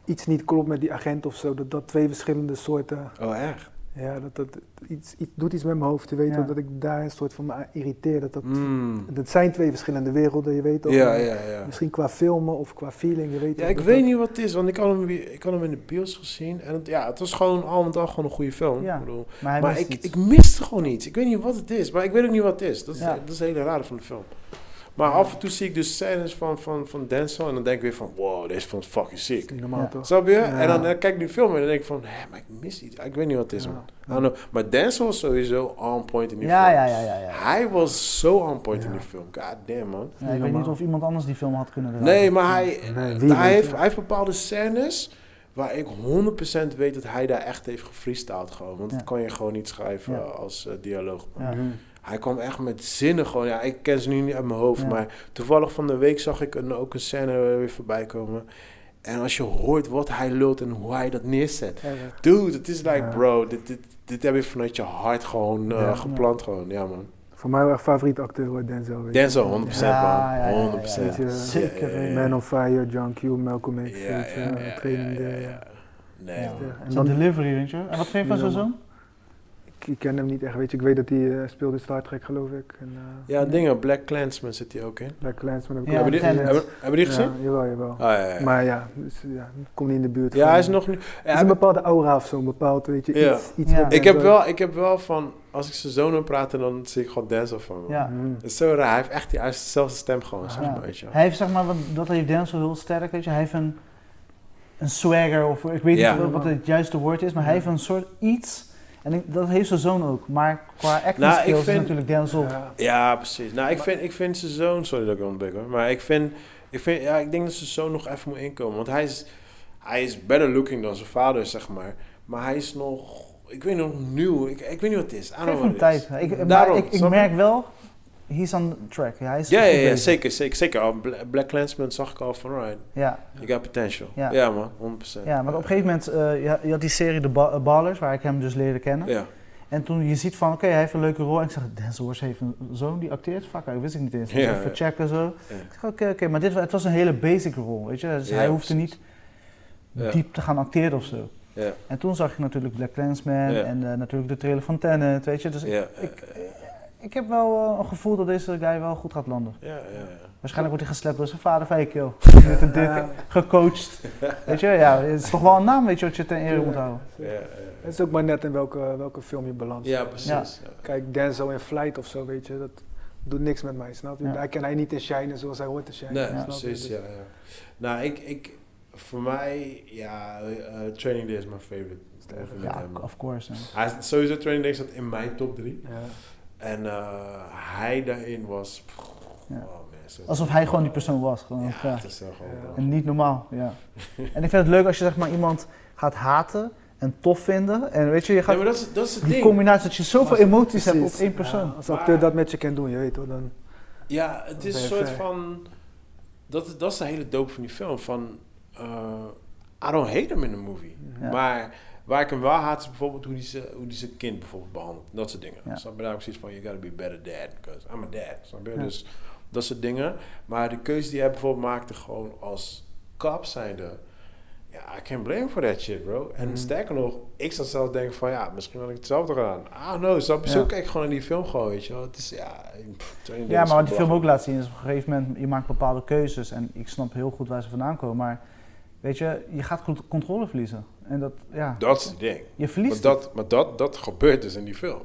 Speaker 4: iets niet klopt met die agent of zo. Dat dat twee verschillende soorten,
Speaker 2: Oh, echt?
Speaker 4: Ja, dat, dat, iets, iets, doet iets met mijn hoofd. Je weet
Speaker 3: Ja.
Speaker 4: ook dat ik daar een soort van me aan irriteer. Dat, dat,
Speaker 2: Mm.
Speaker 4: dat zijn twee verschillende werelden, je weet ook.
Speaker 2: Ja, ja, ja.
Speaker 4: Misschien qua filmen of qua feeling, je weet
Speaker 2: Ja,
Speaker 4: ook
Speaker 2: ik
Speaker 4: dat
Speaker 2: weet
Speaker 4: dat-
Speaker 2: niet wat het is, want ik had hem, weer- ik had hem in de bios gezien. En het, ja, het was gewoon al met al gewoon een goede film.
Speaker 3: Ja.
Speaker 2: Ik bedoel,
Speaker 3: Maar hij
Speaker 2: maar
Speaker 3: mist
Speaker 2: ik,
Speaker 3: iets.
Speaker 2: ik miste gewoon iets. Ik weet niet wat het is, maar ik weet ook niet wat het is. Dat is,
Speaker 3: Ja.
Speaker 2: dat is het hele rare van de film. Maar af en toe zie ik dus scènes van, van, van Denzel en dan denk ik weer van, wow, deze film is fucking
Speaker 4: Dat is
Speaker 2: sick.
Speaker 4: niet normaal
Speaker 3: Ja.
Speaker 4: toch?
Speaker 2: Snap je?
Speaker 4: Ja.
Speaker 2: En dan eh, kijk ik nu film en dan denk ik van, hé, maar ik mis iets. Ik weet niet wat het is,
Speaker 4: Ja.
Speaker 2: man. I don't know. Maar Denzel was sowieso on point in die
Speaker 3: Ja,
Speaker 2: film.
Speaker 3: ja, ja, ja, ja.
Speaker 2: Hij was zo on point in
Speaker 4: Ja.
Speaker 2: die film. God damn, man.
Speaker 3: Ja, ik weet niet
Speaker 4: Normaal.
Speaker 3: of iemand anders die film had kunnen draaien.
Speaker 2: Nee, maar hij,
Speaker 4: Nee, wie
Speaker 2: hij,
Speaker 4: weet,
Speaker 2: heeft,
Speaker 4: ja.
Speaker 2: hij heeft bepaalde scènes waar ik 100% weet dat hij daar echt heeft gefreestyled gewoon. Want
Speaker 3: Ja.
Speaker 2: dat kan je gewoon niet schrijven
Speaker 3: Ja.
Speaker 2: eh, als eh, dialoog. man.
Speaker 3: Ja.
Speaker 4: Mhm.
Speaker 2: Hij kwam echt met zinnen gewoon. Ja, ik ken ze nu niet uit mijn hoofd,
Speaker 3: Ja.
Speaker 2: maar toevallig van de week zag ik een, ook een scène eh, weer voorbij komen. En als je hoort wat hij lult en hoe hij dat neerzet.
Speaker 4: Ja, ja.
Speaker 2: Dude, het is like
Speaker 4: Ja.
Speaker 2: bro, dit, dit, dit heb je vanuit je hart gewoon eh,
Speaker 4: Ja.
Speaker 2: geplant gewoon. Ja man.
Speaker 4: Voor mij wel echt favoriete acteur hoor, Denzel. weet je.
Speaker 2: Denzel, 100%
Speaker 3: Ja, ja, ja, ja,
Speaker 2: man. 100%.
Speaker 4: Weet je,
Speaker 3: Zeker,
Speaker 2: Ja, ja, ja.
Speaker 4: Man on Fire, John Q, Malcolm X,
Speaker 2: Ja,
Speaker 4: weet je,
Speaker 2: ja, ja,
Speaker 4: Training
Speaker 2: ja, ja,
Speaker 4: Day.
Speaker 2: ja. Nee,
Speaker 3: Ja.
Speaker 2: man.
Speaker 4: En
Speaker 3: Zijn
Speaker 4: dan,
Speaker 3: delivery, weet je. En wat vind je van zijn
Speaker 4: Ja, man.
Speaker 3: zoon?
Speaker 4: ik, ik ken hem niet echt, weet je. Ik weet dat hij eh, speelde in Star Trek, geloof ik. En, eh,
Speaker 2: Ja, dingen. Black Clansman zit hij ook in.
Speaker 4: Black Clansman heb ik
Speaker 3: Ja,
Speaker 4: ook
Speaker 2: hebben, die,
Speaker 4: gezien.
Speaker 3: Tenet.
Speaker 2: hebben, hebben die gezien? Ah,
Speaker 4: Ja, jawel, jawel.
Speaker 2: Ja. Oh, ja, ja.
Speaker 4: Maar ja, dus, ja, komt niet in de buurt.
Speaker 2: ja,
Speaker 4: van-
Speaker 2: hij is nog niet...
Speaker 4: Het is
Speaker 2: Ja,
Speaker 4: een bepaalde aura of zo, een bepaald, weet je,
Speaker 2: Ja.
Speaker 4: iets. iets
Speaker 3: Ja.
Speaker 4: wat
Speaker 2: ik,
Speaker 4: men
Speaker 2: heb
Speaker 4: zo-
Speaker 2: wel, ik heb wel van... Als ik zijn zoon hoor praten, dan zie ik gewoon Denzel van hem.
Speaker 3: Ja.
Speaker 4: Mhm.
Speaker 2: Het is zo raar. Hij heeft echt die, hij heeft dezelfde stem gewoon, zeg
Speaker 3: Ja.
Speaker 2: maar, weet je wel.
Speaker 3: Hij heeft zeg maar, wat, dat heeft Denzel heel sterk, weet je. Hij heeft een, een swagger, of ik weet
Speaker 2: Ja.
Speaker 3: niet wat het juiste woord is, maar hij heeft een soort iets. En ik- dat heeft zijn zoon ook. Maar qua acting
Speaker 2: Nou, ik
Speaker 3: skills
Speaker 2: vind-
Speaker 3: is natuurlijk Denzel...
Speaker 4: Ja.
Speaker 2: Ja, precies. Nou, ik vind, ik vind zijn zoon... Sorry dat ik ontbreek hoor. Maar ik vind... Ik, vind, ja, ik denk dat zijn zoon nog even moet inkomen. Want hij is, hij is better looking dan zijn vader, zeg maar. Maar hij is nog... Ik weet nog nieuw. Ik, ik weet niet wat het is. I don't know
Speaker 3: Geef
Speaker 2: what
Speaker 3: hem
Speaker 2: it
Speaker 3: tijd.
Speaker 2: is.
Speaker 3: Ik, maar
Speaker 2: Daarom,
Speaker 3: ik, ik
Speaker 2: snap je?
Speaker 3: merk wel, he's on track. Ja, hij is
Speaker 2: Ja,
Speaker 3: goed
Speaker 2: ja, ja
Speaker 3: bezig.
Speaker 2: zeker, zeker, zeker. Al Bla- Black Clansman zag ik al van, right,
Speaker 3: Ja,
Speaker 2: you got potential. Ja,
Speaker 3: Ja.
Speaker 2: man, 100%.
Speaker 3: ja, maar op een gegeven moment, eh, je had- je had die serie de ba eh, Ballers, waar ik hem dus leerde kennen.
Speaker 2: Ja,
Speaker 3: En toen je ziet van, oké, hij heeft een leuke rol. En ik zeg, Denzel Washington heeft een zoon die acteert? Fuck, dat wist ik niet eens.
Speaker 2: Ja,
Speaker 3: even
Speaker 2: ja.
Speaker 3: checken zo.
Speaker 2: Ja.
Speaker 3: Ik zeg, oké, oké, maar dit, wa- het was een hele basic rol, weet je. Dus
Speaker 2: Ja,
Speaker 3: hij hoefde
Speaker 2: precies.
Speaker 3: niet
Speaker 2: Ja.
Speaker 3: diep te gaan acteren of zo.
Speaker 2: ja,
Speaker 3: En toen zag je natuurlijk Black Clansman
Speaker 2: Ja.
Speaker 3: en eh, natuurlijk de trailer van Tenet, weet je. Dus
Speaker 2: ja, eh,
Speaker 3: ik, ik heb wel eh, een gevoel dat deze guy wel goed gaat landen.
Speaker 2: ja, ja, ja.
Speaker 3: Waarschijnlijk wordt hij geslept door zijn vader van, hey kill, je bent een dik, gecoacht. Weet je, ja, het is toch wel een naam, weet je, wat je ten ere moet houden.
Speaker 2: Ja, ja.
Speaker 4: Het is ook maar net in welke, welke film je balans
Speaker 2: Ja,
Speaker 4: hebt.
Speaker 2: precies. Ja.
Speaker 4: Kijk, Denzel in Flight of zo, weet je, dat doet niks met mij, snap je?
Speaker 3: Ja.
Speaker 4: Daar kan hij niet in shinen zoals hij hoort te shinen.
Speaker 2: Nee,
Speaker 4: snap je?
Speaker 2: precies,
Speaker 4: Dus-
Speaker 2: ja, ja. Nou, ik, ik, voor mij, ja, eh, Training Day is mijn favorite. Even met
Speaker 3: Ja,
Speaker 2: hem.
Speaker 3: of course. man.
Speaker 2: Hij is- sowieso Training Day zat in mijn top 3.
Speaker 4: Ja.
Speaker 2: En eh, hij daarin was... pff,
Speaker 3: Ja.
Speaker 2: oh, man, zo-
Speaker 3: Alsof hij gewoon die persoon was. Gewoon,
Speaker 2: Ja,
Speaker 3: ja.
Speaker 2: het is wel gewoon...
Speaker 4: Ja.
Speaker 2: bro.
Speaker 3: En niet normaal, ja. En ik vind het leuk als je zeg maar iemand gaat haten en tof vinden. En weet je, je
Speaker 2: Nee,
Speaker 3: gaat
Speaker 2: maar dat is, dat is het
Speaker 3: die
Speaker 2: ding.
Speaker 3: combinatie dat je zoveel
Speaker 4: Als-
Speaker 3: emoties hebt op
Speaker 4: precies.
Speaker 3: één
Speaker 4: Ja,
Speaker 3: persoon.
Speaker 4: als acteur dat met je kan doen, je weet hoor, dan...
Speaker 2: Ja, het is
Speaker 4: ben
Speaker 2: een
Speaker 4: je
Speaker 2: soort
Speaker 4: ver.
Speaker 2: van. Dat, is- dat is de hele doop van die film. Van. eh, I don't hate him in the movie.
Speaker 3: Ja.
Speaker 2: Maar waar ik hem wel haat is bijvoorbeeld hoe die, ze- hoe die zijn kind bijvoorbeeld behandelt. Dat soort dingen.
Speaker 3: Ja.
Speaker 2: Snap je? Daarom zoiets van: you gotta be a better dad. Because I'm a dad. Snap je?
Speaker 3: Ja.
Speaker 2: Dus dat soort dingen. Maar de keuze die hij bijvoorbeeld maakte, gewoon als kap zijnde. Ja, I can't blame for that shit, bro. En
Speaker 4: Mhm.
Speaker 2: sterker nog, ik zou zelf denken van... ja, misschien had ik hetzelfde gedaan. I don't know, snap je? Zo
Speaker 3: Ja.
Speaker 2: kijk ik gewoon naar die film gewoon, weet je wel. Het is, ja... pff, Training Day
Speaker 3: Ja,
Speaker 2: is
Speaker 3: maar wat die film
Speaker 2: belachelijk.
Speaker 3: ook laat zien is op een gegeven moment, je maakt bepaalde keuzes. En ik snap heel goed waar ze vandaan komen. Maar weet je, je gaat cont- controle verliezen. En dat, ja,
Speaker 2: Dat is het ding.
Speaker 3: je
Speaker 2: Maar,
Speaker 3: verliest het. Mhm.
Speaker 2: dat, maar dat, dat gebeurt dus in die film.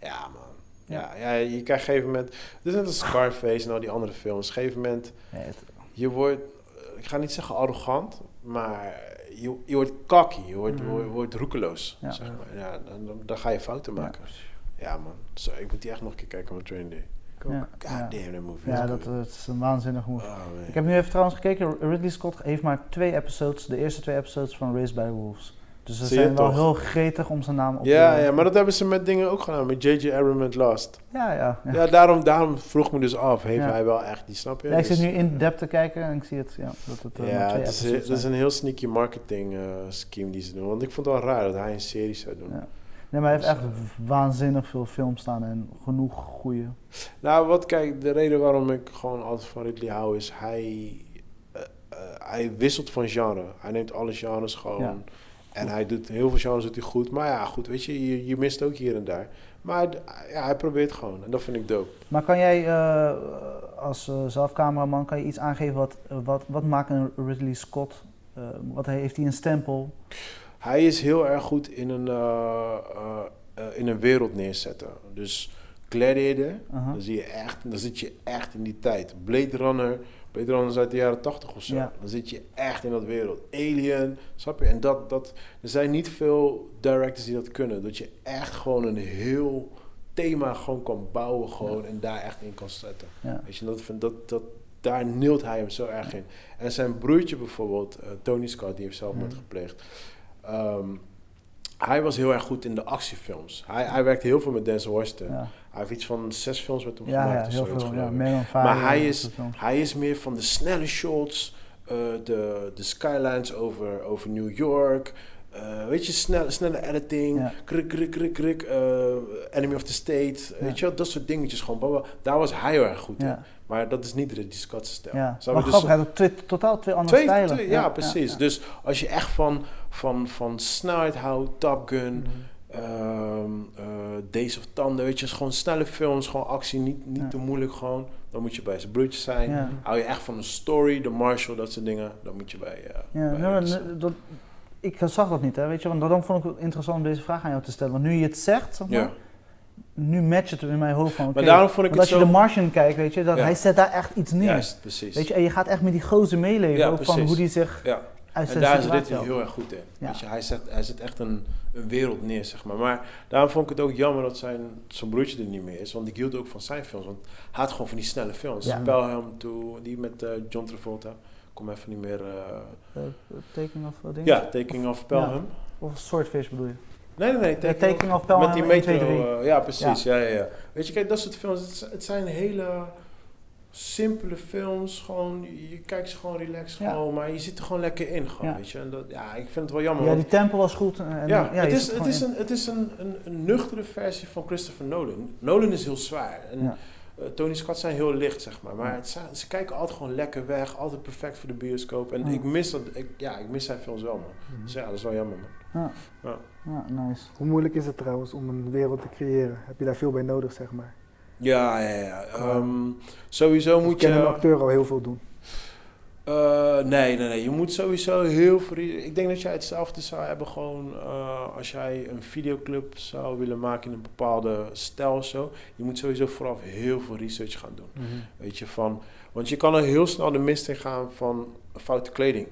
Speaker 2: Ja, man. Ja, ja, je krijgt op een gegeven moment... Het is net als Scarface en al die andere films. Op een gegeven moment,
Speaker 3: Nee, het-
Speaker 2: je wordt... eh, Ik ga niet zeggen arrogant, maar je, je wordt kakkie. Je wordt,
Speaker 4: Mhm.
Speaker 2: je wordt roekeloos,
Speaker 3: Ja.
Speaker 2: zeg maar. Ja, dan, dan, dan ga je fouten
Speaker 3: Ja.
Speaker 2: maken. Ja, man. Zo, ik moet die echt nog een keer kijken met Train Day.
Speaker 4: Ik ook.
Speaker 3: ja,
Speaker 2: God
Speaker 3: ja.
Speaker 2: damn, that movie
Speaker 3: Ja,
Speaker 2: is
Speaker 3: dat,
Speaker 2: good.
Speaker 3: dat is een waanzinnig movie.
Speaker 2: Oh, man.
Speaker 3: Ik heb nu even trouwens gekeken, Ridley Scott heeft maar twee episodes, de eerste twee episodes van Race by Wolves. Dus ze
Speaker 2: Zie je
Speaker 3: zijn wel
Speaker 2: toch?
Speaker 3: heel gretig om zijn naam op
Speaker 2: ja,
Speaker 3: te
Speaker 2: ja, maar dat hebben ze met dingen ook gedaan. Met J.J. Abrams met Lost.
Speaker 3: Ja, ja. ja.
Speaker 2: Ja, daarom, daarom vroeg me dus af. Heeft
Speaker 3: Ja.
Speaker 2: hij wel echt die, snap je?
Speaker 3: Ja, ik zit
Speaker 2: Dus-
Speaker 3: nu in depth te kijken en ik zie het, ja, dat het eh, maar
Speaker 2: Ja,
Speaker 3: twee
Speaker 2: het is,
Speaker 3: episodes
Speaker 2: dat is
Speaker 3: zijn.
Speaker 2: een heel sneaky marketing eh, scheme die ze doen. Want ik vond het wel raar dat hij een serie zou doen.
Speaker 3: Ja. Nee, maar hij heeft
Speaker 2: dus,
Speaker 3: echt w- waanzinnig veel films staan en genoeg goede.
Speaker 2: Nou, wat kijk, de reden waarom ik gewoon altijd van Ridley hou is hij, eh, eh, hij wisselt van genre. Hij neemt alle genres gewoon.
Speaker 3: Ja.
Speaker 2: En hij doet heel veel genres doet hij goed. Maar ja, goed, weet je, je, je mist ook hier en daar. Maar d- ja, hij probeert gewoon. En dat vind ik dope.
Speaker 3: Maar kan jij eh, als eh, zelfcameraman kan je iets aangeven wat, wat, wat maakt een Ridley Scott? Eh, wat he- heeft hij een stempel?
Speaker 2: Hij is heel erg goed in een, eh, eh, eh, in een wereld neerzetten. Dus Gladiator,
Speaker 3: Aha.
Speaker 2: dan, zie je echt, dan zit je echt in die tijd. Blade Runner, Blade Runner is uit de jaren 80 of zo.
Speaker 3: Ja.
Speaker 2: Dan zit je echt in dat wereld. Alien, snap je? En dat, dat, er zijn niet veel directors die dat kunnen. Dat je echt gewoon een heel thema gewoon kan bouwen gewoon, en daar echt in kan zetten.
Speaker 3: Ja.
Speaker 2: Weet je, dat, vind- dat, dat, daar neelt hij hem zo erg in. En zijn broertje bijvoorbeeld, eh, Tony Scott, die heeft zelfmoord
Speaker 3: Mhm.
Speaker 2: gepleegd. Ehm, hij was heel erg goed in de actiefilms. Hij, hij werkte heel veel met Denzel Washington.
Speaker 3: Ja,
Speaker 2: Hij heeft iets van zes films met hem
Speaker 3: ja,
Speaker 2: gemaakt.
Speaker 3: ja,
Speaker 2: of
Speaker 3: heel
Speaker 2: zoiets,
Speaker 3: veel.
Speaker 2: geloof
Speaker 3: Ja,
Speaker 2: ik.
Speaker 3: Man on Fire.
Speaker 2: Maar hij
Speaker 3: dat
Speaker 2: is-
Speaker 3: soort films.
Speaker 2: Hij is meer van de snelle shots, eh, de, de skylines over, over New York. eh, weet je, snelle, snelle editing,
Speaker 3: Ja.
Speaker 2: krik, krik, krik, krik, eh, enemy of the state,
Speaker 3: Ja.
Speaker 2: weet je wel, dat soort dingetjes gewoon. bla, bla. Daar was hij heel erg goed in.
Speaker 3: Ja,
Speaker 2: Maar dat is niet Ridley Scott's stijl.
Speaker 3: ja.
Speaker 2: Snap je?
Speaker 3: Maar
Speaker 2: Dus
Speaker 3: grappig, hij had twee, totaal twee andere
Speaker 2: twee-
Speaker 3: stijlen.
Speaker 2: twee- ja, precies. Dus als je echt van, van, van snelheid houdt, Top Gun,
Speaker 4: Mm.
Speaker 2: ehm, eh, Days of Thunder, weet je, is gewoon snelle films, gewoon actie, niet, niet
Speaker 3: Ja.
Speaker 2: te moeilijk gewoon. Dan moet je bij zijn broertjes zijn.
Speaker 3: Ja.
Speaker 2: Hou je echt van een story, de Marshall, dat soort dingen, dan moet je bij... eh,
Speaker 3: Ja,
Speaker 2: bij
Speaker 3: nou,
Speaker 2: Ridley
Speaker 3: nou,
Speaker 2: Scott.
Speaker 3: dat, ik zag dat niet, hè, weet je. Want daarom vond ik het interessant om deze vraag aan jou te stellen. Want nu je het zegt, zeg maar,
Speaker 2: ja.
Speaker 3: nu matcht het in mijn hoofd van, oké,
Speaker 2: Maar daarom vond ik
Speaker 3: want
Speaker 2: het
Speaker 3: als je
Speaker 2: zo...
Speaker 3: de Martian kijkt, weet je, dat
Speaker 2: Ja.
Speaker 3: hij zet daar echt iets neer.
Speaker 2: Juist, precies.
Speaker 3: Weet je, en je gaat echt met die gozer meeleven,
Speaker 2: Ja,
Speaker 3: ook van
Speaker 2: precies.
Speaker 3: hoe die zich
Speaker 2: ja.
Speaker 3: uit
Speaker 2: En
Speaker 3: zijn
Speaker 2: daar is
Speaker 3: situatie
Speaker 2: Ridley
Speaker 3: haalt.
Speaker 2: heel erg goed in.
Speaker 3: Ja.
Speaker 2: Weet je, hij, zet, hij zet echt een, een wereld neer, zeg maar. Maar daarom vond ik het ook jammer dat zijn, zijn broertje er niet meer is. Want ik hield ook van zijn films. Want hij had gewoon van die snelle films.
Speaker 3: Ja.
Speaker 2: Pelham toe, die met eh, John Travolta. Ik kom even niet meer... eh,
Speaker 3: Eh, Taking of eh, ding?
Speaker 2: ja, Taking of Pelham.
Speaker 3: Of Swordfish bedoel je?
Speaker 2: Nee, nee, nee. Taking,
Speaker 3: Ja, Taking of Pelham
Speaker 2: Met die
Speaker 3: 1,
Speaker 2: metro.
Speaker 3: 2, 3.
Speaker 2: eh, ja, precies. Ja. Ja, ja, Weet je, kijk, dat soort films. Het, z- het zijn hele simpele films. Gewoon, je je kijkt ze gewoon relaxed.
Speaker 3: Ja.
Speaker 2: Gewoon, maar je zit er gewoon lekker in. Gewoon,
Speaker 3: Ja.
Speaker 2: weet je. En dat, ja, ik vind het wel jammer.
Speaker 3: ja,
Speaker 2: want-
Speaker 3: die tempo was goed. En, en-
Speaker 2: ja, het
Speaker 3: je
Speaker 2: is,
Speaker 3: zit
Speaker 2: het
Speaker 3: gewoon
Speaker 2: is,
Speaker 3: in.
Speaker 2: een, het is een, een, een nuchtere versie van Christopher Nolan. Nolan is heel zwaar. En
Speaker 3: Ja.
Speaker 2: eh, Tony Scott zijn heel licht, zeg maar. Maar
Speaker 3: Ja.
Speaker 2: het zijn- ze kijken altijd gewoon lekker weg. Altijd perfect voor de bioscoop. En
Speaker 3: Ja. Mhm.
Speaker 2: ik, mis dat, ik, ja, ik mis zijn films wel, man. Dus ja, dat is wel jammer, man.
Speaker 3: Ja, Ah, nice.
Speaker 4: Hoe moeilijk is het trouwens om een wereld te creëren? Heb je daar veel bij nodig, zeg maar?
Speaker 2: Ja, ja, ja. Ehm, sowieso
Speaker 4: Moet
Speaker 2: moet
Speaker 4: kan
Speaker 2: je...
Speaker 4: een acteur al heel veel doen.
Speaker 2: Eh, nee, nee, nee. Je moet sowieso heel veel... Ik denk dat jij hetzelfde zou hebben gewoon... eh, als jij een videoclub zou willen maken in een bepaalde stijl of zo. Je moet sowieso vooraf heel veel research gaan doen. Weet je, van... Want je kan er heel snel de mist in gaan van foute kleding.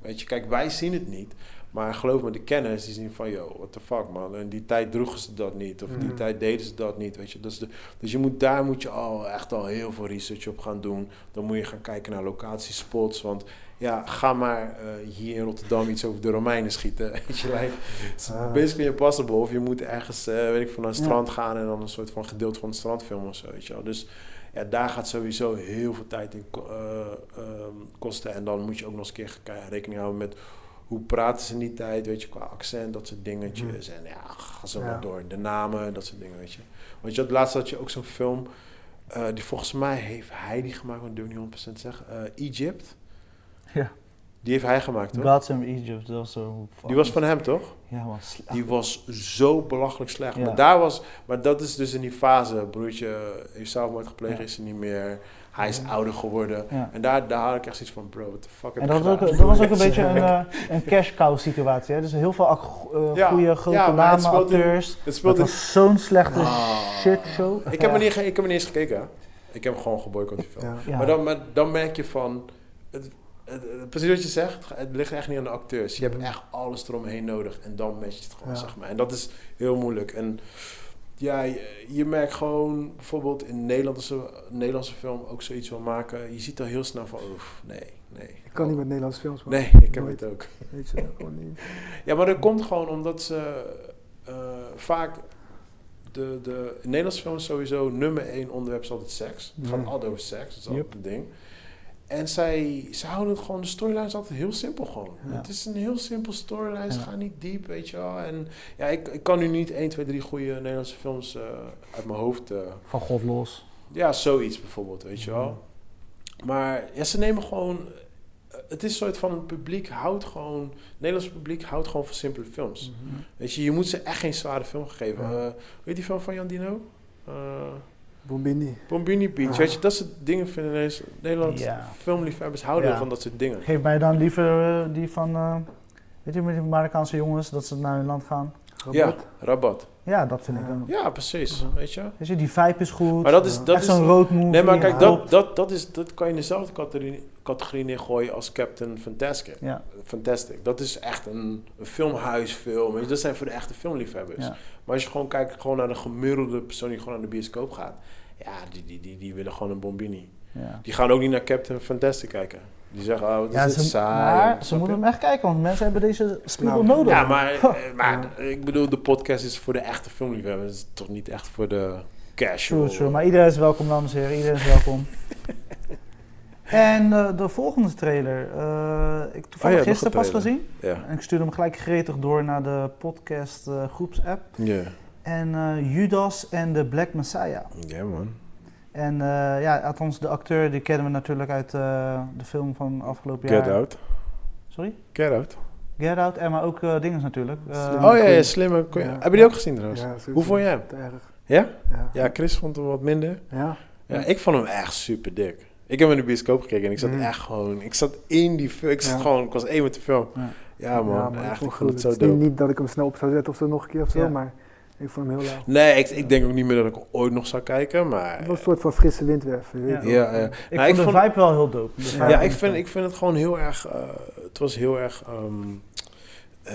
Speaker 2: Weet je, kijk, wij zien het niet. Maar geloof me, de kenners die zien van... Yo, what the fuck, man. In die tijd droegen ze dat niet. Of in die
Speaker 4: Mhm.
Speaker 2: tijd deden ze dat niet, weet je. Dat is de, dus je moet, daar moet je al echt al heel veel research op gaan doen. Dan moet je gaan kijken naar locatiespots. Want ja, ga maar eh, hier in Rotterdam iets over de Romeinen schieten. Weet je, like, it's
Speaker 4: Ah.
Speaker 2: basically impossible. Of je moet ergens, eh, weet ik veel, naar een
Speaker 3: Ja.
Speaker 2: strand gaan... en dan een soort van gedeelte van het strand filmen of zo, weet je wel. Dus ja, daar gaat sowieso heel veel tijd in ko- eh, ehm, kosten. En dan moet je ook nog eens een keer gaan kijken- rekening houden met hoe praten ze in die tijd, weet je, qua accent, dat soort dingetjes. En ja, ga zo
Speaker 4: Mhm. Ja.
Speaker 2: maar door. De namen, dat soort dingen, weet je. Want je had laatst had je ook zo'n film, eh, die volgens mij heeft hij die gemaakt, maar ik durf niet 100% zeggen, eh, Egypt.
Speaker 3: Ja.
Speaker 2: Die heeft hij gemaakt, toch?
Speaker 3: Gods in Egypt, dat was zo...
Speaker 2: Die was van hem, toch?
Speaker 3: Ja, man. sla-
Speaker 2: Die was zo belachelijk slecht.
Speaker 3: Ja.
Speaker 2: Maar daar was, maar dat is dus in die fase. Broertje heeft zelfmoord gepleegd,
Speaker 3: Ja.
Speaker 2: is er niet meer. Hij is ouder geworden.
Speaker 3: Ja.
Speaker 2: En daar, daar had ik echt zoiets van, bro, what the fuck heb
Speaker 3: En
Speaker 2: ik
Speaker 3: dat was, ook,
Speaker 2: gedaan?
Speaker 3: dat was ook een beetje een, eh, een cash cow situatie. Hè? Dus heel veel ac- eh,
Speaker 2: Ja,
Speaker 3: goede grote
Speaker 2: ja, maar het
Speaker 3: namen,
Speaker 2: speelt in-
Speaker 3: acteurs.
Speaker 2: Het speelt
Speaker 3: Dat
Speaker 2: in-
Speaker 3: was zo'n slechte
Speaker 2: Ah.
Speaker 3: shitshow.
Speaker 2: Ik heb,
Speaker 3: Ja.
Speaker 2: er niet, ge- ik heb er niet eens gekeken. hè. Ik heb hem gewoon geboycott die film.
Speaker 4: Ja.
Speaker 3: Ja.
Speaker 2: Maar, dan, maar dan merk je van... Het, het- het- precies wat je zegt, het ligt echt niet aan de acteurs. Je hebt
Speaker 4: Mhm.
Speaker 2: echt alles eromheen nodig. En dan matcht het gewoon,
Speaker 4: Ja.
Speaker 2: zeg maar. En dat is heel moeilijk. En ja, je, je merkt gewoon... Bijvoorbeeld in Nederlandse, Nederlandse film ook zoiets wil maken. Je ziet al heel snel van... Oef, nee, nee. Oh,
Speaker 4: Ik kan niet met Nederlandse films, man.
Speaker 2: Nee, ik heb
Speaker 4: Nooit.
Speaker 2: het ook.
Speaker 4: Weet je, gewoon niet.
Speaker 2: Ja, maar dat komt gewoon omdat ze eh, vaak... De, de, in Nederlandse films sowieso nummer één onderwerp is altijd seks. Het gaat
Speaker 4: Mm.
Speaker 2: altijd over seks, dat is altijd een ding. En zij, ze houden het gewoon, de storyline is altijd heel simpel gewoon.
Speaker 3: Ja.
Speaker 2: Het is een heel simpel storyline, ze
Speaker 3: Ja.
Speaker 2: gaan niet diep, weet je wel. En ja, ik, ik kan nu niet 1, 2, 3 goede Nederlandse films eh, uit mijn hoofd... eh,
Speaker 3: Van God los.
Speaker 2: ja, zoiets bijvoorbeeld, weet je wel. Maar ja, ze nemen gewoon eh, het is een soort van het publiek houdt gewoon. Het Nederlands publiek houdt gewoon van simpele films.
Speaker 3: Mm.
Speaker 2: Weet je, je moet ze echt geen zware film geven.
Speaker 4: Ja.
Speaker 2: weet die film van Jan Dino? Eh,
Speaker 4: Bombini.
Speaker 2: Bombini Beach.
Speaker 4: Ah.
Speaker 2: Weet je, dat soort dingen vinden Nederlands- Nederland
Speaker 3: Ja.
Speaker 2: filmliefhebbers houden
Speaker 3: Ja.
Speaker 2: van dat soort dingen.
Speaker 3: Geef mij dan liever eh, die van, eh, weet je, met die Marokkaanse jongens, dat ze naar hun land gaan.
Speaker 2: Ja,
Speaker 4: Rabat.
Speaker 2: rabat.
Speaker 3: Ja, dat vind ik
Speaker 4: Ja.
Speaker 3: dan.
Speaker 2: Ja, precies.
Speaker 4: Mhm.
Speaker 2: Weet je?
Speaker 3: Weet je, die vibe is goed.
Speaker 2: Maar dat is. Dat
Speaker 3: eh, Echt
Speaker 2: is
Speaker 3: zo'n road movie.
Speaker 2: nee, maar kijk,
Speaker 3: ja.
Speaker 2: dat, dat, dat, is, dat kan je in dezelfde categorie, categorie neergooien als Captain Fantastic.
Speaker 3: Ja,
Speaker 2: Fantastic. Dat is echt een, een filmhuisfilm. weet je. Dat zijn voor de echte filmliefhebbers.
Speaker 3: Ja.
Speaker 2: Maar als je gewoon kijkt gewoon naar de gemiddelde persoon die gewoon naar de bioscoop gaat. Ja, die, die, die, die willen gewoon een Bombini.
Speaker 3: ja.
Speaker 2: Die gaan ook niet naar Captain Fantastic kijken. Die zeggen, oh, wat is
Speaker 3: Ja,
Speaker 2: dit
Speaker 3: ze,
Speaker 2: saai. en
Speaker 3: maar
Speaker 2: snap
Speaker 3: ze
Speaker 2: je?
Speaker 3: moeten hem echt kijken, want mensen hebben deze spiegel
Speaker 4: Nou,
Speaker 3: nodig.
Speaker 2: Ja, maar, eh, maar ik bedoel, de podcast is voor de echte filmliefhebbers. Het is toch niet echt voor de casual.
Speaker 3: True, true. Maar iedereen is welkom, dames en heren. Iedereen is welkom. en eh, de volgende trailer. eh ik toevallig
Speaker 2: Oh nog een
Speaker 3: gisteren pas
Speaker 2: trailer.
Speaker 3: gezien.
Speaker 2: Ja.
Speaker 3: En ik stuurde hem gelijk gretig door naar de podcast eh, groepsapp.
Speaker 2: Ja.
Speaker 3: En eh, Judas en de Black Messiah.
Speaker 2: ja, man.
Speaker 3: En eh, ja, althans de acteur die kennen we natuurlijk uit eh, de film van afgelopen
Speaker 2: Get
Speaker 3: jaar.
Speaker 2: out.
Speaker 3: Sorry?
Speaker 2: Get out.
Speaker 3: Get Out. En maar ook dingen dinges natuurlijk. Eh,
Speaker 4: Slim.
Speaker 2: Oh ja, ja
Speaker 4: Queen.
Speaker 2: slimme. Queen.
Speaker 4: Ja.
Speaker 2: Heb je die ook gezien trouwens?
Speaker 4: Ja, sowieso.
Speaker 2: Hoe vond jij hem?
Speaker 4: Te erg.
Speaker 2: Ja?
Speaker 4: Ja.
Speaker 2: Ja, Chris vond hem wat minder.
Speaker 4: Ja?
Speaker 2: Ja, ik vond hem echt super dik. Ik heb in de bioscoop gekeken en ik zat
Speaker 4: Mm.
Speaker 2: echt gewoon... Ik zat in die film. Ik, zat
Speaker 4: Ja.
Speaker 2: gewoon, ik was één met de film.
Speaker 3: Ja.
Speaker 2: Ja, man.
Speaker 4: Ja,
Speaker 2: echt,
Speaker 4: vond
Speaker 2: ik vond het
Speaker 4: goed.
Speaker 2: zo
Speaker 4: is niet-
Speaker 2: dope.
Speaker 4: Niet dat ik hem snel op zou zetten of zo nog een keer of zo,
Speaker 3: Ja.
Speaker 4: maar ik vond hem heel laag.
Speaker 2: Nee, ik, ik denk ook niet meer dat ik ooit nog zou kijken, maar...
Speaker 4: Het was een soort van frisse windwerf. weet je
Speaker 3: Ja.
Speaker 4: wel.
Speaker 2: Ja, ja.
Speaker 3: ik
Speaker 2: Nou,
Speaker 3: vond de vibe wel heel dope. De vibe
Speaker 2: eh, Ja,
Speaker 3: van
Speaker 2: ik
Speaker 3: de
Speaker 2: vind,
Speaker 3: film.
Speaker 2: ik vind het gewoon heel erg. eh, het was heel erg ehm, eh,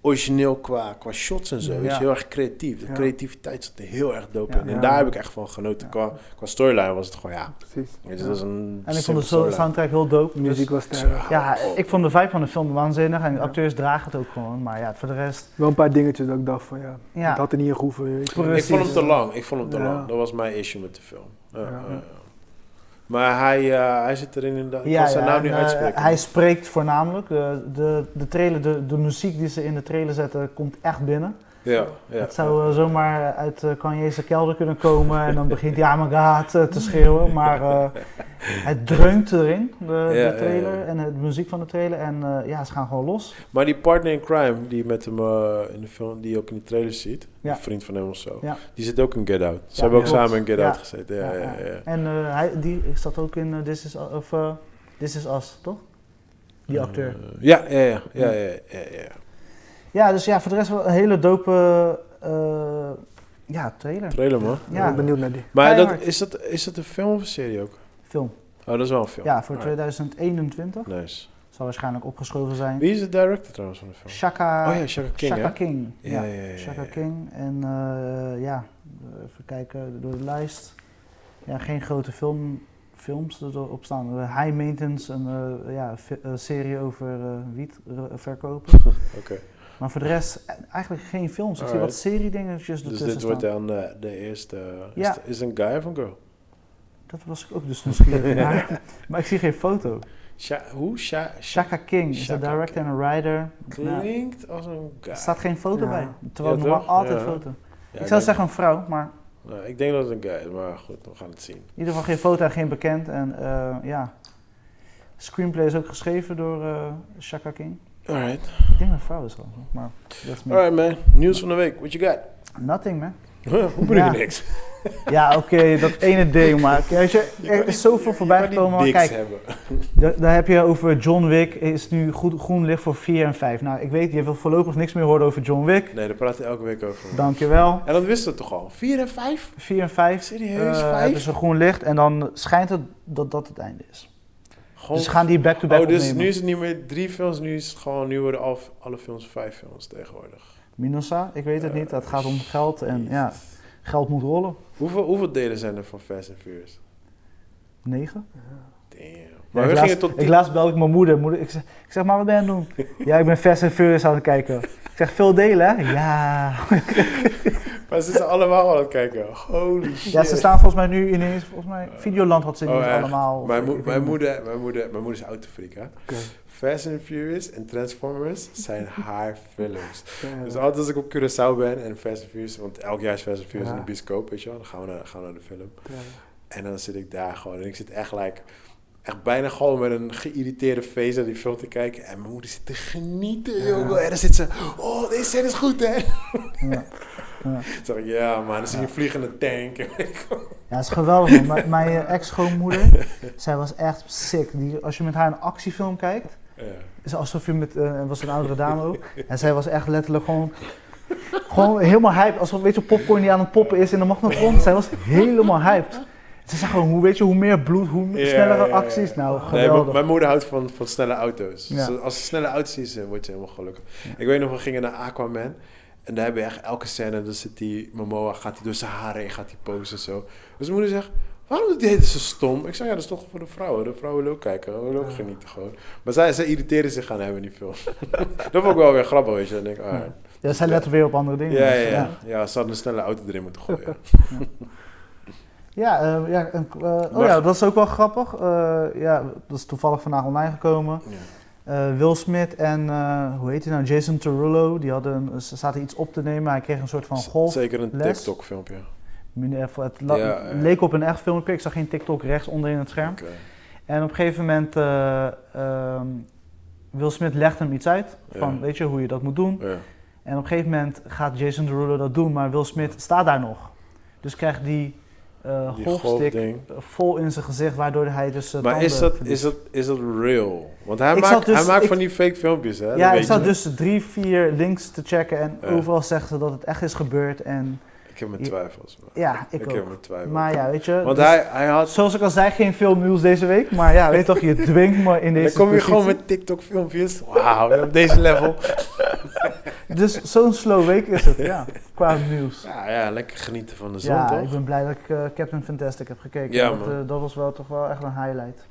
Speaker 2: origineel qua, qua shots en zo. Het is
Speaker 3: Ja.
Speaker 2: heel erg creatief. De
Speaker 4: Ja.
Speaker 2: creativiteit zat er heel erg dope
Speaker 3: Ja.
Speaker 2: in. En
Speaker 4: Ja.
Speaker 2: daar heb ik echt van genoten.
Speaker 3: Ja.
Speaker 2: Qua, qua storyline was het gewoon ja.
Speaker 4: Precies.
Speaker 2: Weet je, dat was een
Speaker 3: En ik vond
Speaker 2: simpele
Speaker 3: de so-
Speaker 2: storyline.
Speaker 3: soundtrack heel dope.
Speaker 4: De muziek
Speaker 3: Dus,
Speaker 4: was sterk.
Speaker 3: ja, ik vond de vibe van de film waanzinnig en de
Speaker 4: Ja.
Speaker 3: acteurs dragen het ook gewoon. Maar ja, voor de rest.
Speaker 4: Wel een paar dingetjes dat ik dacht van ja,
Speaker 3: Ja.
Speaker 4: het had er niet in groeven. weet je wel.
Speaker 2: Ik
Speaker 3: precies.
Speaker 2: vond hem te lang. Ik vond hem te
Speaker 4: Ja.
Speaker 2: lang. Dat was mijn issue met de film. Ja,
Speaker 4: Ja.
Speaker 2: ja, ja. Maar hij, eh, hij zit erin inderdaad. Ik
Speaker 3: Ja,
Speaker 2: kan zijn
Speaker 3: ja,
Speaker 2: naam
Speaker 3: en,
Speaker 2: niet
Speaker 3: eh,
Speaker 2: uitspreken.
Speaker 3: hij spreekt voornamelijk. eh, de, de, trailer, de, de muziek die ze in de trailer zetten komt echt binnen.
Speaker 2: ja, ja.
Speaker 3: het zou eh, zomaar uit eh, Kanye's kelder kunnen komen en dan begint hij aan eh, te schreeuwen. Maar eh, het dreunt erin, de,
Speaker 2: ja,
Speaker 3: de trailer
Speaker 2: ja.
Speaker 3: en de muziek van de trailer. En eh, ja, ze gaan gewoon los.
Speaker 2: Maar die partner in crime die met hem eh, in de film, die je ook in de trailer ziet,
Speaker 3: Ja.
Speaker 2: een vriend van hem of zo,
Speaker 3: Ja.
Speaker 2: die zit ook in Get Out. Ze
Speaker 3: Ja,
Speaker 2: hebben ook
Speaker 3: klopt.
Speaker 2: samen in Get
Speaker 3: Ja.
Speaker 2: Out gezeten. Ja, ja, ja,
Speaker 3: En eh, hij die zat ook in eh, This, is, U- of, eh, This Is Us, toch? Die acteur.
Speaker 2: Eh, ja, ja, ja, ja, ja, ja, ja.
Speaker 3: Ja, dus ja, voor de rest wel een hele dope eh, ja, trailer.
Speaker 2: Trailer man.
Speaker 4: Ik ben
Speaker 3: Ja,
Speaker 4: benieuwd naar die.
Speaker 2: Maar dat,
Speaker 3: Keihard.
Speaker 2: is, dat, is dat een film of een serie ook?
Speaker 3: film.
Speaker 2: Oh, dat is wel een film.
Speaker 3: Ja, voor
Speaker 2: Alright.
Speaker 3: 2021.
Speaker 2: Nice.
Speaker 3: Zal waarschijnlijk opgeschoven zijn.
Speaker 2: Wie is de director trouwens van de film?
Speaker 3: Shaka,
Speaker 2: oh ja, Shaka King
Speaker 3: Shaka
Speaker 2: hè?
Speaker 3: King.
Speaker 2: Ja, ja, ja, ja,
Speaker 3: Shaka
Speaker 2: ja.
Speaker 3: King. En eh, ja, even kijken door de lijst. Ja, geen grote film, films erop staan. Eh, High Maintenance, een eh, ja, fi- eh, serie over eh, wiet eh, verkopen.
Speaker 2: Oké.
Speaker 3: Maar voor de rest eh, eigenlijk geen films. Ik zie wat
Speaker 2: Alright.
Speaker 3: seriedingetjes
Speaker 2: Dus
Speaker 3: ertussen
Speaker 2: dit wordt
Speaker 3: staan.
Speaker 2: dan eh, de eerste. Is,
Speaker 3: Ja.
Speaker 2: het- is het een guy of een girl?
Speaker 3: Dat was ik ook dus nieuwsgierig naar. maar ik zie geen foto.
Speaker 2: Sha hoe? Sha Sha-
Speaker 3: Shaka King is de
Speaker 2: Shaka
Speaker 3: director en writer. Ja.
Speaker 2: klinkt als een guy.
Speaker 3: Er staat geen foto
Speaker 4: Ja.
Speaker 3: bij. Terwijl
Speaker 2: Ja,
Speaker 3: normaal
Speaker 2: toch?
Speaker 3: altijd
Speaker 2: Ja.
Speaker 3: foto.
Speaker 2: Ja,
Speaker 3: ik zou
Speaker 2: denk-
Speaker 3: zeggen een vrouw, maar
Speaker 2: nou, ik denk dat het een guy is, maar goed, we gaan het zien.
Speaker 3: In ieder geval geen foto en geen bekend. En eh, ja, screenplay is ook geschreven door eh Shaka King.
Speaker 2: Alright.
Speaker 3: Ik denk dat het vrouw is trouwens, maar dat is meer.
Speaker 2: Alright man, nieuws van de week. What you got?
Speaker 3: Nothing man.
Speaker 2: Huh, Hoe bedoel je
Speaker 3: Ja.
Speaker 2: niks?
Speaker 3: Ja, oké, dat ene ding, maar kijk, je- er is zoveel voorbij gekomen. Maar kijk,
Speaker 2: hebben.
Speaker 3: da- daar heb je over John Wick, is nu goed, groen licht voor 4 en 5. Nou, ik weet, je wil voorlopig niks meer horen over John Wick.
Speaker 2: Nee, daar praat hij elke week over.
Speaker 3: Dankjewel.
Speaker 2: En dat wisten we toch al? Vier en vijf?
Speaker 3: 4 en 5
Speaker 2: Serieus?
Speaker 3: hebben
Speaker 2: vijf?
Speaker 3: ze groen licht en dan schijnt het dat dat het einde is.
Speaker 2: Gewoon...
Speaker 3: Dus ze gaan die back-to-back
Speaker 2: oh, dus
Speaker 3: opnemen.
Speaker 2: nu is het niet meer drie films, nu is het gewoon, nu worden al, alle films vijf films tegenwoordig.
Speaker 3: Minosa, ik weet het
Speaker 2: Eh,
Speaker 3: niet, het gaat om geld en
Speaker 2: Jezus.
Speaker 3: ja, geld moet rollen.
Speaker 2: Hoeveel, hoeveel delen zijn er van Fast and Furious?
Speaker 3: 9.
Speaker 2: Damn.
Speaker 3: Ja,
Speaker 2: Maar we
Speaker 3: ik,
Speaker 2: gingen
Speaker 3: laatst,
Speaker 2: tot
Speaker 3: ik
Speaker 2: tien.
Speaker 3: laatst belde ik mijn moeder. moeder ik, zeg, ik zeg, maar wat ben je aan het doen? ja, ik ben Fast and Furious aan het kijken. Ik zeg, veel delen hè? Ja.
Speaker 2: Maar ze zijn allemaal aan het kijken. Holy shit.
Speaker 3: ja, ze staan volgens mij nu ineens, volgens mij, Videoland had ze
Speaker 2: Oh,
Speaker 3: ineens
Speaker 2: echt?
Speaker 3: allemaal. of
Speaker 2: Mijn,
Speaker 3: ik
Speaker 2: mo-
Speaker 3: weet
Speaker 2: mijn,
Speaker 3: niet.
Speaker 2: moeder, mijn, moeder, mijn moeder is autofreak, hè? Fast and Furious en Transformers zijn haar films.
Speaker 4: Ja,
Speaker 2: Dus altijd als ik op Curaçao ben en Fast and Furious, want elk jaar is Fast and Furious
Speaker 4: Ja.
Speaker 2: in de bioscoop, weet je wel, dan gaan we, naar, gaan we naar de film.
Speaker 4: ja.
Speaker 2: En dan zit ik daar gewoon en ik zit echt like, echt bijna gewoon met een geïrriteerde face naar die film te kijken. En mijn moeder zit te genieten, jongen. En dan zit ze, oh, deze scène is goed, hè?
Speaker 3: Ja. Ja.
Speaker 2: Toen dacht ik, ja, man, dan zie je een vliegende tank.
Speaker 3: Ja, dat is geweldig. man. Mijn- Mijn eh, ex-schoonmoeder, zij was echt sick. Die, als je met haar een actiefilm kijkt,
Speaker 2: Ja.
Speaker 3: is alsof je met, eh, was een oudere dame ook, en zij was echt letterlijk gewoon, gewoon helemaal hyped. Alsof, weet je, popcorn die aan het poppen is in de magnetron. Zij was helemaal hyped. Ze zei gewoon, hoe, weet je, hoe meer bloed, hoe
Speaker 2: Ja,
Speaker 3: snellere
Speaker 2: ja, ja.
Speaker 3: acties. Nou,
Speaker 2: Nee,
Speaker 3: geweldig.
Speaker 2: mijn, mijn moeder houdt van, van snelle auto's.
Speaker 3: Ja.
Speaker 2: Dus als ze snelle auto's ziet, dan wordt ze helemaal gelukkig. Ik weet nog, we gingen naar Aquaman. En daar hebben we echt elke scène, dan zit die Momoa, gaat hij door zijn haren heen, gaat hij posen en zo. Dus mijn moeder zegt, waarom doet dit zo stom? Ik zeg, ja, dat is toch voor de vrouwen. De vrouwen willen ook kijken, willen ook genieten gewoon. Maar zij, zij irriteren zich aan hem in die film. dat vond ik wel weer grappig, weet je. Dan denk ik, ah,
Speaker 3: ja, zij lette weer op andere dingen.
Speaker 2: ja, ja,
Speaker 3: Dus,
Speaker 2: ja. ja, ze hadden een snelle auto erin moeten gooien.
Speaker 3: Ja, eh, ja, en, eh, oh
Speaker 2: Maar-
Speaker 3: ja, dat is ook wel grappig. Eh, ja, dat is toevallig vandaag online gekomen.
Speaker 2: Ja.
Speaker 3: Eh, Will Smith en, eh, hoe heet hij nou, Jason Derulo, die hadden, ze zaten iets op te nemen. Hij kreeg een soort van golf.
Speaker 2: Zeker een
Speaker 3: les.
Speaker 2: TikTok-filmpje.
Speaker 3: Meneer, Het la-
Speaker 2: Ja, ja.
Speaker 3: leek op een echt filmpje. Ik zag geen TikTok rechts onderin het scherm.
Speaker 2: Oké.
Speaker 3: En op een gegeven moment, eh ehm, Will Smith legt hem iets uit. Van,
Speaker 2: Ja.
Speaker 3: weet je, hoe je dat moet doen.
Speaker 2: Ja.
Speaker 3: En op een gegeven moment gaat Jason Derulo dat doen, maar Will Smith staat daar nog. Dus krijgt die, eh
Speaker 2: Die
Speaker 3: golfstick
Speaker 2: golfding.
Speaker 3: vol in zijn gezicht, waardoor hij dus eh,
Speaker 2: Maar
Speaker 3: tanden
Speaker 2: is dat,
Speaker 3: verliest.
Speaker 2: is, dat, is dat real? Want hij
Speaker 3: Ik
Speaker 2: maakt,
Speaker 3: zat dus-
Speaker 2: hij maakt
Speaker 3: ik-
Speaker 2: van die fake filmpjes, hè?
Speaker 3: Ja,
Speaker 2: dat
Speaker 3: ik
Speaker 2: weet
Speaker 3: zat
Speaker 2: je.
Speaker 3: dus drie, vier links te checken en
Speaker 2: Ja.
Speaker 3: overal zeggen ze dat het echt is gebeurd. En
Speaker 2: Ik heb mijn twijfels. man.
Speaker 3: ja, ik,
Speaker 2: Ik,
Speaker 3: ook.
Speaker 2: heb mijn twijfels.
Speaker 3: Maar ja, weet je.
Speaker 2: Want
Speaker 3: dus-
Speaker 2: hij, hij had...
Speaker 3: Zoals ik al zei, geen veel nieuws deze week. Maar ja, weet toch, je dwingt me in
Speaker 2: Dan
Speaker 3: deze
Speaker 2: kom je
Speaker 3: positie.
Speaker 2: gewoon met TikTok-filmpjes. Wauw, weer op deze level.
Speaker 3: Dus zo'n slow week is het, ja. Qua nieuws.
Speaker 2: Ja, ja, lekker genieten van de zon,
Speaker 3: Ja, ik
Speaker 2: toch?
Speaker 3: ben blij dat ik eh, Captain Fantastic heb gekeken.
Speaker 2: Ja,
Speaker 3: want,
Speaker 2: man.
Speaker 3: eh, dat was wel toch wel echt een highlight.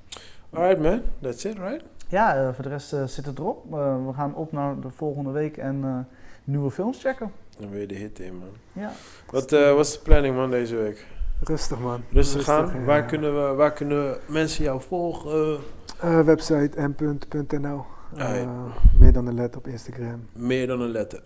Speaker 2: Alright, man. That's it, right?
Speaker 3: Ja, eh, voor de rest eh, zit het erop. Eh, we gaan op naar de volgende week en eh, nieuwe films checken.
Speaker 2: Dan weer de hit in, man.
Speaker 3: Ja.
Speaker 2: Wat eh, wat is de planning, man, deze week?
Speaker 4: Rustig man.
Speaker 2: Rustig
Speaker 4: ja.
Speaker 2: aan. Waar kunnen, we, waar kunnen mensen jou volgen?
Speaker 4: Eh, website m.nl. Eh,
Speaker 2: Alright.
Speaker 4: meer dan een let op Instagram,
Speaker 2: Meer dan een letter.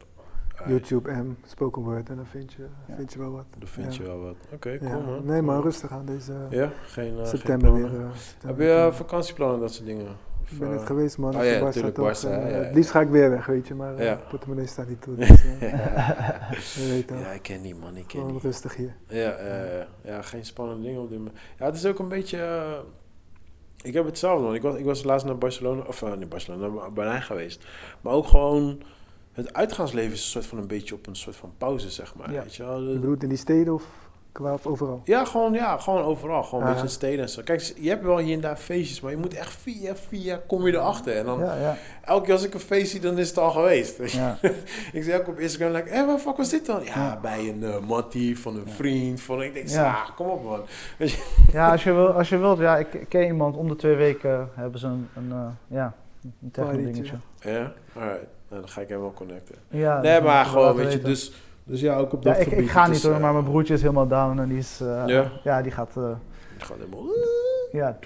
Speaker 2: Alright,
Speaker 4: YouTube M, spoken word en dan vind je,
Speaker 3: Ja.
Speaker 4: vind je wel wat.
Speaker 2: Dan vind
Speaker 4: Ja.
Speaker 2: je wel wat. Oké,
Speaker 4: Ja.
Speaker 2: cool, man.
Speaker 4: Nee, maar
Speaker 2: Cool.
Speaker 4: rustig aan deze eh,
Speaker 2: Ja, geen, eh, geen
Speaker 4: september
Speaker 2: plannen.
Speaker 4: weer. eh,
Speaker 2: Heb
Speaker 4: september.
Speaker 2: je eh, vakantieplannen en dat soort dingen? Of,
Speaker 4: Ik ben net
Speaker 2: eh,
Speaker 4: geweest man,
Speaker 2: oh
Speaker 4: Als je
Speaker 2: ja,
Speaker 4: Barca
Speaker 2: tuurlijk,
Speaker 4: toch,
Speaker 2: Barca,
Speaker 4: eh,
Speaker 2: ja, ja,
Speaker 4: Het liefst ga ik weer weg, weet je, maar eh,
Speaker 2: Ja.
Speaker 4: portemonnee staat niet toe. Dus, eh, je weet wel.
Speaker 2: ja, ik ken die man, ik ken
Speaker 4: Gewoon
Speaker 2: die.
Speaker 4: rustig hier.
Speaker 2: Ja, eh, ja, geen spannende dingen op dit moment. Ja, het is ook een beetje... eh, ik heb hetzelfde, man. Ik was, ik was laatst naar Barcelona, of eh, niet Barcelona, naar Berlijn geweest. Maar ook gewoon... Het uitgaansleven is een soort van een beetje op een soort van pauze, zeg maar.
Speaker 3: Ja.
Speaker 2: Weet je wel?
Speaker 4: Je bedoelt in die steden of qua of overal?
Speaker 2: Ja, gewoon, ja, gewoon overal. Gewoon een
Speaker 4: Ja.
Speaker 2: beetje in steden en zo. Kijk, je hebt wel hier en daar feestjes, maar je moet echt via, via kom je erachter. En dan
Speaker 3: Ja, ja,
Speaker 2: elke keer als ik een feest zie, dan is het al geweest.
Speaker 3: ja.
Speaker 2: Ik zei ook op Instagram, like, hé, waar fuck was dit dan? Ja,
Speaker 3: Ja.
Speaker 2: bij een eh mattie van een vriend. Van, ik denk,
Speaker 3: Ja.
Speaker 2: ah, kom op man.
Speaker 3: ja als, je wil, als je wilt, ja, ik ik ken iemand. Om de twee weken hebben ze een, een eh, ja, een techno dingetje.
Speaker 2: Ja, alright. Nou, dan ga ik hem wel connecten.
Speaker 3: Ja,
Speaker 2: nee,
Speaker 3: dus
Speaker 2: maar
Speaker 3: laten
Speaker 2: gewoon,
Speaker 3: we
Speaker 2: weet je,
Speaker 3: weten.
Speaker 2: dus, dus ja, ook op
Speaker 3: Ja,
Speaker 2: dat
Speaker 3: ik,
Speaker 2: gebied.
Speaker 3: ik ga
Speaker 2: het
Speaker 3: niet
Speaker 2: is,
Speaker 3: hoor,
Speaker 2: eh,
Speaker 3: maar mijn broertje is helemaal down en die is... eh,
Speaker 2: Ja.
Speaker 3: ja, die gaat... eh,
Speaker 2: ik ga helemaal...
Speaker 3: ja,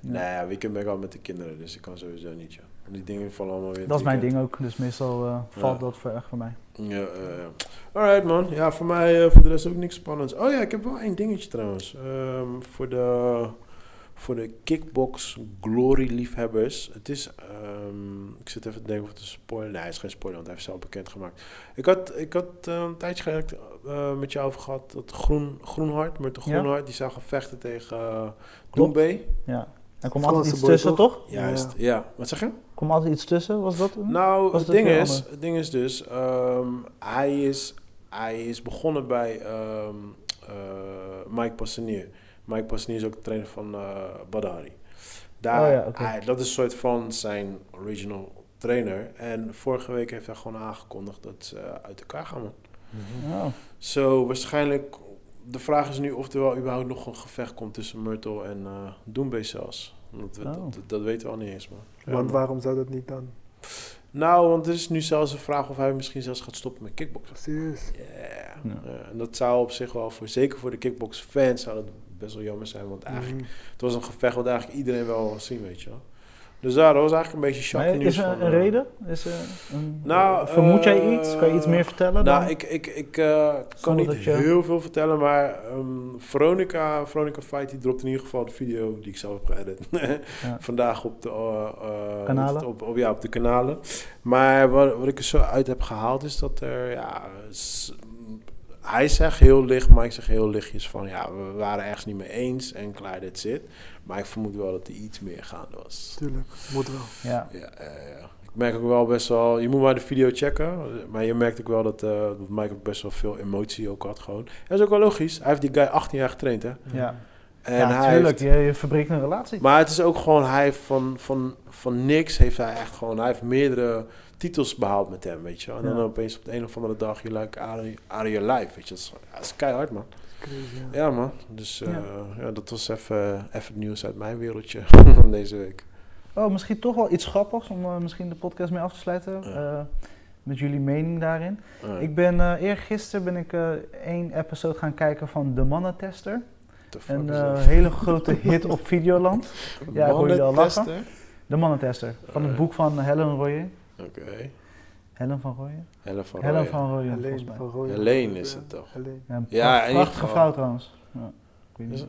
Speaker 2: Nee, ja, weekend ben ik al met de kinderen, dus ik kan sowieso niet, ja. Die dingen vallen allemaal weer in
Speaker 3: dat
Speaker 2: het
Speaker 3: is mijn
Speaker 2: weekend.
Speaker 3: ding ook. Dus meestal eh, valt
Speaker 2: Ja.
Speaker 3: dat ver echt voor mij.
Speaker 2: Ja, eh, ja. Alright man. Ja, voor mij eh, voor de rest ook niks spannends. Oh ja, ik heb wel één dingetje trouwens. Ehm, voor de voor de kickbox glory liefhebbers. Het is, ehm, ik zit even te denken of het een spoiler. Nee, het is geen spoiler, want hij heeft zelf bekendgemaakt. Ik had, ik had eh, een tijdje geleden eh, met jou over gehad dat Groen, Groenhart, met de
Speaker 3: Ja.
Speaker 2: Groenhart, die zou gaan vechten tegen uh,
Speaker 3: Klopt.
Speaker 2: Doembé.
Speaker 3: Ja. Er komt
Speaker 4: Franse
Speaker 3: altijd iets
Speaker 4: boy,
Speaker 3: tussen, toch?
Speaker 2: Juist, ja. Wat zeg je?
Speaker 3: Er komt altijd iets tussen, was dat? een-
Speaker 2: Nou,
Speaker 3: Was
Speaker 2: het
Speaker 3: dat
Speaker 2: ding,
Speaker 3: weer
Speaker 2: is,
Speaker 3: anders?
Speaker 2: het ding is dus, ehm, hij, is, hij is begonnen bij ehm, eh, Mike Passanier. Mike Passanier is ook de trainer van eh Badari. Daar,
Speaker 3: Oh ja, oké.
Speaker 2: hij- dat is een soort van zijn original trainer. En vorige week heeft hij gewoon aangekondigd dat ze eh, uit elkaar gaan. man.
Speaker 3: Oh.
Speaker 2: Zo, waarschijnlijk, de vraag is nu of er wel überhaupt nog een gevecht komt tussen Myrtle en eh Doembe zelfs. Dat, we-
Speaker 3: Oh.
Speaker 2: dat, dat, dat weten we al niet eens, man. Ja,
Speaker 4: Want
Speaker 2: man.
Speaker 4: waarom zou dat niet dan?
Speaker 2: Nou, want er is nu zelfs een vraag of hij misschien zelfs gaat stoppen met kickboksen.
Speaker 4: Serieus.
Speaker 2: Ja.
Speaker 3: Ja.
Speaker 2: Eh, en dat zou op zich wel, voor, zeker voor de kickboxfans, zou dat best wel jammer zijn. Want eigenlijk,
Speaker 4: Mhm.
Speaker 2: het was een gevecht wat eigenlijk iedereen wel wil zien, weet je wel. Dus daar, dat was eigenlijk een beetje shock
Speaker 3: Maar
Speaker 2: nieuws
Speaker 3: is er
Speaker 2: van,
Speaker 3: een
Speaker 2: eh,
Speaker 3: reden? Is er een,
Speaker 2: Nou,
Speaker 3: vermoed jij
Speaker 2: eh,
Speaker 3: iets? Kan je iets meer vertellen?
Speaker 2: Nou,
Speaker 3: dan?
Speaker 2: ik, ik, ik eh, kan
Speaker 3: Zonder
Speaker 2: niet
Speaker 3: dat je-
Speaker 2: heel veel vertellen, maar ehm, Veronica, Veronica Fight, die dropt in ieder geval de video die ik zelf heb geëdit. Vandaag op de, eh, eh,
Speaker 3: Kanalen?
Speaker 2: wat is het, Op, op, ja, op de kanalen. Maar wat, wat ik er zo uit heb gehaald is dat er, ja, s- hij zegt heel licht, maar ik zeg heel lichtjes van, ja, we waren ergens niet mee eens en klaar, dit zit. Maar ik vermoed wel dat er iets meer gaande was.
Speaker 4: Tuurlijk, moet wel.
Speaker 3: ja.
Speaker 2: Ja, ja, ja. Ik merk ook wel best wel, je moet maar de video checken. Maar je merkt ook wel dat, eh dat Mike ook best wel veel emotie ook had gewoon. En dat is ook wel logisch. Hij heeft die guy 18 jaar getraind, hè.
Speaker 3: Ja.
Speaker 2: En
Speaker 3: ja,
Speaker 2: hij
Speaker 3: natuurlijk.
Speaker 2: heeft-
Speaker 3: Je, je verbreekt een relatie.
Speaker 2: maar het is ook gewoon, hij heeft van, van, van niks heeft hij echt gewoon, hij heeft meerdere titels behaald met hem, weet je wel. En dan
Speaker 3: Ja.
Speaker 2: opeens op de een of andere dag, je like out of- out of your life, weet je. Dat is, ja, dat is keihard, man.
Speaker 4: Crazy, ja.
Speaker 2: Ja, man. Dus eh,
Speaker 3: Ja.
Speaker 2: ja, dat was even, even het nieuws uit mijn wereldje deze week.
Speaker 3: Oh, misschien toch wel iets grappigs om eh, misschien de podcast mee af te sluiten.
Speaker 2: Ja.
Speaker 3: eh, met jullie mening daarin.
Speaker 2: Ja,
Speaker 3: Ik ben eh eergisteren ben ik eh, één episode gaan kijken van De Mannentester.
Speaker 2: what the fuck
Speaker 3: Een
Speaker 2: is
Speaker 3: eh,
Speaker 2: dat?
Speaker 3: hele grote hit op Videoland. ja, ik hoor jullie al lachen.
Speaker 2: Mannentester?
Speaker 3: De Mannentester. Van het
Speaker 2: Eh.
Speaker 3: boek van Helen Royen.
Speaker 2: Oké.
Speaker 3: Helen van Royen?
Speaker 2: Helen van
Speaker 3: Helen
Speaker 2: Rooyen.
Speaker 3: van Royen, volgens
Speaker 4: Alleen
Speaker 3: mij.
Speaker 4: van Roy.
Speaker 2: Helene is het toch?
Speaker 4: Alleen.
Speaker 3: Ja, een
Speaker 2: Ja,
Speaker 3: pracht-
Speaker 2: in ieder
Speaker 3: prachtige
Speaker 2: geval.
Speaker 3: vrouw trouwens. Ja, ik weet niet.
Speaker 2: Dus,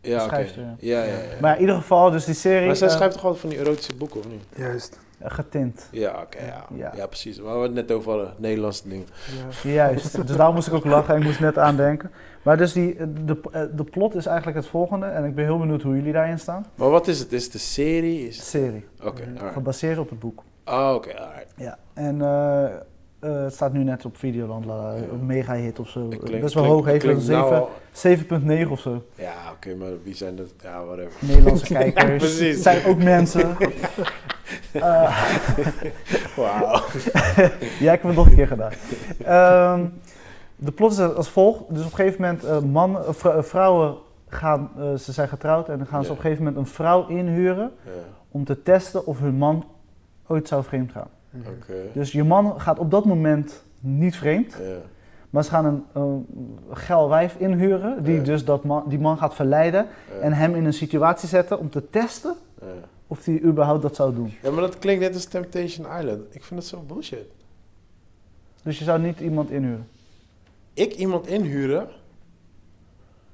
Speaker 2: Ja, oké.
Speaker 3: schrijfster, ja.
Speaker 2: Ja, ja, ja.
Speaker 3: Maar in ieder geval, dus die serie...
Speaker 2: Maar zij
Speaker 3: eh,
Speaker 2: schrijft toch altijd van die erotische boeken, of niet?
Speaker 4: Juist.
Speaker 3: Getint.
Speaker 2: Ja, oké, ja.
Speaker 3: Ja.
Speaker 2: ja. precies. Waar we het net over hadden, Nederlandse dingen.
Speaker 4: Ja.
Speaker 3: Juist, dus daar moest ik ook lachen en ik moest net aan denken. Maar dus die, de, de plot is eigenlijk het volgende en ik ben heel benieuwd hoe jullie daarin staan.
Speaker 2: Maar wat is het? Is het de serie? Is...
Speaker 3: Serie,
Speaker 2: Oké, alright.
Speaker 3: gebaseerd op het boek.
Speaker 2: Oh, oké, alright.
Speaker 3: Ja, en eh, eh, het staat nu net op Videoland, la-
Speaker 2: Ja.
Speaker 3: een mega hit of zo.
Speaker 2: Het klinkt-
Speaker 3: Best wel
Speaker 2: klinkt-
Speaker 3: hoog, heeft wel
Speaker 2: klinkt nou
Speaker 3: zeven-
Speaker 2: al-
Speaker 3: 7,9 of zo.
Speaker 2: Ja, oké, maar wie zijn dat? Ja, whatever.
Speaker 3: Nederlandse kijkers.
Speaker 2: precies.
Speaker 3: Het zijn ook mensen. Eh,
Speaker 2: Wauw.
Speaker 3: Ja, ik heb het nog een keer gedaan. Ehm, de plot is als volgt. Dus op een gegeven moment, eh, mannen, eh, vrou- eh, vrouwen gaan, eh, ze zijn getrouwd en dan gaan ze
Speaker 2: Ja.
Speaker 3: op een gegeven moment een vrouw inhuren
Speaker 2: Ja,
Speaker 3: om te testen of hun man ooit zou vreemd gaan.
Speaker 4: Mhm.
Speaker 2: oké.
Speaker 3: Dus je man gaat op dat moment niet vreemd,
Speaker 2: Ja,
Speaker 3: maar ze gaan een eh, geil wijf inhuren die
Speaker 2: Ja.
Speaker 3: dus dat man, die man gaat verleiden
Speaker 2: ja,
Speaker 3: en hem in een situatie zetten om te testen
Speaker 2: ja.
Speaker 3: of hij überhaupt dat zou doen.
Speaker 2: Ja, maar dat klinkt net als Temptation Island. Ik vind dat zo bullshit.
Speaker 3: Dus je zou niet iemand inhuren.
Speaker 2: Ik iemand inhuren,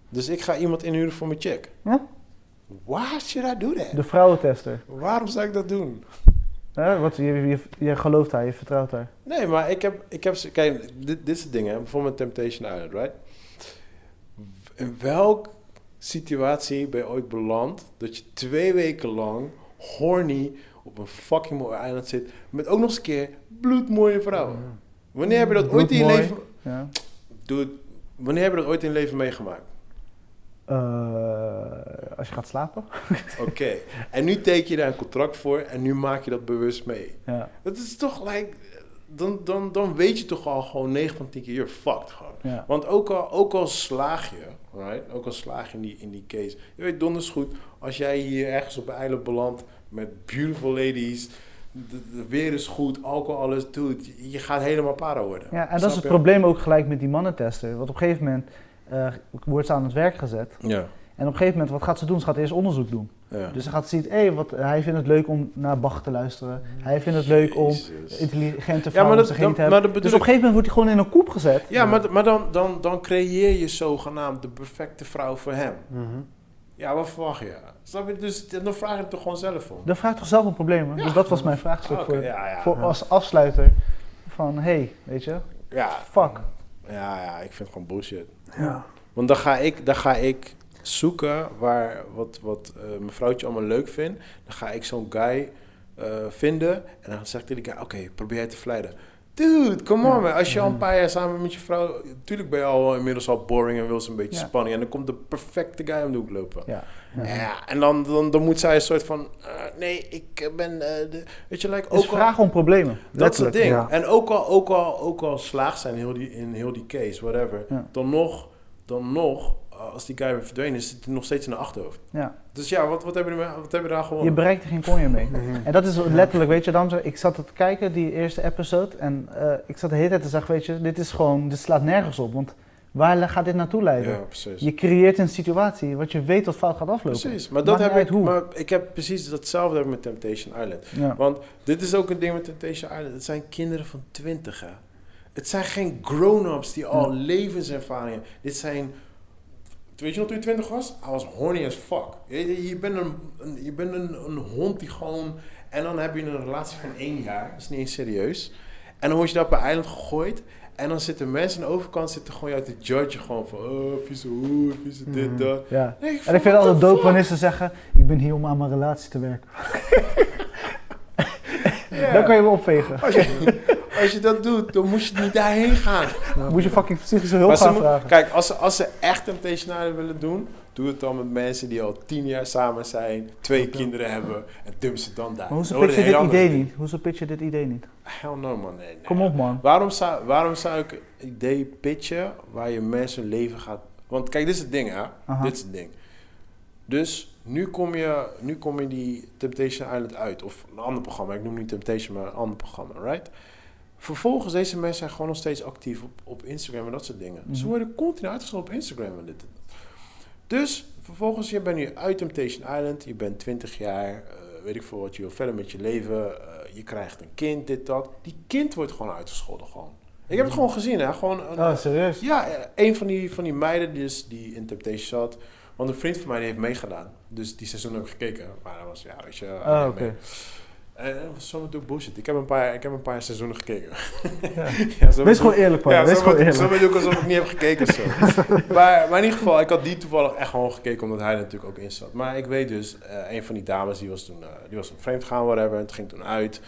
Speaker 2: dus ik ga iemand inhuren voor mijn check.
Speaker 3: Ja?
Speaker 2: Why should I do that?
Speaker 3: De vrouwentester.
Speaker 2: Waarom zou ik dat doen?
Speaker 3: Hè? Wat, je, je, je gelooft haar, je vertrouwt haar.
Speaker 2: Nee, maar ik heb, ik heb ze- kijk, dit, dit is het ding, hè? bijvoorbeeld Temptation Island, right? In welke situatie ben je ooit beland dat je twee weken lang horny op een fucking mooi eiland zit met ook nog eens een keer bloedmooie vrouwen?
Speaker 4: Ja.
Speaker 2: Wanneer heb je dat ooit in je
Speaker 3: Bloedmooi.
Speaker 2: leven,
Speaker 3: Ja.
Speaker 2: dude, wanneer heb je dat ooit in je leven meegemaakt?
Speaker 3: Eh, als je gaat slapen.
Speaker 2: Oké, en nu teken je daar een contract voor en nu maak je dat bewust mee.
Speaker 3: Ja,
Speaker 2: Dat is toch like, dan, dan, dan weet je toch al gewoon 9 van 10 keer, you're fucked gewoon.
Speaker 3: ja.
Speaker 2: Want ook al, ook al slaag je, right? ook al slaag je in die, in die case. Je weet donders goed, als jij hier ergens op een eiland belandt met beautiful ladies, de, de weer is goed, alcohol, alles, dude, je- je gaat helemaal para worden.
Speaker 3: ja en dat
Speaker 2: Snap
Speaker 3: is het
Speaker 2: je?
Speaker 3: probleem ook gelijk met die mannentester. Want op een gegeven moment eh, wordt ze aan het werk gezet.
Speaker 2: Ja,
Speaker 3: En op een gegeven moment, wat gaat ze doen? Ze gaat eerst onderzoek doen.
Speaker 2: ja.
Speaker 3: Dus ze gaat zien, hé, wat hij vindt het leuk om naar Bach te luisteren. Hij vindt het leuk om
Speaker 2: Mm. Jezus.
Speaker 3: intelligente vrouwen
Speaker 2: Ja, maar
Speaker 3: om
Speaker 2: dat,
Speaker 3: zich heen
Speaker 2: dan-
Speaker 3: te hebben.
Speaker 2: maar dat bedoel
Speaker 3: Dus op
Speaker 2: ik-
Speaker 3: een gegeven moment wordt hij gewoon in een koep gezet.
Speaker 2: Ja, maar, maar dan, dan, dan creëer je zogenaamd de perfecte vrouw voor hem.
Speaker 4: Mhm.
Speaker 2: Ja, wat verwacht je? Snap je? Dus dan vraag je het toch gewoon zelf om.
Speaker 3: Dan vraagt toch zelf een probleem. hè?
Speaker 2: Ja.
Speaker 3: Dus dat was mijn vraagstuk
Speaker 2: Ah, oké,
Speaker 3: voor,
Speaker 2: ja, ja.
Speaker 3: voor als afsluiter. Van, hé, hey, weet je,
Speaker 2: ja,
Speaker 3: fuck.
Speaker 2: ja, ja, ik vind het gewoon bullshit.
Speaker 4: Ja.
Speaker 2: Want dan ga ik, dan ga ik zoeken waar, wat, wat eh, mijn vrouwtje allemaal leuk vindt. Dan ga ik zo'n guy eh, vinden. En dan zeg ik tegen die guy, oké, probeer jij te verleiden. Dude, come on man. Als je al
Speaker 3: Mhm.
Speaker 2: een paar jaar samen met je vrouw... Tuurlijk ben je al wel inmiddels al boring en wil ze een beetje
Speaker 3: Ja.
Speaker 2: spanning. En dan komt de perfecte guy om de hoek lopen.
Speaker 3: Ja.
Speaker 2: Ja. en dan, dan, dan moet zij een soort van... eh, nee, ik ben... eh, de, weet je, like,
Speaker 3: Dus
Speaker 2: ook al,
Speaker 3: vraag om problemen.
Speaker 2: dat is het
Speaker 3: letterlijk.
Speaker 2: ding.
Speaker 4: ja.
Speaker 2: En ook al, ook al, ook al slaagt zijn heel die, in heel die case, whatever,
Speaker 3: Ja.
Speaker 2: dan nog, dan nog eh, als die guy weer verdwenen is, zit hij nog steeds in de achterhoofd.
Speaker 3: Ja.
Speaker 2: Dus ja, wat, wat, heb, je, ermee- wat heb je daar
Speaker 3: Je
Speaker 2: gewonnen?
Speaker 3: bereikt er geen konje mee. En dat is letterlijk, weet je, dames en heren, ik zat het te kijken, die eerste episode, en eh, ik zat de hele tijd te zeggen, weet je, dit is gewoon, dit slaat nergens op. Want Waar le- gaat dit naartoe leiden?
Speaker 2: Ja, precies.
Speaker 3: Je creëert een situatie wat je weet dat fout gaat aflopen.
Speaker 2: Precies, maar, dat
Speaker 3: Maakt
Speaker 2: heb
Speaker 3: niet
Speaker 2: ik,
Speaker 3: uit hoe.
Speaker 2: maar ik heb precies datzelfde heb ik met Temptation Island.
Speaker 3: Ja.
Speaker 2: Want dit is ook een ding met Temptation Island. Het zijn kinderen van twintig, hè. Het zijn geen grown-ups die al levenservaringen... Dit zijn... Weet je nog toen je twintig was? I was horny as fuck. Je, je- je bent, een, een- je bent een, een hond die gewoon... En dan heb je een relatie van één jaar. Dat is niet eens serieus. En dan word je daar op een eiland gegooid. En dan zitten mensen aan de overkant zitten gewoon jou te judgen. Gewoon van, oh, vieze hoer, vieze dit, dat.
Speaker 3: Ja.
Speaker 2: Nee, ik
Speaker 3: Mhm. En
Speaker 2: vond
Speaker 3: ik vind
Speaker 2: what
Speaker 3: het altijd
Speaker 2: the
Speaker 3: dope
Speaker 2: fuck?
Speaker 3: wanneer ze zeggen, ik ben hier om aan mijn relatie te werken. Dan kan je me opvegen.
Speaker 2: Als je, als je dat doet, dan moest je niet daarheen gaan.
Speaker 3: Moet je fucking psychische hulp
Speaker 2: Maar ze
Speaker 3: gaan
Speaker 2: moet-
Speaker 3: vragen.
Speaker 2: kijk, als ze, als ze echt een tegenstander willen doen, doe het dan met mensen die al tien jaar samen zijn, twee kinderen hebben en dump ze dan daar.
Speaker 3: Maar hoezo
Speaker 2: Dan wordt
Speaker 3: pitch je
Speaker 2: het een
Speaker 3: dit
Speaker 2: heel
Speaker 3: idee
Speaker 2: ander
Speaker 3: niet? Hoezo pitch je dit idee niet?
Speaker 2: ding. Hell no man, nee, nee.
Speaker 3: Kom op man.
Speaker 2: Waarom zou, waarom zou ik een idee pitchen waar je mensen hun leven gaat... Want kijk, dit is het ding, hè?
Speaker 3: Aha.
Speaker 2: Dit is het ding. Dus nu kom, je, nu kom je die Temptation Island uit. Of een ander programma. Ik noem niet Temptation, maar een ander programma, right? Vervolgens, deze mensen zijn gewoon nog steeds actief op, op Instagram en dat soort dingen. Ze worden continu uitgezonden op Instagram en dit en dat. Dus vervolgens, je bent nu uit Temptation Island. Je bent 20 jaar, eh, weet ik veel wat. Je wil verder met je leven. eh, je krijgt een kind, dit, dat. Die kind wordt gewoon uitgescholden, gewoon. Ik heb het gewoon gezien, hè. Gewoon een,
Speaker 3: Oh, serieus?
Speaker 2: ja, eh, een van die, van die meiden dus die in Temptation zat. Want een vriend van mij die heeft meegedaan. Dus die seizoen heb ik gekeken. Maar dat was, ja, weet je...
Speaker 3: Oh,
Speaker 2: alleen
Speaker 3: oké.
Speaker 2: mee. En dat was zomaar doe bullshit. Ik heb een paar, ik heb een paar seizoenen gekeken.
Speaker 3: Ja.
Speaker 2: Ja, zo
Speaker 3: Wees
Speaker 2: bedoel-
Speaker 3: gewoon eerlijk, man. Wees
Speaker 2: zo
Speaker 3: gewoon
Speaker 2: bedoel-
Speaker 3: eerlijk.
Speaker 2: Zo bedoel ik alsof ik niet heb gekeken. Zo. maar, maar in ieder geval, ik had die toevallig echt gewoon gekeken, omdat hij er natuurlijk ook in zat. Maar ik weet dus, eh, een van die dames, die was toen eh, die was een vreemd gaan, whatever, en het ging toen uit.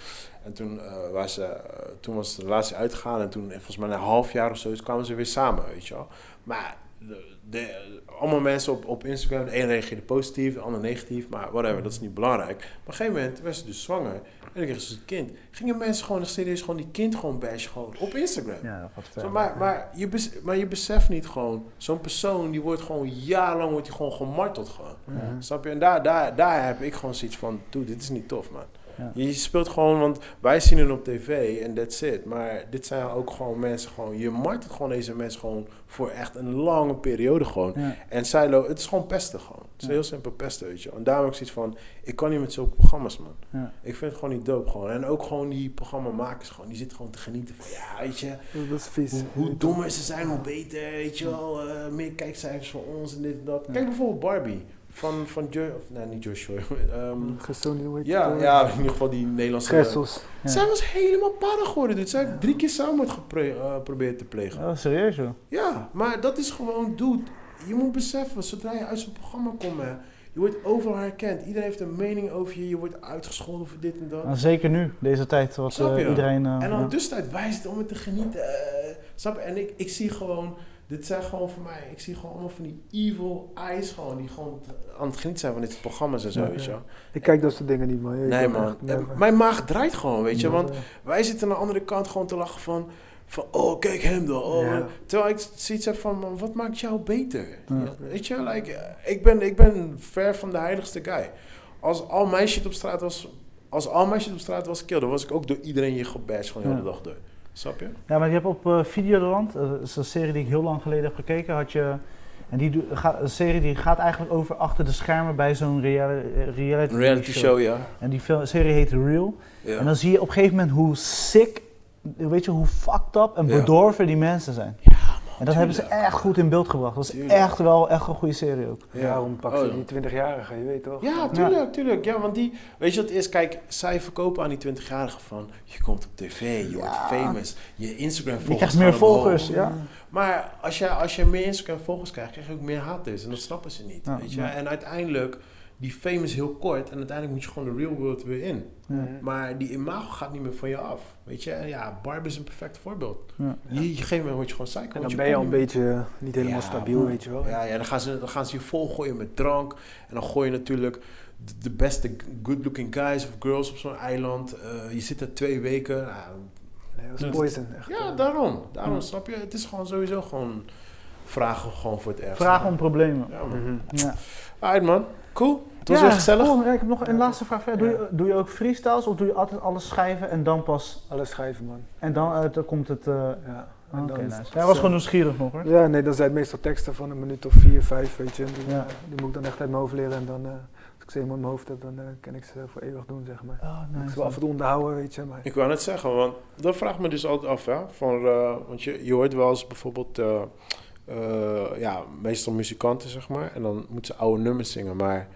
Speaker 2: En toen, eh, was, ze, eh, toen was de relatie uitgegaan en toen, eh, volgens mij na een half jaar of zo, dus kwamen ze weer samen, weet je wel. Maar de, de- allemaal mensen op, op Instagram, de een reageerde positief, de ander negatief, maar whatever, dat is niet belangrijk. Maar op een gegeven moment werd ze dus zwanger en dan kreeg ze een kind. Gingen mensen gewoon serieus gewoon die kind gewoon bashen gewoon op Instagram.
Speaker 3: Ja, dat gaat
Speaker 2: Zo,
Speaker 3: ver.
Speaker 2: maar, maar, je bes- maar je beseft niet gewoon, zo'n persoon die wordt gewoon jarenlang wordt die gewoon gemarteld gewoon. Snap je? En daar, daar, daar heb ik gewoon zoiets van, dude, dit is niet tof man.
Speaker 3: Ja.
Speaker 2: Je speelt gewoon, want wij zien hun op tv en that's it. Maar dit zijn ook gewoon mensen gewoon, je martelt gewoon deze mensen gewoon voor echt een lange periode gewoon.
Speaker 3: Ja.
Speaker 2: En zij lo- het is gewoon pesten gewoon. Het is heel simpel pesten, weet je. En daarom heb ik zoiets van, ik kan niet met zulke programma's man.
Speaker 3: Ja.
Speaker 2: Ik vind het gewoon niet dope gewoon. En ook gewoon die programmamakers gewoon, die zitten gewoon te genieten van, ja weet je
Speaker 4: Dat is vies.
Speaker 2: hoe dommer ze zijn, hoe beter, weet je wel. eh, meer kijkcijfers voor ons en dit en dat. Kijk bijvoorbeeld Barbie. Van, van jo of, nee, niet Joshua. ehm,
Speaker 4: Gezond, hoe heet
Speaker 2: ja,
Speaker 4: het? eh,
Speaker 2: ja, in ieder geval die Nederlandse...
Speaker 4: Gessels.
Speaker 3: Ja.
Speaker 2: Zij was helemaal para geworden, dude. Zij heeft drie keer zelfmoord geprobeerd te plegen.
Speaker 3: Oh, serieus joh.
Speaker 2: Ja, maar dat is gewoon, dude. Je moet beseffen, zodra je uit zo'n programma komt, hè, je wordt overal herkend. Iedereen heeft een mening over je. Je wordt uitgescholden voor dit en dat.
Speaker 3: Nou, zeker nu, deze tijd, wat
Speaker 2: Snap
Speaker 3: eh,
Speaker 2: je?
Speaker 3: iedereen... eh,
Speaker 2: En dan
Speaker 3: ja.
Speaker 2: tussentijd wijst het om het te genieten. eh, snap je? En ik, ik zie gewoon, dit zijn gewoon voor mij, ik zie gewoon allemaal van die evil eyes gewoon, die gewoon t- aan het genieten zijn van dit soort programma's en zo,
Speaker 4: Ja.
Speaker 2: weet je wel.
Speaker 4: Ik kijk dat soort dingen niet, man. Ik
Speaker 2: Nee
Speaker 4: ben
Speaker 2: man,
Speaker 4: echt-
Speaker 2: Eh,
Speaker 4: man.
Speaker 2: mijn maag draait gewoon, weet je, want
Speaker 4: Ja.
Speaker 2: wij zitten aan de andere kant gewoon te lachen van, van oh kijk hem dan, oh.
Speaker 4: Ja.
Speaker 2: terwijl ik zoiets heb van, man, wat maakt jou beter? Weet je, like, eh, ik, ben, ik ben ver van de heiligste guy. Als al mijn shit op straat was, als al mijn shit op straat was kill, dan was ik ook door iedereen hier gebashed gewoon de
Speaker 3: Ja.
Speaker 2: hele dag door. Snap je?
Speaker 3: Ja, maar je hebt op eh, Videoland, eh, dat is een serie die ik heel lang geleden heb gekeken, had je... En die do- ga- een serie die gaat eigenlijk over achter de schermen bij zo'n reali- eh, reality,
Speaker 2: Een reality show, ja.
Speaker 3: En die film- serie heet Real.
Speaker 2: ja.
Speaker 3: En dan zie je op een gegeven moment hoe sick, weet je, hoe fucked up en
Speaker 2: Ja.
Speaker 3: bedorven die mensen zijn. en dat hebben ze echt goed in beeld gebracht. Dat is
Speaker 2: Tuurlijk.
Speaker 3: echt wel echt een goede serie ook.
Speaker 2: Ja.
Speaker 4: Daarom pak
Speaker 2: Oh,
Speaker 4: ze
Speaker 2: ja.
Speaker 4: die 20-jarige, je weet toch?
Speaker 2: Ja, tuurlijk, tuurlijk. Ja, want die, weet je wat het is? Kijk, zij verkopen aan die 20-jarigen van, je komt op tv, je wordt famous, je Instagram volgers.
Speaker 3: Je krijgt meer
Speaker 2: gaan omhoog.
Speaker 3: volgers, ja.
Speaker 2: Maar als je, als je meer Instagram volgers krijgt, krijg je ook meer haters. En dat snappen ze niet,
Speaker 3: Ja,
Speaker 2: weet je.
Speaker 3: ja.
Speaker 2: En uiteindelijk, die fame is heel kort en uiteindelijk moet je gewoon de real world weer in. Maar die imago gaat niet meer van je af, weet je. En ja, Barb is een perfect voorbeeld.
Speaker 3: Ja.
Speaker 2: Je, op een gegeven moment word je gewoon psycho.
Speaker 4: En
Speaker 2: want
Speaker 4: dan ben je al
Speaker 2: komt
Speaker 4: een
Speaker 2: niet
Speaker 4: beetje eh, niet helemaal
Speaker 2: Ja,
Speaker 4: stabiel,
Speaker 2: man.
Speaker 4: weet je wel.
Speaker 2: Ja, ja dan, gaan ze, dan gaan ze je volgooien met drank. En dan gooi je natuurlijk de, de beste good-looking guys of girls op zo'n eiland. Eh, je zit er twee weken. Nou,
Speaker 4: Nee, dat is poison, echt. eh,
Speaker 2: ja, daarom. Daarom, snap je? Het is gewoon sowieso gewoon vragen gewoon voor het ergste.
Speaker 3: Vragen om problemen.
Speaker 2: Ja, man.
Speaker 4: Mhm.
Speaker 3: Ja.
Speaker 2: Alright, man. Cool. Het was
Speaker 3: Ja,
Speaker 2: weer gezellig.
Speaker 3: oh, ja, ik heb nog een laatste vraag. verder. Doe,
Speaker 4: Ja.
Speaker 3: je, doe je ook freestyles of doe je altijd alles schrijven en dan pas...
Speaker 4: Alles schrijven, man.
Speaker 3: En dan, eh, dan komt het... eh,
Speaker 4: Ja. En
Speaker 3: Oké,
Speaker 4: dan-
Speaker 3: nice. Hij was gewoon nieuwsgierig nog hoor.
Speaker 4: Ja, nee, dan zijn het meestal teksten van een minuut of vier, vijf, weet je. En Die,
Speaker 3: Ja.
Speaker 4: eh, die moet ik dan echt uit mijn hoofd leren. En dan, eh, als ik ze eenmaal in mijn hoofd heb, dan eh, kan ik ze voor eeuwig doen, zeg maar.
Speaker 3: Oh,
Speaker 4: Ik
Speaker 3: nice.
Speaker 4: zal af en toe onderhouden, weet je. Maar
Speaker 2: Ik wou net zeggen, want dat vraagt me dus altijd af. Hè? Van, eh, want je, je hoort wel eens bijvoorbeeld, eh, eh, ja, meestal muzikanten zeg maar, en dan moeten ze oude nummers zingen. Maar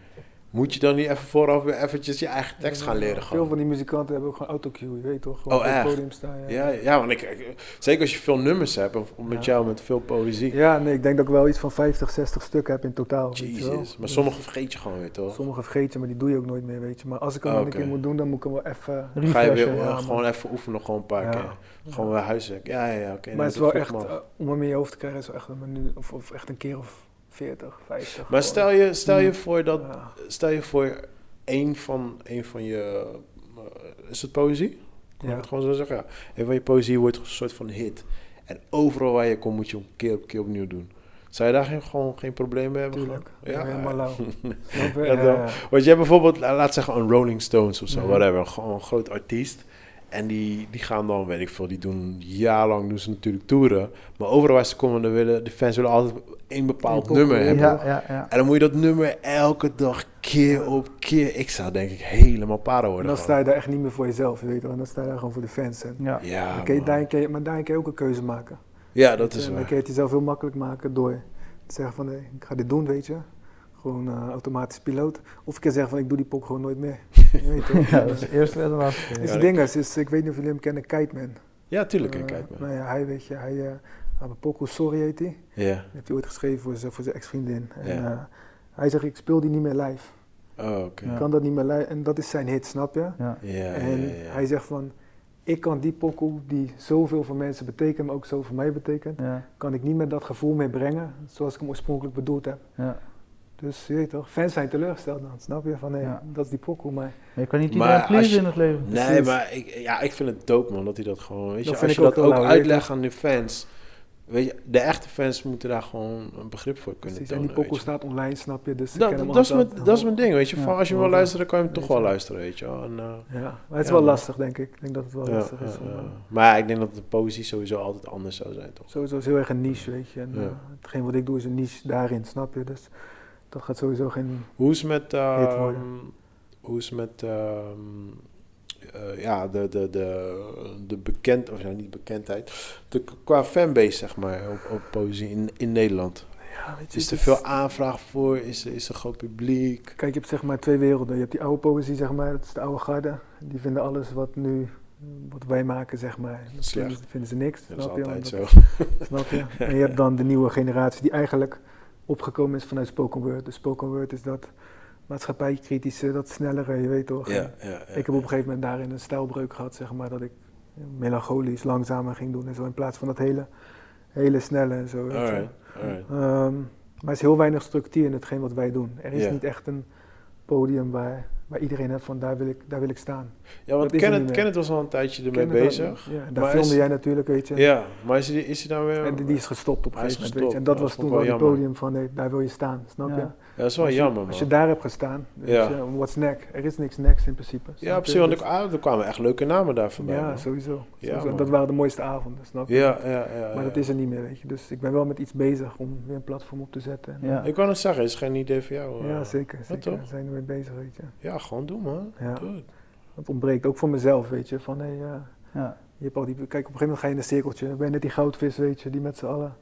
Speaker 2: moet je dan niet even vooraf weer eventjes je eigen tekst gaan leren?
Speaker 4: veel
Speaker 2: Gewoon?
Speaker 4: van die muzikanten hebben ook gewoon autocue, je weet toch? Gewoon
Speaker 2: Oh,
Speaker 4: op het
Speaker 2: echt?
Speaker 4: podium staan.
Speaker 2: Ja,
Speaker 4: Ja.
Speaker 2: ja, want ik- ik, zeker als je veel nummers hebt, of met
Speaker 4: Ja.
Speaker 2: jou met veel poëzie.
Speaker 4: Ja, nee, ik denk dat ik wel iets van 50, 60 stukken heb in totaal. weet je wel. Dus
Speaker 2: Jezus, maar sommige vergeet je gewoon weer toch?
Speaker 4: Sommige vergeet je, maar die doe je ook nooit meer, weet je. Maar als ik hem dan
Speaker 2: Oh, Oké.
Speaker 4: een keer moet doen, dan moet ik hem wel even...
Speaker 2: Dan Ga je weer
Speaker 4: refreshen,
Speaker 2: eh,
Speaker 4: ja, man.
Speaker 2: gewoon even oefenen, gewoon een paar
Speaker 4: Ja.
Speaker 2: keer. Gewoon weer huiswerk. Ja, ja, ja, oké. nee,
Speaker 4: Maar het is
Speaker 2: dat
Speaker 4: wel
Speaker 2: voelt
Speaker 4: echt,
Speaker 2: me af.
Speaker 4: eh, om hem in je hoofd te krijgen, is wel echt een minuut of, of echt een keer of 40, 50.
Speaker 2: Maar
Speaker 4: gewoon.
Speaker 2: stel je, stel je
Speaker 4: Mm.
Speaker 2: voor dat,
Speaker 4: Ja.
Speaker 2: Stel je voor, één van, één van je. eh, is het poëzie? Kan
Speaker 4: Ja.
Speaker 2: ik het gewoon zo zeggen? Ja. Een van je poëzie wordt een soort van hit. En overal waar je komt moet je hem keer op keer opnieuw doen. Zou je daar geen, gewoon geen probleem mee hebben?
Speaker 4: Tuurlijk.
Speaker 2: gehad?
Speaker 4: Ja,
Speaker 2: Ja,
Speaker 4: helemaal lauw. Snap je?
Speaker 2: Ja,
Speaker 4: Ja,
Speaker 2: toch?
Speaker 4: ja.
Speaker 2: Want je hebt bijvoorbeeld, la- laat zeggen, een Rolling Stones of zo,
Speaker 4: Mhm.
Speaker 2: whatever. Gewoon een groot artiest. En die, die gaan dan, weet ik veel, die doen jarenlang doen ze natuurlijk toeren. Maar overal waar ze komen, dan willen, de fans willen altijd één bepaald
Speaker 4: Eén
Speaker 2: nummer
Speaker 4: concurrent.
Speaker 2: hebben.
Speaker 3: Ja, ja, ja.
Speaker 2: En dan moet je dat nummer elke dag keer op keer. Ik zou denk ik helemaal para
Speaker 4: En
Speaker 2: worden.
Speaker 4: dan sta
Speaker 2: gewoon.
Speaker 4: je daar echt niet meer voor jezelf, je weet wel. Dan sta je daar gewoon voor de fans. En
Speaker 3: ja.
Speaker 2: Ja,
Speaker 4: dan kun je,
Speaker 2: Ah, man.
Speaker 4: daarin kun je, maar daarin kun je ook een keuze maken.
Speaker 2: ja, dat is
Speaker 4: En Dan
Speaker 2: waar.
Speaker 4: kun je het jezelf heel makkelijk maken door te zeggen van, hé, ik ga dit doen, weet je. Gewoon eh, automatisch piloot. Of ik kan zeggen van, ik doe die pok gewoon nooit meer. Je weet toch?
Speaker 3: Ja, dat is de eerste en de laatste
Speaker 4: Is
Speaker 3: keer.
Speaker 2: Ja,
Speaker 4: die
Speaker 2: dat-
Speaker 4: ding, is, is, ik weet niet of jullie hem kennen, Kite Man.
Speaker 2: Ja, tuurlijk.
Speaker 4: Eh,
Speaker 2: kijk maar.
Speaker 4: nou ja, hij weet je, hij, eh, hij had een pokoe, Sorry heet hij. Die
Speaker 2: Ja.
Speaker 4: heeft hij ooit geschreven voor zijn, voor zijn ex-vriendin. En,
Speaker 2: Ja.
Speaker 4: eh, hij zegt, ik speel die niet meer live.
Speaker 2: Oh, oké.
Speaker 3: Ja.
Speaker 2: Ja.
Speaker 4: Ik kan dat niet meer live. En dat is zijn hit, snap je?
Speaker 3: Ja.
Speaker 2: Ja,
Speaker 4: en
Speaker 2: ja, ja.
Speaker 4: hij zegt van, ik kan die pokoe die zoveel voor mensen betekent, maar ook zoveel voor mij betekent,
Speaker 3: Ja,
Speaker 4: kan ik niet meer dat gevoel mee brengen zoals ik hem oorspronkelijk bedoeld heb.
Speaker 3: ja.
Speaker 4: Dus je weet toch, fans zijn teleurgesteld dan, snap je? Van, hé,
Speaker 3: Ja.
Speaker 4: dat is die pokoe, maar
Speaker 3: Maar je kan niet
Speaker 2: Maar
Speaker 3: iedereen
Speaker 2: als
Speaker 3: pleasen
Speaker 2: je-
Speaker 3: in het leven.
Speaker 2: Nee,
Speaker 4: precies.
Speaker 2: maar ik, ja, ik vind het dope, man, dat hij dat gewoon... Weet
Speaker 4: Dat
Speaker 2: je,
Speaker 4: vind
Speaker 2: als je
Speaker 4: ik ook
Speaker 2: dat
Speaker 4: wel
Speaker 2: ook
Speaker 4: lauw, weet
Speaker 2: uitlegt aan de fans... Weet je, de echte fans moeten daar gewoon een begrip voor kunnen
Speaker 4: precies. En
Speaker 2: tonen,
Speaker 4: die pokoe
Speaker 2: weet je.
Speaker 4: staat online, snap je? Dus ze
Speaker 2: Dat,
Speaker 4: kennen
Speaker 2: dat, dat,
Speaker 4: hem
Speaker 2: is
Speaker 4: altijd.
Speaker 2: mijn, dat is mijn ding, weet je.
Speaker 3: Ja.
Speaker 2: Van, als je hem wil
Speaker 4: Ja.
Speaker 2: luisteren, kan je hem
Speaker 4: Weet
Speaker 2: toch
Speaker 4: je
Speaker 2: wel
Speaker 4: wel.
Speaker 2: luisteren, weet je wel. En, eh,
Speaker 4: Ja, maar het is
Speaker 2: Ja,
Speaker 4: wel
Speaker 2: man.
Speaker 4: lastig, denk ik. Ik denk dat het wel
Speaker 2: Ja,
Speaker 4: lastig is.
Speaker 2: ja,
Speaker 4: om,
Speaker 2: ja.
Speaker 4: eh,
Speaker 2: Maar ja, ik denk dat de positie sowieso altijd anders zou zijn, toch?
Speaker 4: Sowieso is heel erg een niche, weet je. En,
Speaker 2: Ja.
Speaker 4: eh, hetgeen wat ik doe is een niche daarin, snap je? Dus dat gaat sowieso geen...
Speaker 2: Hoe is met, ehm,
Speaker 4: Hit worden.
Speaker 2: hoe is met ehm, eh, ja, de, de, de, de bekend, of ja, niet bekendheid, de, qua fanbase, zeg maar, op, op poëzie in, in Nederland?
Speaker 4: Ja, weet
Speaker 2: Is er
Speaker 4: het
Speaker 2: veel aanvraag voor? Is er, is er groot publiek?
Speaker 4: Kijk, je hebt zeg maar twee werelden. Je hebt die oude poëzie, zeg maar, dat is de oude garde. Die vinden alles wat nu, wat wij maken, zeg maar, dat
Speaker 2: Slecht.
Speaker 4: vinden, vinden ze niks.
Speaker 2: Dat is
Speaker 4: snap je?
Speaker 2: altijd
Speaker 4: Want
Speaker 2: zo.
Speaker 4: dat- Snap je? En je hebt dan de nieuwe generatie die eigenlijk opgekomen is vanuit spoken word. Dus spoken word is dat maatschappijkritische, dat snellere, je weet toch?
Speaker 2: Ja, ja, ja.
Speaker 4: Ik heb op een gegeven moment daarin een stijlbreuk gehad, zeg maar, dat ik melancholisch langzamer ging doen en zo, in plaats van dat hele, hele snelle en zo. weet je.
Speaker 2: Alright, alright.
Speaker 4: Ehm, maar er is heel weinig structuur in hetgeen wat wij doen. Er is
Speaker 2: Ja.
Speaker 4: niet echt een podium waar, waar iedereen heeft van, daar wil ik, daar wil ik staan.
Speaker 2: Ja, want
Speaker 4: is er niet
Speaker 2: Kenneth,
Speaker 4: meer.
Speaker 2: Kenneth was al een tijdje ermee
Speaker 4: Ken je dat?
Speaker 2: bezig.
Speaker 4: Ja, daar
Speaker 2: Maar
Speaker 4: filmde
Speaker 2: is-
Speaker 4: jij natuurlijk, weet je.
Speaker 2: Ja, maar is hij, is hij daar weer...
Speaker 4: En die die is gestopt op een
Speaker 2: Hij is
Speaker 4: gegeven moment, weet je.
Speaker 2: gestopt.
Speaker 4: En dat
Speaker 2: Ja,
Speaker 4: was
Speaker 2: dat
Speaker 4: toen
Speaker 2: vond
Speaker 4: wel
Speaker 2: ik
Speaker 4: het
Speaker 2: wel jammer.
Speaker 4: podium van, nee, daar wil je staan, snap
Speaker 3: Ja.
Speaker 4: je?
Speaker 2: Ja, dat is wel
Speaker 4: als je-
Speaker 2: jammer, man.
Speaker 4: Als je daar hebt gestaan,
Speaker 2: Ja.
Speaker 4: weet je, what's next? Er is niks next in principe. snap
Speaker 2: Ja,
Speaker 4: je?
Speaker 2: op zich, want
Speaker 4: Dus-
Speaker 2: er- ah, er kwamen echt leuke namen daar voorbij.
Speaker 4: Ja,
Speaker 2: man.
Speaker 4: sowieso.
Speaker 2: Ja,
Speaker 4: sowieso. En
Speaker 2: man.
Speaker 4: dat waren de mooiste avonden, snap je?
Speaker 2: ja, ja, ja, ja.
Speaker 4: Maar dat is er niet meer, weet je. Dus ik ben wel met iets bezig om weer een platform op te zetten. En-
Speaker 3: Ja.
Speaker 2: Nou, Ik kan het zeggen, is geen idee voor jou. eh.
Speaker 4: Ja, zeker. zeker.
Speaker 2: toch?
Speaker 4: Daar zijn we mee bezig, weet je.
Speaker 2: Ja, gewoon doen, man.
Speaker 4: Ja.
Speaker 2: Doe het.
Speaker 4: Dat ontbreekt ook voor mezelf, weet je. Van, hey, eh,
Speaker 3: Ja.
Speaker 4: je hebt al die, kijk, op een gegeven moment ga je in een cirkeltje. Dan ben je net die goudvis, weet je, die met z'n allen,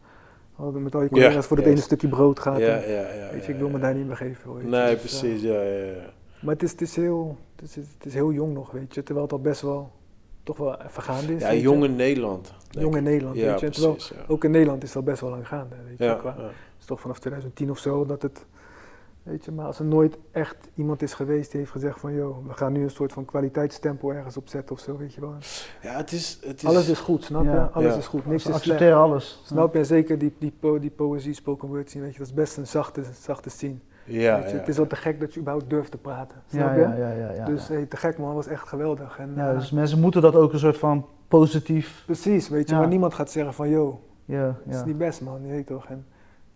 Speaker 4: al- met al je
Speaker 2: Ja,
Speaker 4: collega's voor dat
Speaker 2: juist.
Speaker 4: ene stukje brood
Speaker 2: Ja,
Speaker 4: gaat.
Speaker 2: ja,
Speaker 4: En,
Speaker 2: ja, ja.
Speaker 4: weet je, ik wil me
Speaker 2: ja.
Speaker 4: daar niet in begeven, weet je.
Speaker 2: Nee,
Speaker 4: Dus, eh,
Speaker 2: precies, ja, ja, ja.
Speaker 4: maar het is, het, is heel, het, is, het is heel jong nog, weet je. Terwijl het al best wel, toch wel vergaande is.
Speaker 2: Ja,
Speaker 4: weet je.
Speaker 2: jong in Nederland. denk
Speaker 4: Jong in
Speaker 2: ik.
Speaker 4: Nederland,
Speaker 2: Ja,
Speaker 4: weet je. En Terwijl,
Speaker 2: precies, ja.
Speaker 4: ook in Nederland is het al best wel lang gaande, weet je.
Speaker 2: Ja,
Speaker 4: qua-
Speaker 2: ja.
Speaker 4: Het is toch vanaf 2010 of zo dat het. Weet je, maar als er nooit echt iemand is geweest die heeft gezegd van joh, we gaan nu een soort van kwaliteitstempel ergens opzetten of zo, weet je wel.
Speaker 2: Ja, het is... Het is
Speaker 4: Alles is goed, snap je?
Speaker 3: Ja.
Speaker 4: Alles
Speaker 2: Ja.
Speaker 4: is goed, niks
Speaker 3: Ze
Speaker 4: is slecht.
Speaker 3: accepteren alles.
Speaker 4: Snap je? En zeker die, die, po- die poëzie, spoken word zien, weet je, dat is best een zachte, zachte scene.
Speaker 2: Ja,
Speaker 4: weet je?
Speaker 2: ja.
Speaker 4: Het is al te gek dat je überhaupt durft te praten,
Speaker 3: Ja,
Speaker 4: snap je?
Speaker 3: ja, ja, ja. ja.
Speaker 4: Dus hey, te gek man, was echt geweldig. En,
Speaker 3: ja,
Speaker 4: eh,
Speaker 3: dus mensen moeten dat ook een soort van positief.
Speaker 4: Precies, weet je,
Speaker 3: Ja.
Speaker 4: maar niemand gaat zeggen van joh,
Speaker 3: Ja,
Speaker 4: dat is
Speaker 3: ja.
Speaker 4: niet best man, je weet toch? En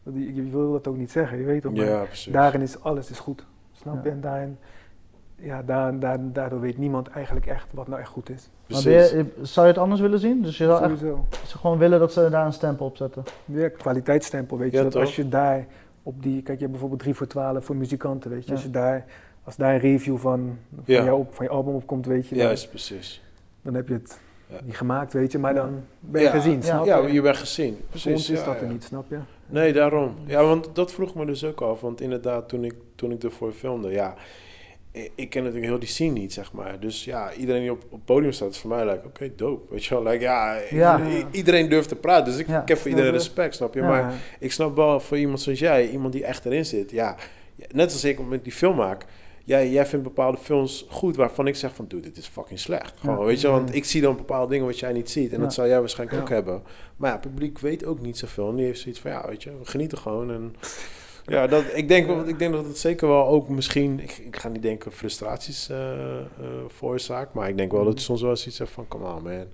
Speaker 4: dat- je, je wil dat ook niet zeggen, je weet toch? maar-
Speaker 2: Ja, precies.
Speaker 4: Daarin is alles is goed. Snap je?
Speaker 3: Ja.
Speaker 4: En daarin ja, daar, daar, daardoor weet niemand eigenlijk echt wat nou echt goed is.
Speaker 3: Maar
Speaker 2: Precies.
Speaker 3: ben je, zou je het anders willen zien? Dus je zou echt
Speaker 4: Sowieso.
Speaker 3: ze gewoon willen dat ze daar een stempel op zetten.
Speaker 4: Ja, kwaliteitsstempel, weet je.
Speaker 2: Ja,
Speaker 4: dat
Speaker 2: toch?
Speaker 4: als je daar op die, kijk, je hebt bijvoorbeeld 3 voor 12 voor muzikanten, weet je.
Speaker 3: Ja.
Speaker 4: Als je daar, als daar een review van, van,
Speaker 2: Ja.
Speaker 4: jou op, van je album op komt, weet je, dan,
Speaker 2: Juist, precies.
Speaker 4: dan heb je het
Speaker 2: Ja.
Speaker 4: niet gemaakt, weet je. Maar dan ben je
Speaker 2: Ja.
Speaker 4: gezien,
Speaker 3: Ja.
Speaker 4: snap
Speaker 2: Ja,
Speaker 4: je?
Speaker 2: je bent gezien.
Speaker 4: Voor
Speaker 2: Precies.
Speaker 4: ons is
Speaker 2: ja,
Speaker 4: dat
Speaker 2: ja.
Speaker 4: er niet, snap je?
Speaker 2: Nee, daarom. Ja, want dat vroeg me dus ook af. Want inderdaad, toen ik, toen ik ervoor filmde, ja, i- ik ken natuurlijk heel die scene niet, zeg maar. Dus ja, iedereen die op, op het podium staat, is voor mij, like, oké, dope. Weet je wel, like, ja, ik-
Speaker 3: Ja.
Speaker 2: i- iedereen durft te praten. Dus ik,
Speaker 3: Ja,
Speaker 2: ik heb voor iedereen
Speaker 4: snap je.
Speaker 2: respect, snap je?
Speaker 4: Ja.
Speaker 2: Maar ik snap wel voor iemand zoals jij, iemand die echt erin zit, ja, ja, net als ik met die film maak. Jij, jij vindt bepaalde films goed waarvan ik zeg van, dude, dit is fucking slecht. Gewoon,
Speaker 3: Ja.
Speaker 2: weet je, want ik zie dan bepaalde dingen wat jij niet ziet. En
Speaker 3: Ja.
Speaker 2: dat zou jij waarschijnlijk
Speaker 4: Ja.
Speaker 2: ook hebben. Maar ja, het publiek weet ook niet zoveel. En die heeft zoiets van, ja, weet je, we genieten gewoon. En ja, dat, ik, denk, wel- ik denk dat het zeker wel ook misschien... Ik, ik ga niet denken frustraties eh, eh, veroorzaakt. Maar ik denk wel dat je soms wel eens iets hebt van, come on man.
Speaker 4: Ja.
Speaker 2: Weet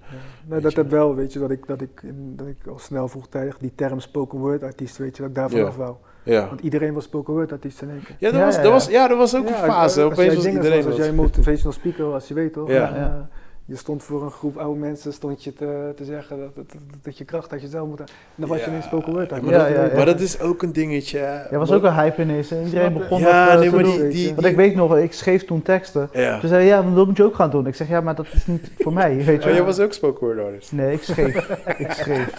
Speaker 4: Nou, dat
Speaker 2: je.
Speaker 4: heb wel, weet je, dat ik, dat, ik, dat ik al snel vroegtijdig die term spoken word artiest, weet je, dat ik daarvan
Speaker 2: Ja.
Speaker 4: af wou.
Speaker 2: Ja,
Speaker 4: Want iedereen was spoken word artiest in één keer.
Speaker 2: ja, dat,
Speaker 3: Ja,
Speaker 2: was,
Speaker 3: ja,
Speaker 2: dat,
Speaker 3: ja.
Speaker 2: was, ja dat was ook
Speaker 4: Ja,
Speaker 2: een fase.
Speaker 4: Als, als jij
Speaker 2: Opeens was
Speaker 4: dingers
Speaker 2: iedereen
Speaker 4: was, als
Speaker 2: dat.
Speaker 4: jij motivational speaker was, je weet toch?
Speaker 2: Ja.
Speaker 4: En,
Speaker 3: Ja.
Speaker 4: eh, je stond voor een groep oude mensen, stond je te, te zeggen dat, dat, dat- dat je kracht uit jezelf moet... En dan was je
Speaker 2: Ja,
Speaker 4: ineens spoken word
Speaker 2: maar,
Speaker 4: artiest.
Speaker 3: Ja,
Speaker 2: dat,
Speaker 3: ja, ja.
Speaker 2: maar dat is ook een dingetje. hè.
Speaker 3: Ja, was ook een hype ineens. En iedereen
Speaker 4: Snap je?
Speaker 3: begon
Speaker 2: Ja,
Speaker 3: dat eh,
Speaker 2: nee,
Speaker 3: te
Speaker 2: maar
Speaker 3: doen.
Speaker 2: die,
Speaker 4: weet
Speaker 2: die,
Speaker 4: je.
Speaker 3: Want Dus- ik weet nog, ik schreef toen teksten.
Speaker 2: Ja.
Speaker 3: Ze zeiden, ja, maar dat moet je ook gaan doen. Ik zeg, ja, maar dat is niet voor mij, weet je
Speaker 2: Oh, jij
Speaker 3: wel.
Speaker 2: was ook spoken word artist.
Speaker 3: Nee, ik schreef. ik schreef.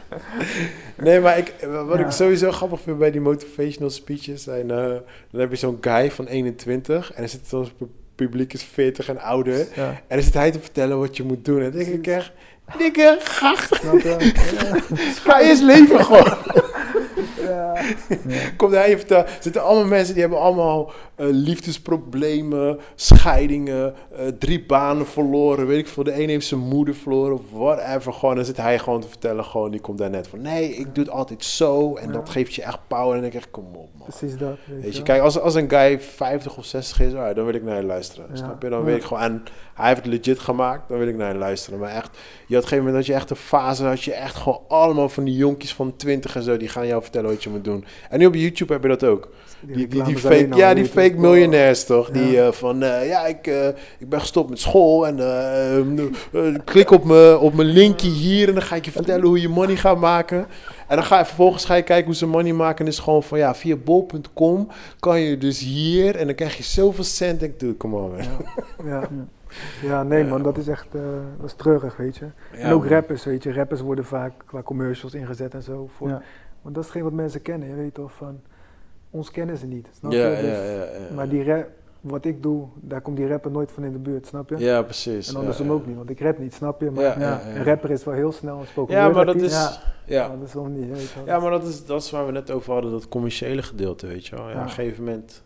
Speaker 2: Nee, maar ik, eh, wat
Speaker 3: Ja.
Speaker 2: ik sowieso grappig vind bij die motivational speeches zijn... eh, dan heb je zo'n guy van 21 en er zit zo'n pu- publiek is 40 en ouder.
Speaker 3: Ja.
Speaker 2: En dan zit hij te vertellen wat je moet doen. En dan denk ik echt, dikke gacht,
Speaker 4: Snap je?
Speaker 2: ga eerst leven gewoon.
Speaker 4: Ja. Ja.
Speaker 2: Komt hij je vertellen, er zitten allemaal mensen die hebben allemaal eh, liefdesproblemen, scheidingen, eh, drie banen verloren, weet ik veel. De een heeft zijn moeder verloren, of whatever. Gewoon, dan zit hij gewoon te vertellen, gewoon, die komt daar net van, nee, ik doe het altijd zo en dat geeft je echt power. En dan denk ik echt, kom op man.
Speaker 4: Precies dat, weet,
Speaker 2: Weet je,
Speaker 4: wel.
Speaker 2: kijk, als, als een guy 50 of 60 is, ah, dan wil ik naar je luisteren.
Speaker 4: Ja.
Speaker 2: Snap je? Dan
Speaker 4: Ja.
Speaker 2: wil ik gewoon, en hij heeft het legit gemaakt, dan wil ik naar je luisteren. Maar echt, je had op een gegeven moment dat je echt een fase had, je echt gewoon allemaal van die jonkies van 20 en zo, die gaan jou vertellen wat je moet doen. En nu op YouTube heb je dat ook. Die, die, die,
Speaker 4: reclames
Speaker 2: fake,
Speaker 4: alleen al, Oh.
Speaker 2: ja, die
Speaker 4: weet je.
Speaker 2: fake miljonairs toch?
Speaker 4: Ja.
Speaker 2: Die eh, van, eh, ja, ik, eh, ik ben gestopt met school en eh, ehm, eh, klik op mijn op mijn linkje hier en dan ga ik je vertellen hoe je money gaat maken. En dan ga je vervolgens ga je kijken hoe ze money maken. En is gewoon van, ja, via bol.com kan je dus hier en dan krijg je zoveel cent. Ik doe, come on man.
Speaker 4: Ja. ja, nee man, dat is echt eh, dat is treurig, weet je. en ook rappers, weet je. Rappers worden vaak qua commercials ingezet en zo. Voor,
Speaker 3: Ja.
Speaker 4: Want dat is geen wat mensen kennen, je weet toch? Van, ons kennen ze niet, snap
Speaker 2: Ja,
Speaker 4: je? Dus-
Speaker 2: ja, ja, ja.
Speaker 4: Maar die rap, wat ik doe, daar komt die rapper nooit van in de buurt, snap je?
Speaker 2: Ja, precies.
Speaker 4: en andersom
Speaker 2: ja, ja.
Speaker 4: ook niet, want ik rap niet, snap je? Maar
Speaker 2: Ja,
Speaker 3: ja,
Speaker 2: ja.
Speaker 4: een rapper is wel heel snel een spoken
Speaker 2: Ja,
Speaker 4: word
Speaker 2: maar dat
Speaker 4: artiest.
Speaker 2: is... Ja.
Speaker 4: Ja, Andersom niet, weet je wel.
Speaker 2: Ja, maar dat is, dat is waar we net over hadden, dat commerciële gedeelte, weet je wel. Ja,
Speaker 4: Ja.
Speaker 2: Op een gegeven moment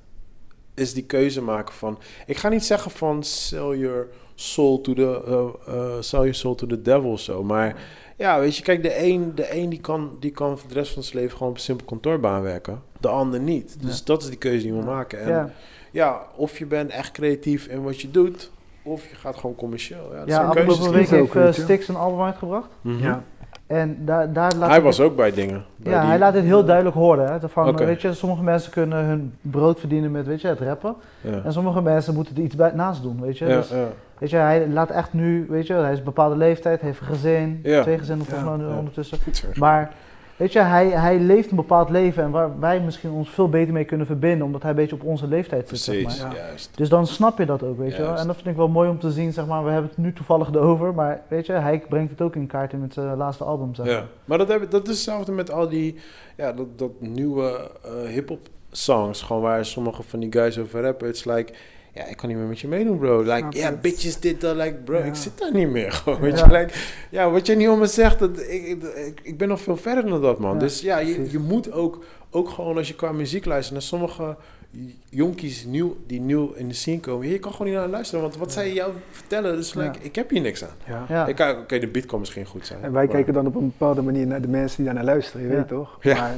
Speaker 2: is die keuze maken van... Ik ga niet zeggen van sell your soul to the, eh, eh, sell your soul to the devil of zo, maar... Ja, weet je, kijk, de een, de een die, kan, die kan voor de rest van zijn leven gewoon op een simpel kantoorbaan werken. De ander niet. Dus dat is die keuze die we maken. En ja.
Speaker 3: Ja.
Speaker 2: of je bent echt creatief in wat je doet, of je gaat gewoon commercieel. Ja, dat
Speaker 3: Ja,
Speaker 2: zijn keuzes.
Speaker 3: afgelopen
Speaker 2: die-
Speaker 3: week
Speaker 4: kiezen
Speaker 3: heeft
Speaker 4: ook,
Speaker 3: eh,
Speaker 4: weet je.
Speaker 3: Stix een album uitgebracht.
Speaker 2: Mhm.
Speaker 4: Ja.
Speaker 3: En daar, daar laat
Speaker 2: Hij
Speaker 3: ik-
Speaker 2: was ook bij dingen. bij
Speaker 3: Ja,
Speaker 2: die-
Speaker 3: hij laat dit heel duidelijk horen. Hè? Van,
Speaker 2: Oké.
Speaker 3: weet je, sommige mensen kunnen hun brood verdienen met weet je, het rappen.
Speaker 2: Ja.
Speaker 3: En sommige mensen moeten er iets bij, naast doen. Weet je?
Speaker 2: Ja,
Speaker 3: Dus,
Speaker 2: ja.
Speaker 3: weet je, hij laat echt nu, weet je, hij is een bepaalde leeftijd, heeft een gezin,
Speaker 2: Ja.
Speaker 3: twee gezinnen volgens
Speaker 4: Ja,
Speaker 3: mij nu
Speaker 2: ja.
Speaker 3: ondertussen. Maar weet je, hij, hij leeft een bepaald leven en waar wij misschien ons veel beter mee kunnen verbinden, omdat hij een beetje op onze leeftijd zit. Zeg maar.
Speaker 2: Precies,
Speaker 4: zeg maar.
Speaker 2: juist.
Speaker 3: Dus dan snap je dat ook, weet je wel.
Speaker 2: Juist.
Speaker 3: En dat vind ik wel mooi om te zien, zeg maar. We hebben het nu toevallig erover, maar weet je, hij brengt het ook in kaart in het eh, laatste album, zeg maar.
Speaker 2: Ja. Maar dat, heb, dat is hetzelfde met al die ja, dat, dat nieuwe eh hip-hop songs. Gewoon waar sommige van die guys over rappen. It's like, ja, ik kan niet meer met je meedoen, bro. Like, ja,
Speaker 4: Snap je?
Speaker 2: bitches, dit, dat. Like, bro,
Speaker 4: Ja.
Speaker 2: ik zit daar niet meer. Gewoon, weet
Speaker 3: Ja.
Speaker 2: je, like, ja, wat je niet om me zegt, dat, ik, ik, ik- ik ben nog veel verder dan dat, man.
Speaker 3: Ja,
Speaker 2: dus ja, je,
Speaker 4: precies.
Speaker 2: je moet ook, ook gewoon als je qua muziek luistert naar sommige jonkies nieuw, die nieuw in de scene komen. Je kan gewoon niet naar luisteren, want wat zij jou vertellen, dus like,
Speaker 3: Ja.
Speaker 2: ik heb hier niks aan.
Speaker 4: Ja.
Speaker 3: Ja.
Speaker 2: Ik kan- Oké, de beat kan misschien goed zijn.
Speaker 4: En wij
Speaker 2: maar-
Speaker 4: kijken dan op een bepaalde manier naar de mensen die daarnaar luisteren, je
Speaker 3: Ja.
Speaker 4: weet toch?
Speaker 2: Ja.
Speaker 4: Maar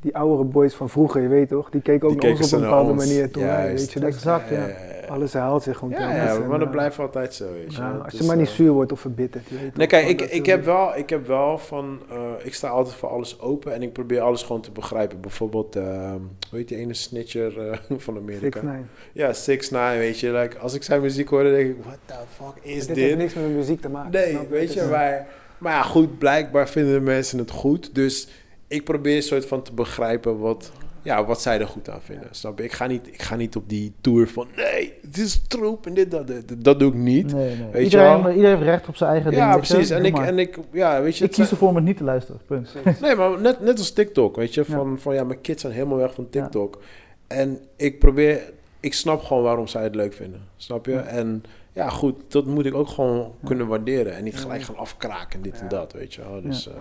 Speaker 4: die oudere boys van vroeger, je weet toch? Die keken ook
Speaker 2: Die
Speaker 4: naar ons
Speaker 2: keken
Speaker 4: op een
Speaker 2: ze naar
Speaker 4: bepaalde
Speaker 2: ons,
Speaker 4: manier toen wij,
Speaker 2: juist.
Speaker 4: weet je. Dus
Speaker 3: Exact, ja.
Speaker 2: ja, ja.
Speaker 4: Alles haalt zich gewoon
Speaker 2: Ja,
Speaker 4: telkens.
Speaker 2: ja,
Speaker 4: En,
Speaker 2: maar dat
Speaker 4: eh,
Speaker 2: blijft altijd zo, weet je.
Speaker 4: ja,
Speaker 2: Dat
Speaker 4: als je
Speaker 2: is,
Speaker 4: maar niet
Speaker 2: eh,
Speaker 4: zuur wordt of verbitterd. je weet
Speaker 2: Nee,
Speaker 4: toch
Speaker 2: kijk, ik,
Speaker 4: wel dat,
Speaker 2: ik,
Speaker 4: eh,
Speaker 2: heb wel, ik heb wel van... eh, ik sta altijd voor alles open en ik probeer alles gewoon te begrijpen. Bijvoorbeeld, eh, hoe heet die ene snitcher eh, van Amerika?
Speaker 4: 6ix9ine.
Speaker 2: Ja, 6 9 weet je. Like, als ik zijn muziek hoor, dan denk ik, what the fuck is
Speaker 4: Dit
Speaker 2: dit?
Speaker 4: heeft niks met muziek te maken.
Speaker 2: Nee,
Speaker 4: snap je?
Speaker 2: weet
Speaker 4: Het is
Speaker 2: je,
Speaker 4: een-
Speaker 2: maar, maar ja, goed, blijkbaar vinden de mensen het goed. Dus ik probeer een soort van te begrijpen wat, ja, wat zij er goed aan vinden. Snap je? Ik ga, niet, ik ga niet op die tour van, nee, het is troep en dit, dat, dat, dat doe ik niet.
Speaker 3: Nee, nee.
Speaker 2: Weet je
Speaker 3: iedereen,
Speaker 2: wel?
Speaker 3: iedereen heeft recht op zijn eigen ding.
Speaker 2: Ja,
Speaker 3: weet je?
Speaker 2: precies. En
Speaker 3: Doe
Speaker 2: ik,
Speaker 3: maar.
Speaker 2: en ik, ja, weet je.
Speaker 3: ik
Speaker 2: het zijn-
Speaker 3: kies ervoor om het niet te luisteren, punt.
Speaker 2: Nee, maar net, net als TikTok, weet je.
Speaker 3: Ja.
Speaker 2: Van, van ja, mijn kids zijn helemaal weg van
Speaker 3: Ja.
Speaker 2: TikTok. En ik probeer, ik snap gewoon waarom zij het leuk vinden. Snap je?
Speaker 3: Ja.
Speaker 2: En ja, goed, dat moet ik ook gewoon
Speaker 3: Ja.
Speaker 2: kunnen waarderen. En niet
Speaker 4: Ja.
Speaker 2: gelijk gaan afkraken, dit en
Speaker 4: Ja.
Speaker 2: dat, weet je wel. Dus eh,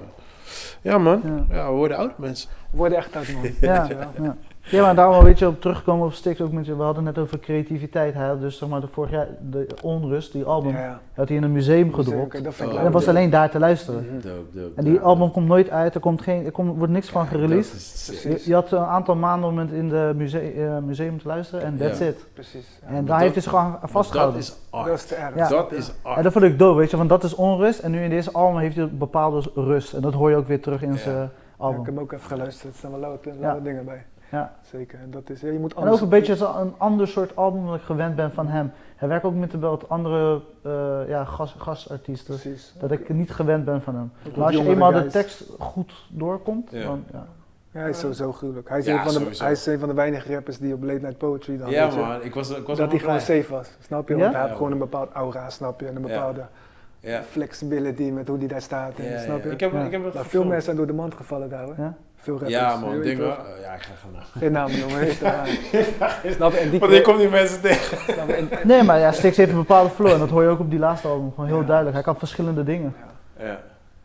Speaker 2: ja, man.
Speaker 3: Ja.
Speaker 2: Ja, we worden oude mensen.
Speaker 4: We worden echt oud, man.
Speaker 3: Ja, ja. ja, maar daarom een beetje op terugkomen op Stix ook met je. We hadden net over creativiteit. Hij had dus zeg maar de vorig jaar de onrust, die album,
Speaker 4: Ja,
Speaker 3: had hij in een museum gedropt.
Speaker 4: Zeker, dat vind
Speaker 2: Oh.
Speaker 4: ik
Speaker 3: En
Speaker 4: leuk.
Speaker 3: dat was alleen daar te luisteren.
Speaker 4: Mhm.
Speaker 2: Dope, dope,
Speaker 3: En die
Speaker 2: dope.
Speaker 3: album komt nooit uit, er, komt geen, er komt, wordt niks van gereleased.
Speaker 2: Dat is sick.
Speaker 4: precies.
Speaker 3: Je, je had een aantal maanden om het in het museum te luisteren en that's
Speaker 2: Ja.
Speaker 3: it.
Speaker 4: Precies. ja.
Speaker 3: En
Speaker 2: dat-
Speaker 3: daar heeft hij zich gewoon aan vastgehouden.
Speaker 2: Dat is
Speaker 4: Dat
Speaker 2: art.
Speaker 4: is te erg.
Speaker 3: Ja.
Speaker 2: Dat is
Speaker 3: En
Speaker 2: art.
Speaker 3: dat vond ik dope, weet je, want dat is onrust. En nu in deze album heeft hij een bepaalde rust. En dat hoor je ook weer terug in
Speaker 2: Ja.
Speaker 3: zijn
Speaker 4: Ja, ik
Speaker 3: album.
Speaker 4: heb hem ook even geluisterd. Er staan wel louter
Speaker 3: Ja.
Speaker 4: louter dingen bij.
Speaker 3: Ja.
Speaker 4: Zeker. En dat is, ja, je moet
Speaker 3: En
Speaker 4: anders...
Speaker 3: ook een beetje zo- een ander soort album dat ik gewend ben van hem. Hij werkt ook met een wat andere eh, ja, gas- gastartiesten.
Speaker 4: Precies.
Speaker 3: Dat ik niet gewend ben van hem.
Speaker 4: Ook
Speaker 3: Maar als je
Speaker 4: jongere
Speaker 3: eenmaal de
Speaker 4: guys.
Speaker 3: tekst goed doorkomt,
Speaker 2: Ja.
Speaker 3: dan ja.
Speaker 4: Ja, hij is sowieso gruwelijk. Hij is,
Speaker 2: Ja,
Speaker 4: een van de,
Speaker 2: sowieso.
Speaker 4: hij is een van de weinige rappers die op Late Night Poetry dan,
Speaker 2: Ja,
Speaker 4: weet je,
Speaker 2: man. Ik was, ik was
Speaker 4: dat hij
Speaker 2: helemaal
Speaker 4: gewoon
Speaker 2: blij.
Speaker 4: safe was, snap je?
Speaker 3: Ja?
Speaker 4: Want hij
Speaker 2: Ja,
Speaker 4: had gewoon een bepaald aura, snap je? En een
Speaker 2: Ja.
Speaker 4: bepaalde
Speaker 2: Ja.
Speaker 4: flexibility met hoe die daar staat, en,
Speaker 2: Ja,
Speaker 4: snap
Speaker 2: ja.
Speaker 4: je?
Speaker 2: Ik heb,
Speaker 3: Ja.
Speaker 2: ik heb het
Speaker 4: maar veel
Speaker 2: gefilmd.
Speaker 4: mensen zijn door de mand gevallen daar, hoor.
Speaker 3: Ja?
Speaker 4: Veel rappers.
Speaker 2: Ja,
Speaker 4: je
Speaker 2: man.
Speaker 4: weet
Speaker 2: Ding
Speaker 4: toch?
Speaker 2: wel. Ja, ik ga gaan.
Speaker 4: Geen naam noemen, weet je wel. Snap je? En die
Speaker 2: Want ik kom die mensen tegen.
Speaker 4: snap je? En- en-
Speaker 3: Nee, maar ja, Stix heeft een bepaalde flow en dat hoor je ook op die laatste album. Gewoon heel
Speaker 4: Ja.
Speaker 3: duidelijk. Hij kan verschillende dingen.
Speaker 2: Ja,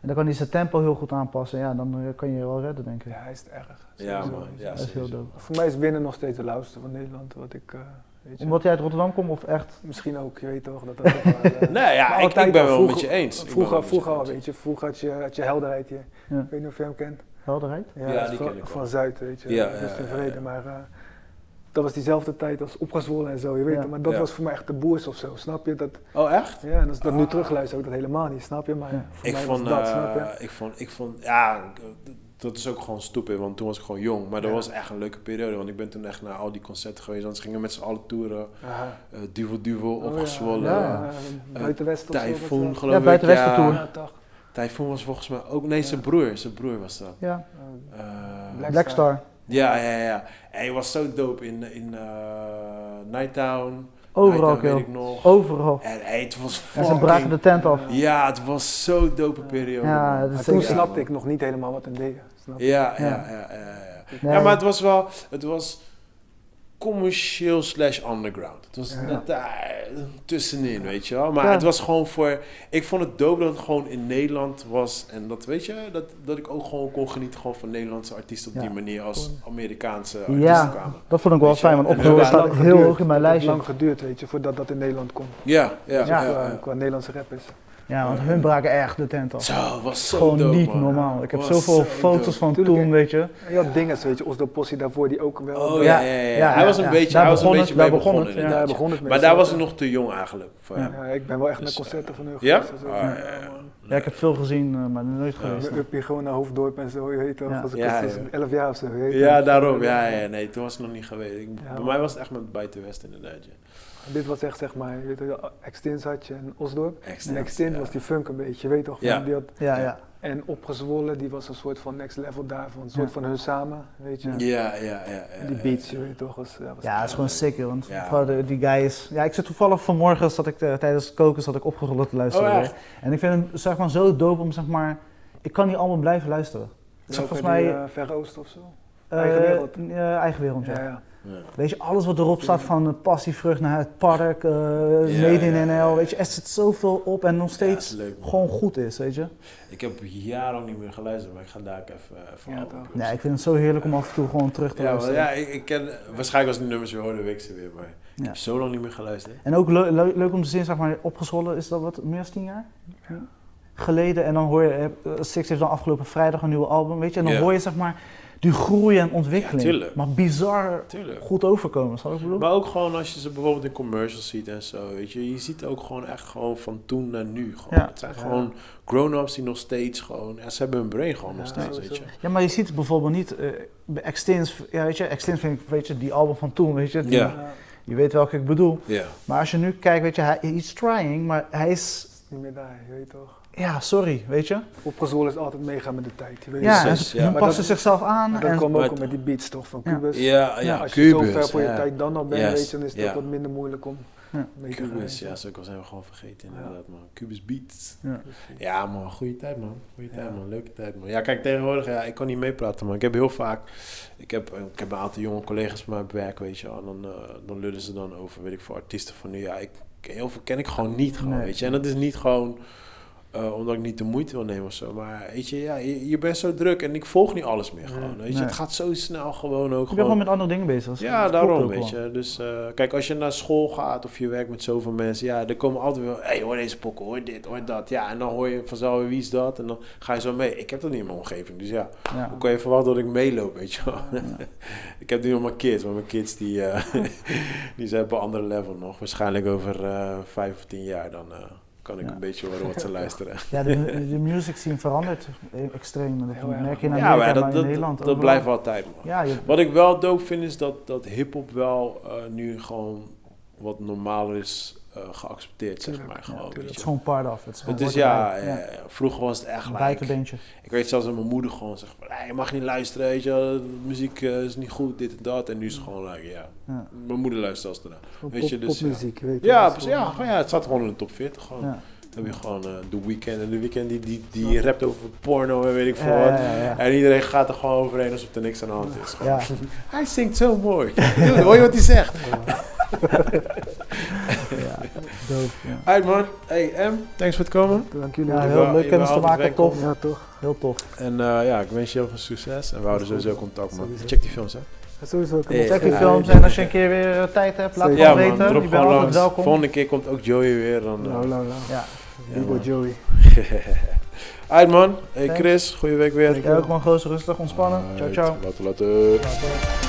Speaker 3: En dan kan hij zijn tempo heel goed aanpassen. Ja, dan eh, kan je je wel redden, denk ik.
Speaker 4: Ja, hij is te erg.
Speaker 2: ja
Speaker 4: Sowieso.
Speaker 2: man. Ja,
Speaker 3: dat is heel
Speaker 2: sowieso.
Speaker 3: dope.
Speaker 4: Voor mij is winnen nog steeds de lauwste van Nederland, wat ik, eh, weet je.
Speaker 3: Omdat hij uit Rotterdam komt of echt?
Speaker 4: Misschien ook, je weet toch, dat dat ook wel, eh,
Speaker 2: Nee, ja,
Speaker 4: Maar
Speaker 2: ik,
Speaker 4: altijd
Speaker 2: ik ben
Speaker 4: al
Speaker 2: wel
Speaker 4: vroeger-
Speaker 2: met je eens. Ik ben wel
Speaker 4: Vroeger,
Speaker 2: met
Speaker 4: vroeger
Speaker 2: je
Speaker 4: al,
Speaker 2: eens.
Speaker 4: weet je, vroeger had je, had je helderheid hier.
Speaker 3: Ja.
Speaker 4: Ik weet niet of jij hem kent.
Speaker 3: Helderheid?
Speaker 2: Ja,
Speaker 4: dat is
Speaker 2: die
Speaker 4: van,
Speaker 2: ken ik wel.
Speaker 4: van Zuid, weet je.
Speaker 2: Ja,
Speaker 4: dat is
Speaker 2: ja, ja,
Speaker 4: tevreden,
Speaker 2: ja.
Speaker 4: maar eh, dat was diezelfde tijd als opgezwollen en zo, je weet
Speaker 3: Ja.
Speaker 4: het. Maar dat
Speaker 2: Ja.
Speaker 4: was voor mij echt de boers of zo, snap je? Dat,
Speaker 2: Oh, echt?
Speaker 4: ja, en als ik dat nu
Speaker 2: Ah.
Speaker 4: terugluister, ook dat helemaal niet, snap je? Maar
Speaker 3: Ja.
Speaker 4: voor
Speaker 2: Ik
Speaker 4: mij
Speaker 2: vond,
Speaker 4: was dat,
Speaker 2: eh,
Speaker 4: snap je?
Speaker 2: ik vond, ik vond, ja, ik- dat is ook gewoon stupid, want toen was ik gewoon jong. Maar dat
Speaker 4: Ja.
Speaker 2: was echt een leuke periode, want ik ben toen echt naar al die concerten geweest. Anders gingen we met z'n allen toeren.
Speaker 4: Aha.
Speaker 2: eh Duvel Duvel,
Speaker 4: Oh, ja.
Speaker 2: Opgezwollen,
Speaker 3: Ja,
Speaker 4: Ja, eh, Buitenwest of zo, wat
Speaker 2: Typhoon
Speaker 4: was dat? eh,
Speaker 2: geloof
Speaker 3: Ja,
Speaker 2: ik.
Speaker 3: Buitenwesten tour.
Speaker 4: Ja, toch.
Speaker 2: Typhoon was volgens mij ook, nee,
Speaker 4: Ja.
Speaker 2: zijn broer, zijn broer was dat.
Speaker 3: Ja.
Speaker 4: Eh,
Speaker 2: Eh,
Speaker 4: Black-
Speaker 3: Blackstar.
Speaker 2: ja, ja, ja. En hij was zo dope in, in eh Nighttown.
Speaker 3: Overal,
Speaker 2: Nighttown weet
Speaker 3: kill.
Speaker 2: ik nog.
Speaker 3: Overal.
Speaker 2: En hey, het was
Speaker 3: En ze
Speaker 2: fucking...
Speaker 3: braken de tent af.
Speaker 2: Ja, het was zo'n dope periode.
Speaker 3: Ja,
Speaker 2: man.
Speaker 3: dat is
Speaker 4: maar
Speaker 3: zeker.
Speaker 4: toen
Speaker 2: Ja,
Speaker 4: snapte
Speaker 2: man.
Speaker 4: ik nog niet helemaal wat een deed, snap je?
Speaker 2: Ja, ja,
Speaker 3: Ja.
Speaker 2: ja, ja, ja.
Speaker 3: Nee.
Speaker 2: Ja, maar het was wel, het was commercieel slash underground. Het was
Speaker 4: Ja.
Speaker 2: net daar tussenin, weet je wel. Maar
Speaker 3: Ja.
Speaker 2: het was gewoon voor, ik vond het dope dat het gewoon in Nederland was. En dat, weet je, dat, dat ik ook gewoon kon genieten gewoon van Nederlandse artiesten op
Speaker 3: Ja.
Speaker 2: die manier als Amerikaanse artiesten
Speaker 3: Ja.
Speaker 2: kwamen.
Speaker 3: Dat vond ik wel
Speaker 2: Weet je,
Speaker 3: fijn, want
Speaker 2: en
Speaker 3: opgenomen
Speaker 2: dat-
Speaker 3: staat
Speaker 4: lang
Speaker 3: heel
Speaker 4: geduurd.
Speaker 3: hoog in mijn
Speaker 4: Het heeft
Speaker 3: lijstje.
Speaker 4: lang geduurd, weet je, voordat dat in Nederland komt. Dus
Speaker 2: Ja, ja, ja.
Speaker 3: Ja.
Speaker 2: ja.
Speaker 4: Qua, qua Nederlandse rappers.
Speaker 3: Ja, want hun braken echt de tent af.
Speaker 2: Zo, was zo
Speaker 3: Gewoon
Speaker 2: dope,
Speaker 3: niet
Speaker 2: man.
Speaker 3: normaal. Ik heb
Speaker 2: Was
Speaker 3: zoveel
Speaker 2: zo
Speaker 3: foto's
Speaker 2: dope.
Speaker 3: van
Speaker 4: Tuurlijk,
Speaker 3: toen,
Speaker 4: hè.
Speaker 3: weet je.
Speaker 4: En je had dinges, weet je, Osdo Possi daarvoor, die ook wel...
Speaker 2: Oh
Speaker 4: ja,
Speaker 2: ja, ja, ja.
Speaker 3: ja,
Speaker 2: hij was een
Speaker 3: ja.
Speaker 2: beetje,
Speaker 3: Daar
Speaker 2: hij was een
Speaker 3: begon
Speaker 2: beetje
Speaker 3: het, daar
Speaker 2: mee
Speaker 3: begon
Speaker 2: begonnen
Speaker 3: het,
Speaker 2: inderdaad,
Speaker 4: daar
Speaker 2: ja.
Speaker 4: begon het mee.
Speaker 2: Maar daar
Speaker 4: snap
Speaker 2: was
Speaker 4: je?
Speaker 2: ik nog te jong eigenlijk voor
Speaker 3: Ja.
Speaker 2: hem.
Speaker 4: Ja, ik ben wel echt
Speaker 2: Dus,
Speaker 4: naar concerten van hun
Speaker 2: Ja?
Speaker 4: geweest. Dus,
Speaker 2: Ah, ja, ja,
Speaker 4: man.
Speaker 3: Ja, ik heb veel gezien, eh, maar nooit geweest.
Speaker 4: Mijn uppie gewoon naar Hoofddorp en zo, je weet toch,
Speaker 3: Ja.
Speaker 4: als ik
Speaker 2: Ja,
Speaker 4: was
Speaker 2: ja.
Speaker 4: 11 jaar of zo, je weet
Speaker 2: Ja,
Speaker 4: toch.
Speaker 2: daarom. Ja, ja, nee, toen was het nog niet geweest. Ik-
Speaker 4: Ja,
Speaker 2: bij
Speaker 4: man.
Speaker 2: mij was het echt met Buitenwest inderdaad. Ja.
Speaker 4: Dit was echt, zeg maar, je weet toch, Extins had je en Osdorp.
Speaker 2: Echt,
Speaker 4: En
Speaker 2: ja.
Speaker 4: Extins was die funk een beetje, je weet toch, van
Speaker 2: Ja.
Speaker 4: die had,
Speaker 3: Ja, ja.
Speaker 4: en Opgezwollen, die was een soort van next level daarvan, een soort
Speaker 3: Ja.
Speaker 4: van hun samen, weet je.
Speaker 2: Ja, ja, ja. ja,
Speaker 4: En Die
Speaker 2: ja.
Speaker 4: beats, je weet toch, was... was
Speaker 3: Ja, het is gewoon sick, joh, want
Speaker 2: Ja.
Speaker 3: vooral de- die guy is... Ja, ik zit toevallig vanmorgen, zat ik, eh, tijdens het koken, zat ik opgerold te luisteren.
Speaker 2: Oh,
Speaker 3: weer.
Speaker 2: echt?
Speaker 3: en ik vind hem zeg maar, zo dope om, zeg maar... Ik kan die allemaal blijven luisteren.
Speaker 4: Welke,
Speaker 3: volgens
Speaker 4: die,
Speaker 3: mij-
Speaker 4: eh, Verre Oost of zo?
Speaker 3: Eh,
Speaker 4: Eigen wereld.
Speaker 3: eh, eigen wereld, ja.
Speaker 4: Ja, ja.
Speaker 2: Ja.
Speaker 3: Weet je, alles wat erop staat van eh, passievrucht naar het park, eh Made
Speaker 2: ja,
Speaker 3: in
Speaker 2: ja.
Speaker 3: NL, weet je, er zit zoveel op en nog
Speaker 2: Ja, het is
Speaker 3: steeds
Speaker 2: leuk, man.
Speaker 3: gewoon goed is, weet je.
Speaker 2: Ik heb jaren niet meer geluisterd, maar ik ga daar ook even, eh, even
Speaker 4: Ja,
Speaker 2: op.
Speaker 4: toch.
Speaker 3: Nee, ik vind het zo heerlijk om af en toe gewoon terug te
Speaker 2: Ja, wel,
Speaker 3: luisteren.
Speaker 2: ja ik, ik ken, waarschijnlijk als ik die nummers weer hoorde, weet ik ze weer, maar ik
Speaker 3: Ja.
Speaker 2: heb zo lang niet meer geluisterd.
Speaker 3: En ook le- le- leuk om te zien, zeg maar, opgezwollen is dat wat, meer dan tien jaar? eh, Geleden. En dan hoor je, eh, Six heeft dan afgelopen vrijdag een nieuw album, weet je. En dan
Speaker 2: Ja.
Speaker 3: hoor je, zeg maar, die groei en ontwikkeling.
Speaker 2: Ja, tuurlijk.
Speaker 3: maar bizar
Speaker 2: Tuurlijk.
Speaker 3: goed overkomen, snap je wat ik bedoel?
Speaker 2: Maar ook gewoon als je ze bijvoorbeeld in commercials ziet en zo, weet je. Je ziet ook gewoon echt gewoon van toen naar nu. Gewoon.
Speaker 3: Ja.
Speaker 2: Het zijn
Speaker 4: Ja.
Speaker 2: gewoon grown-ups die nog steeds gewoon... En ze hebben hun brain gewoon nog
Speaker 4: Ja,
Speaker 2: steeds,
Speaker 4: sowieso.
Speaker 2: weet je.
Speaker 3: Ja, maar je ziet het bijvoorbeeld niet eh, bij Extins, ja, weet je, Extins vind ik, weet je, die album van toen, weet je. die-
Speaker 2: Ja.
Speaker 4: Ja,
Speaker 3: Je weet welke ik bedoel.
Speaker 2: Ja.
Speaker 3: Maar als je nu kijkt, weet je, hij is trying, maar hij is,
Speaker 4: is niet meer daar, je weet toch.
Speaker 3: ja, sorry, weet je.
Speaker 4: Opgezwollen is altijd meegaan met de tijd, je weet
Speaker 3: Ja,
Speaker 4: toch.
Speaker 3: en
Speaker 2: Precies,
Speaker 3: ze
Speaker 2: ja.
Speaker 3: hun
Speaker 4: Maar
Speaker 3: passen
Speaker 4: dat-
Speaker 3: zichzelf aan.
Speaker 4: Maar
Speaker 3: en-
Speaker 4: dat kwam
Speaker 2: maar-
Speaker 4: ook met die beats toch, van
Speaker 3: Ja.
Speaker 4: Cubus.
Speaker 2: Ja, ja,
Speaker 4: Als je
Speaker 2: Cubus.
Speaker 4: zo ver voor je
Speaker 2: ja.
Speaker 4: tijd dan al bent,
Speaker 2: Yes,
Speaker 4: weet je, dan is het
Speaker 2: ja.
Speaker 4: ook wat minder moeilijk om
Speaker 3: Ja.
Speaker 4: mee te gaan.
Speaker 2: Cubus, ja, zo zijn we gewoon vergeten inderdaad, man. Cubus Beats.
Speaker 3: Ja.
Speaker 2: Ja, man, goede tijd, man. Goede tijd,
Speaker 4: Ja.
Speaker 2: man. Leuke tijd, man. Ja, kijk, tegenwoordig, ja, ik kan niet meepraten, man. Ik heb heel vaak... Ik heb, ik heb een aantal jonge collega's van mij op werk, weet je wel. En Dan, eh, dan lullen ze dan over, weet ik veel, artiesten van nu. Ja, ik, heel veel ken ik gewoon niet, gewoon,
Speaker 3: Nee.
Speaker 2: weet je. En dat is niet gewoon... eh, omdat ik niet de moeite wil nemen of zo. Maar weet je, ja, je, je bent zo druk en ik volg niet alles meer gewoon. Weet je,
Speaker 3: Nee.
Speaker 2: het gaat zo snel gewoon ook.
Speaker 3: ik
Speaker 2: gewoon.
Speaker 3: ben gewoon met andere dingen bezig. dat
Speaker 2: Ja,
Speaker 3: klopt
Speaker 2: daarom,
Speaker 3: ook wel.
Speaker 2: weet je. Dus eh, kijk, als je naar school gaat of je werkt met zoveel mensen, ja, er komen altijd wel, hey, hoor deze pokken, hoor dit, hoor dat. Ja, en dan hoor je vanzelf weer wie is dat en dan ga je zo mee. Ik heb dat niet in mijn omgeving, dus ja,
Speaker 3: Ja.
Speaker 2: hoe kan je verwachten dat ik meeloop, weet je wel. ik heb nu nog mijn kids, maar mijn kids die, eh, die zijn op een ander level nog. Waarschijnlijk over eh, vijf of tien jaar dan eh, kan ik
Speaker 3: Ja.
Speaker 2: een beetje horen wat ze luisteren.
Speaker 3: Ja, de, de music scene verandert e- extreem. en Dat
Speaker 4: Heel erg.
Speaker 3: merk je in
Speaker 2: Ja,
Speaker 3: Amerika,
Speaker 2: maar
Speaker 3: maar
Speaker 2: dat,
Speaker 3: in
Speaker 2: dat,
Speaker 3: Nederland
Speaker 2: dat,
Speaker 3: overal.
Speaker 2: blijft altijd, man.
Speaker 3: Ja, je,
Speaker 2: Wat ik wel dope vind is dat, dat hip-hop wel eh, nu gewoon wat normaler is eh, geaccepteerd, zeg
Speaker 4: Tuurlijk,
Speaker 2: maar. Gewoon,
Speaker 4: tuurlijk.
Speaker 2: weet
Speaker 3: het
Speaker 2: je.
Speaker 3: is gewoon part of. Het is,
Speaker 2: Het
Speaker 3: gewoon
Speaker 2: is
Speaker 3: hoort
Speaker 2: ja,
Speaker 3: erbij.
Speaker 2: eh, vroeger was het echt
Speaker 3: Een
Speaker 2: like.
Speaker 3: buitenbeentje.
Speaker 2: Ik weet zelfs dat mijn moeder gewoon zegt: van, "Hey, Je mag niet luisteren, weet je, wel, muziek eh, is niet goed, dit en dat. En nu is het gewoon like, ja.
Speaker 3: Ja.
Speaker 2: Mijn moeder luistert als daarna.
Speaker 4: Pop-
Speaker 2: Weet je, dus, ja.
Speaker 4: Popmuziek, weet je.
Speaker 2: Ja,
Speaker 4: dat is
Speaker 2: precies,
Speaker 4: wel-
Speaker 2: ja, gewoon, ja, het staat gewoon in de top 40. Gewoon.
Speaker 3: Ja.
Speaker 2: Dan heb je gewoon eh The Weeknd. En The Weeknd die, die, die rapt over porno en weet ik veel wat.
Speaker 3: Ja, ja, ja.
Speaker 2: En iedereen gaat er gewoon overheen alsof er niks aan de hand is. Gewoon.
Speaker 3: Ja.
Speaker 2: Hij zingt zo mooi. Dude, hoor je wat hij zegt?
Speaker 3: ja, dope. Ja.
Speaker 2: Uit man. Hey M, thanks voor het komen.
Speaker 4: Dank jullie
Speaker 3: Ja,
Speaker 4: wel.
Speaker 3: heel leuk
Speaker 2: je
Speaker 3: kennis te
Speaker 2: bent altijd
Speaker 3: maken, tof.
Speaker 4: Ja, toch.
Speaker 3: Heel tof.
Speaker 2: En eh, ja, ik wens je heel veel succes. En we houden sowieso contact man.
Speaker 4: Sowieso.
Speaker 2: Check die films hè.
Speaker 4: Sowieso. kan
Speaker 2: Hey,
Speaker 4: ik-
Speaker 3: Check die
Speaker 2: ja,
Speaker 3: films
Speaker 4: ja.
Speaker 3: en als je een keer weer eh, tijd hebt, laat het
Speaker 4: Ja,
Speaker 3: me
Speaker 4: man,
Speaker 3: weten. Je bent
Speaker 2: gewoon
Speaker 3: altijd welkom.
Speaker 2: Volgende keer komt ook Joey weer. Dan, eh.
Speaker 4: Nou, nou, nou.
Speaker 3: Ja,
Speaker 4: Bibo
Speaker 2: man.
Speaker 4: Joey.
Speaker 2: Uit man. Hey
Speaker 3: Thanks.
Speaker 2: Chris, goede week weer.
Speaker 3: jij ook man, gozer, rustig, ontspannen. Ciao, ciao.
Speaker 2: Laten we laten.
Speaker 3: Ciao, ciao.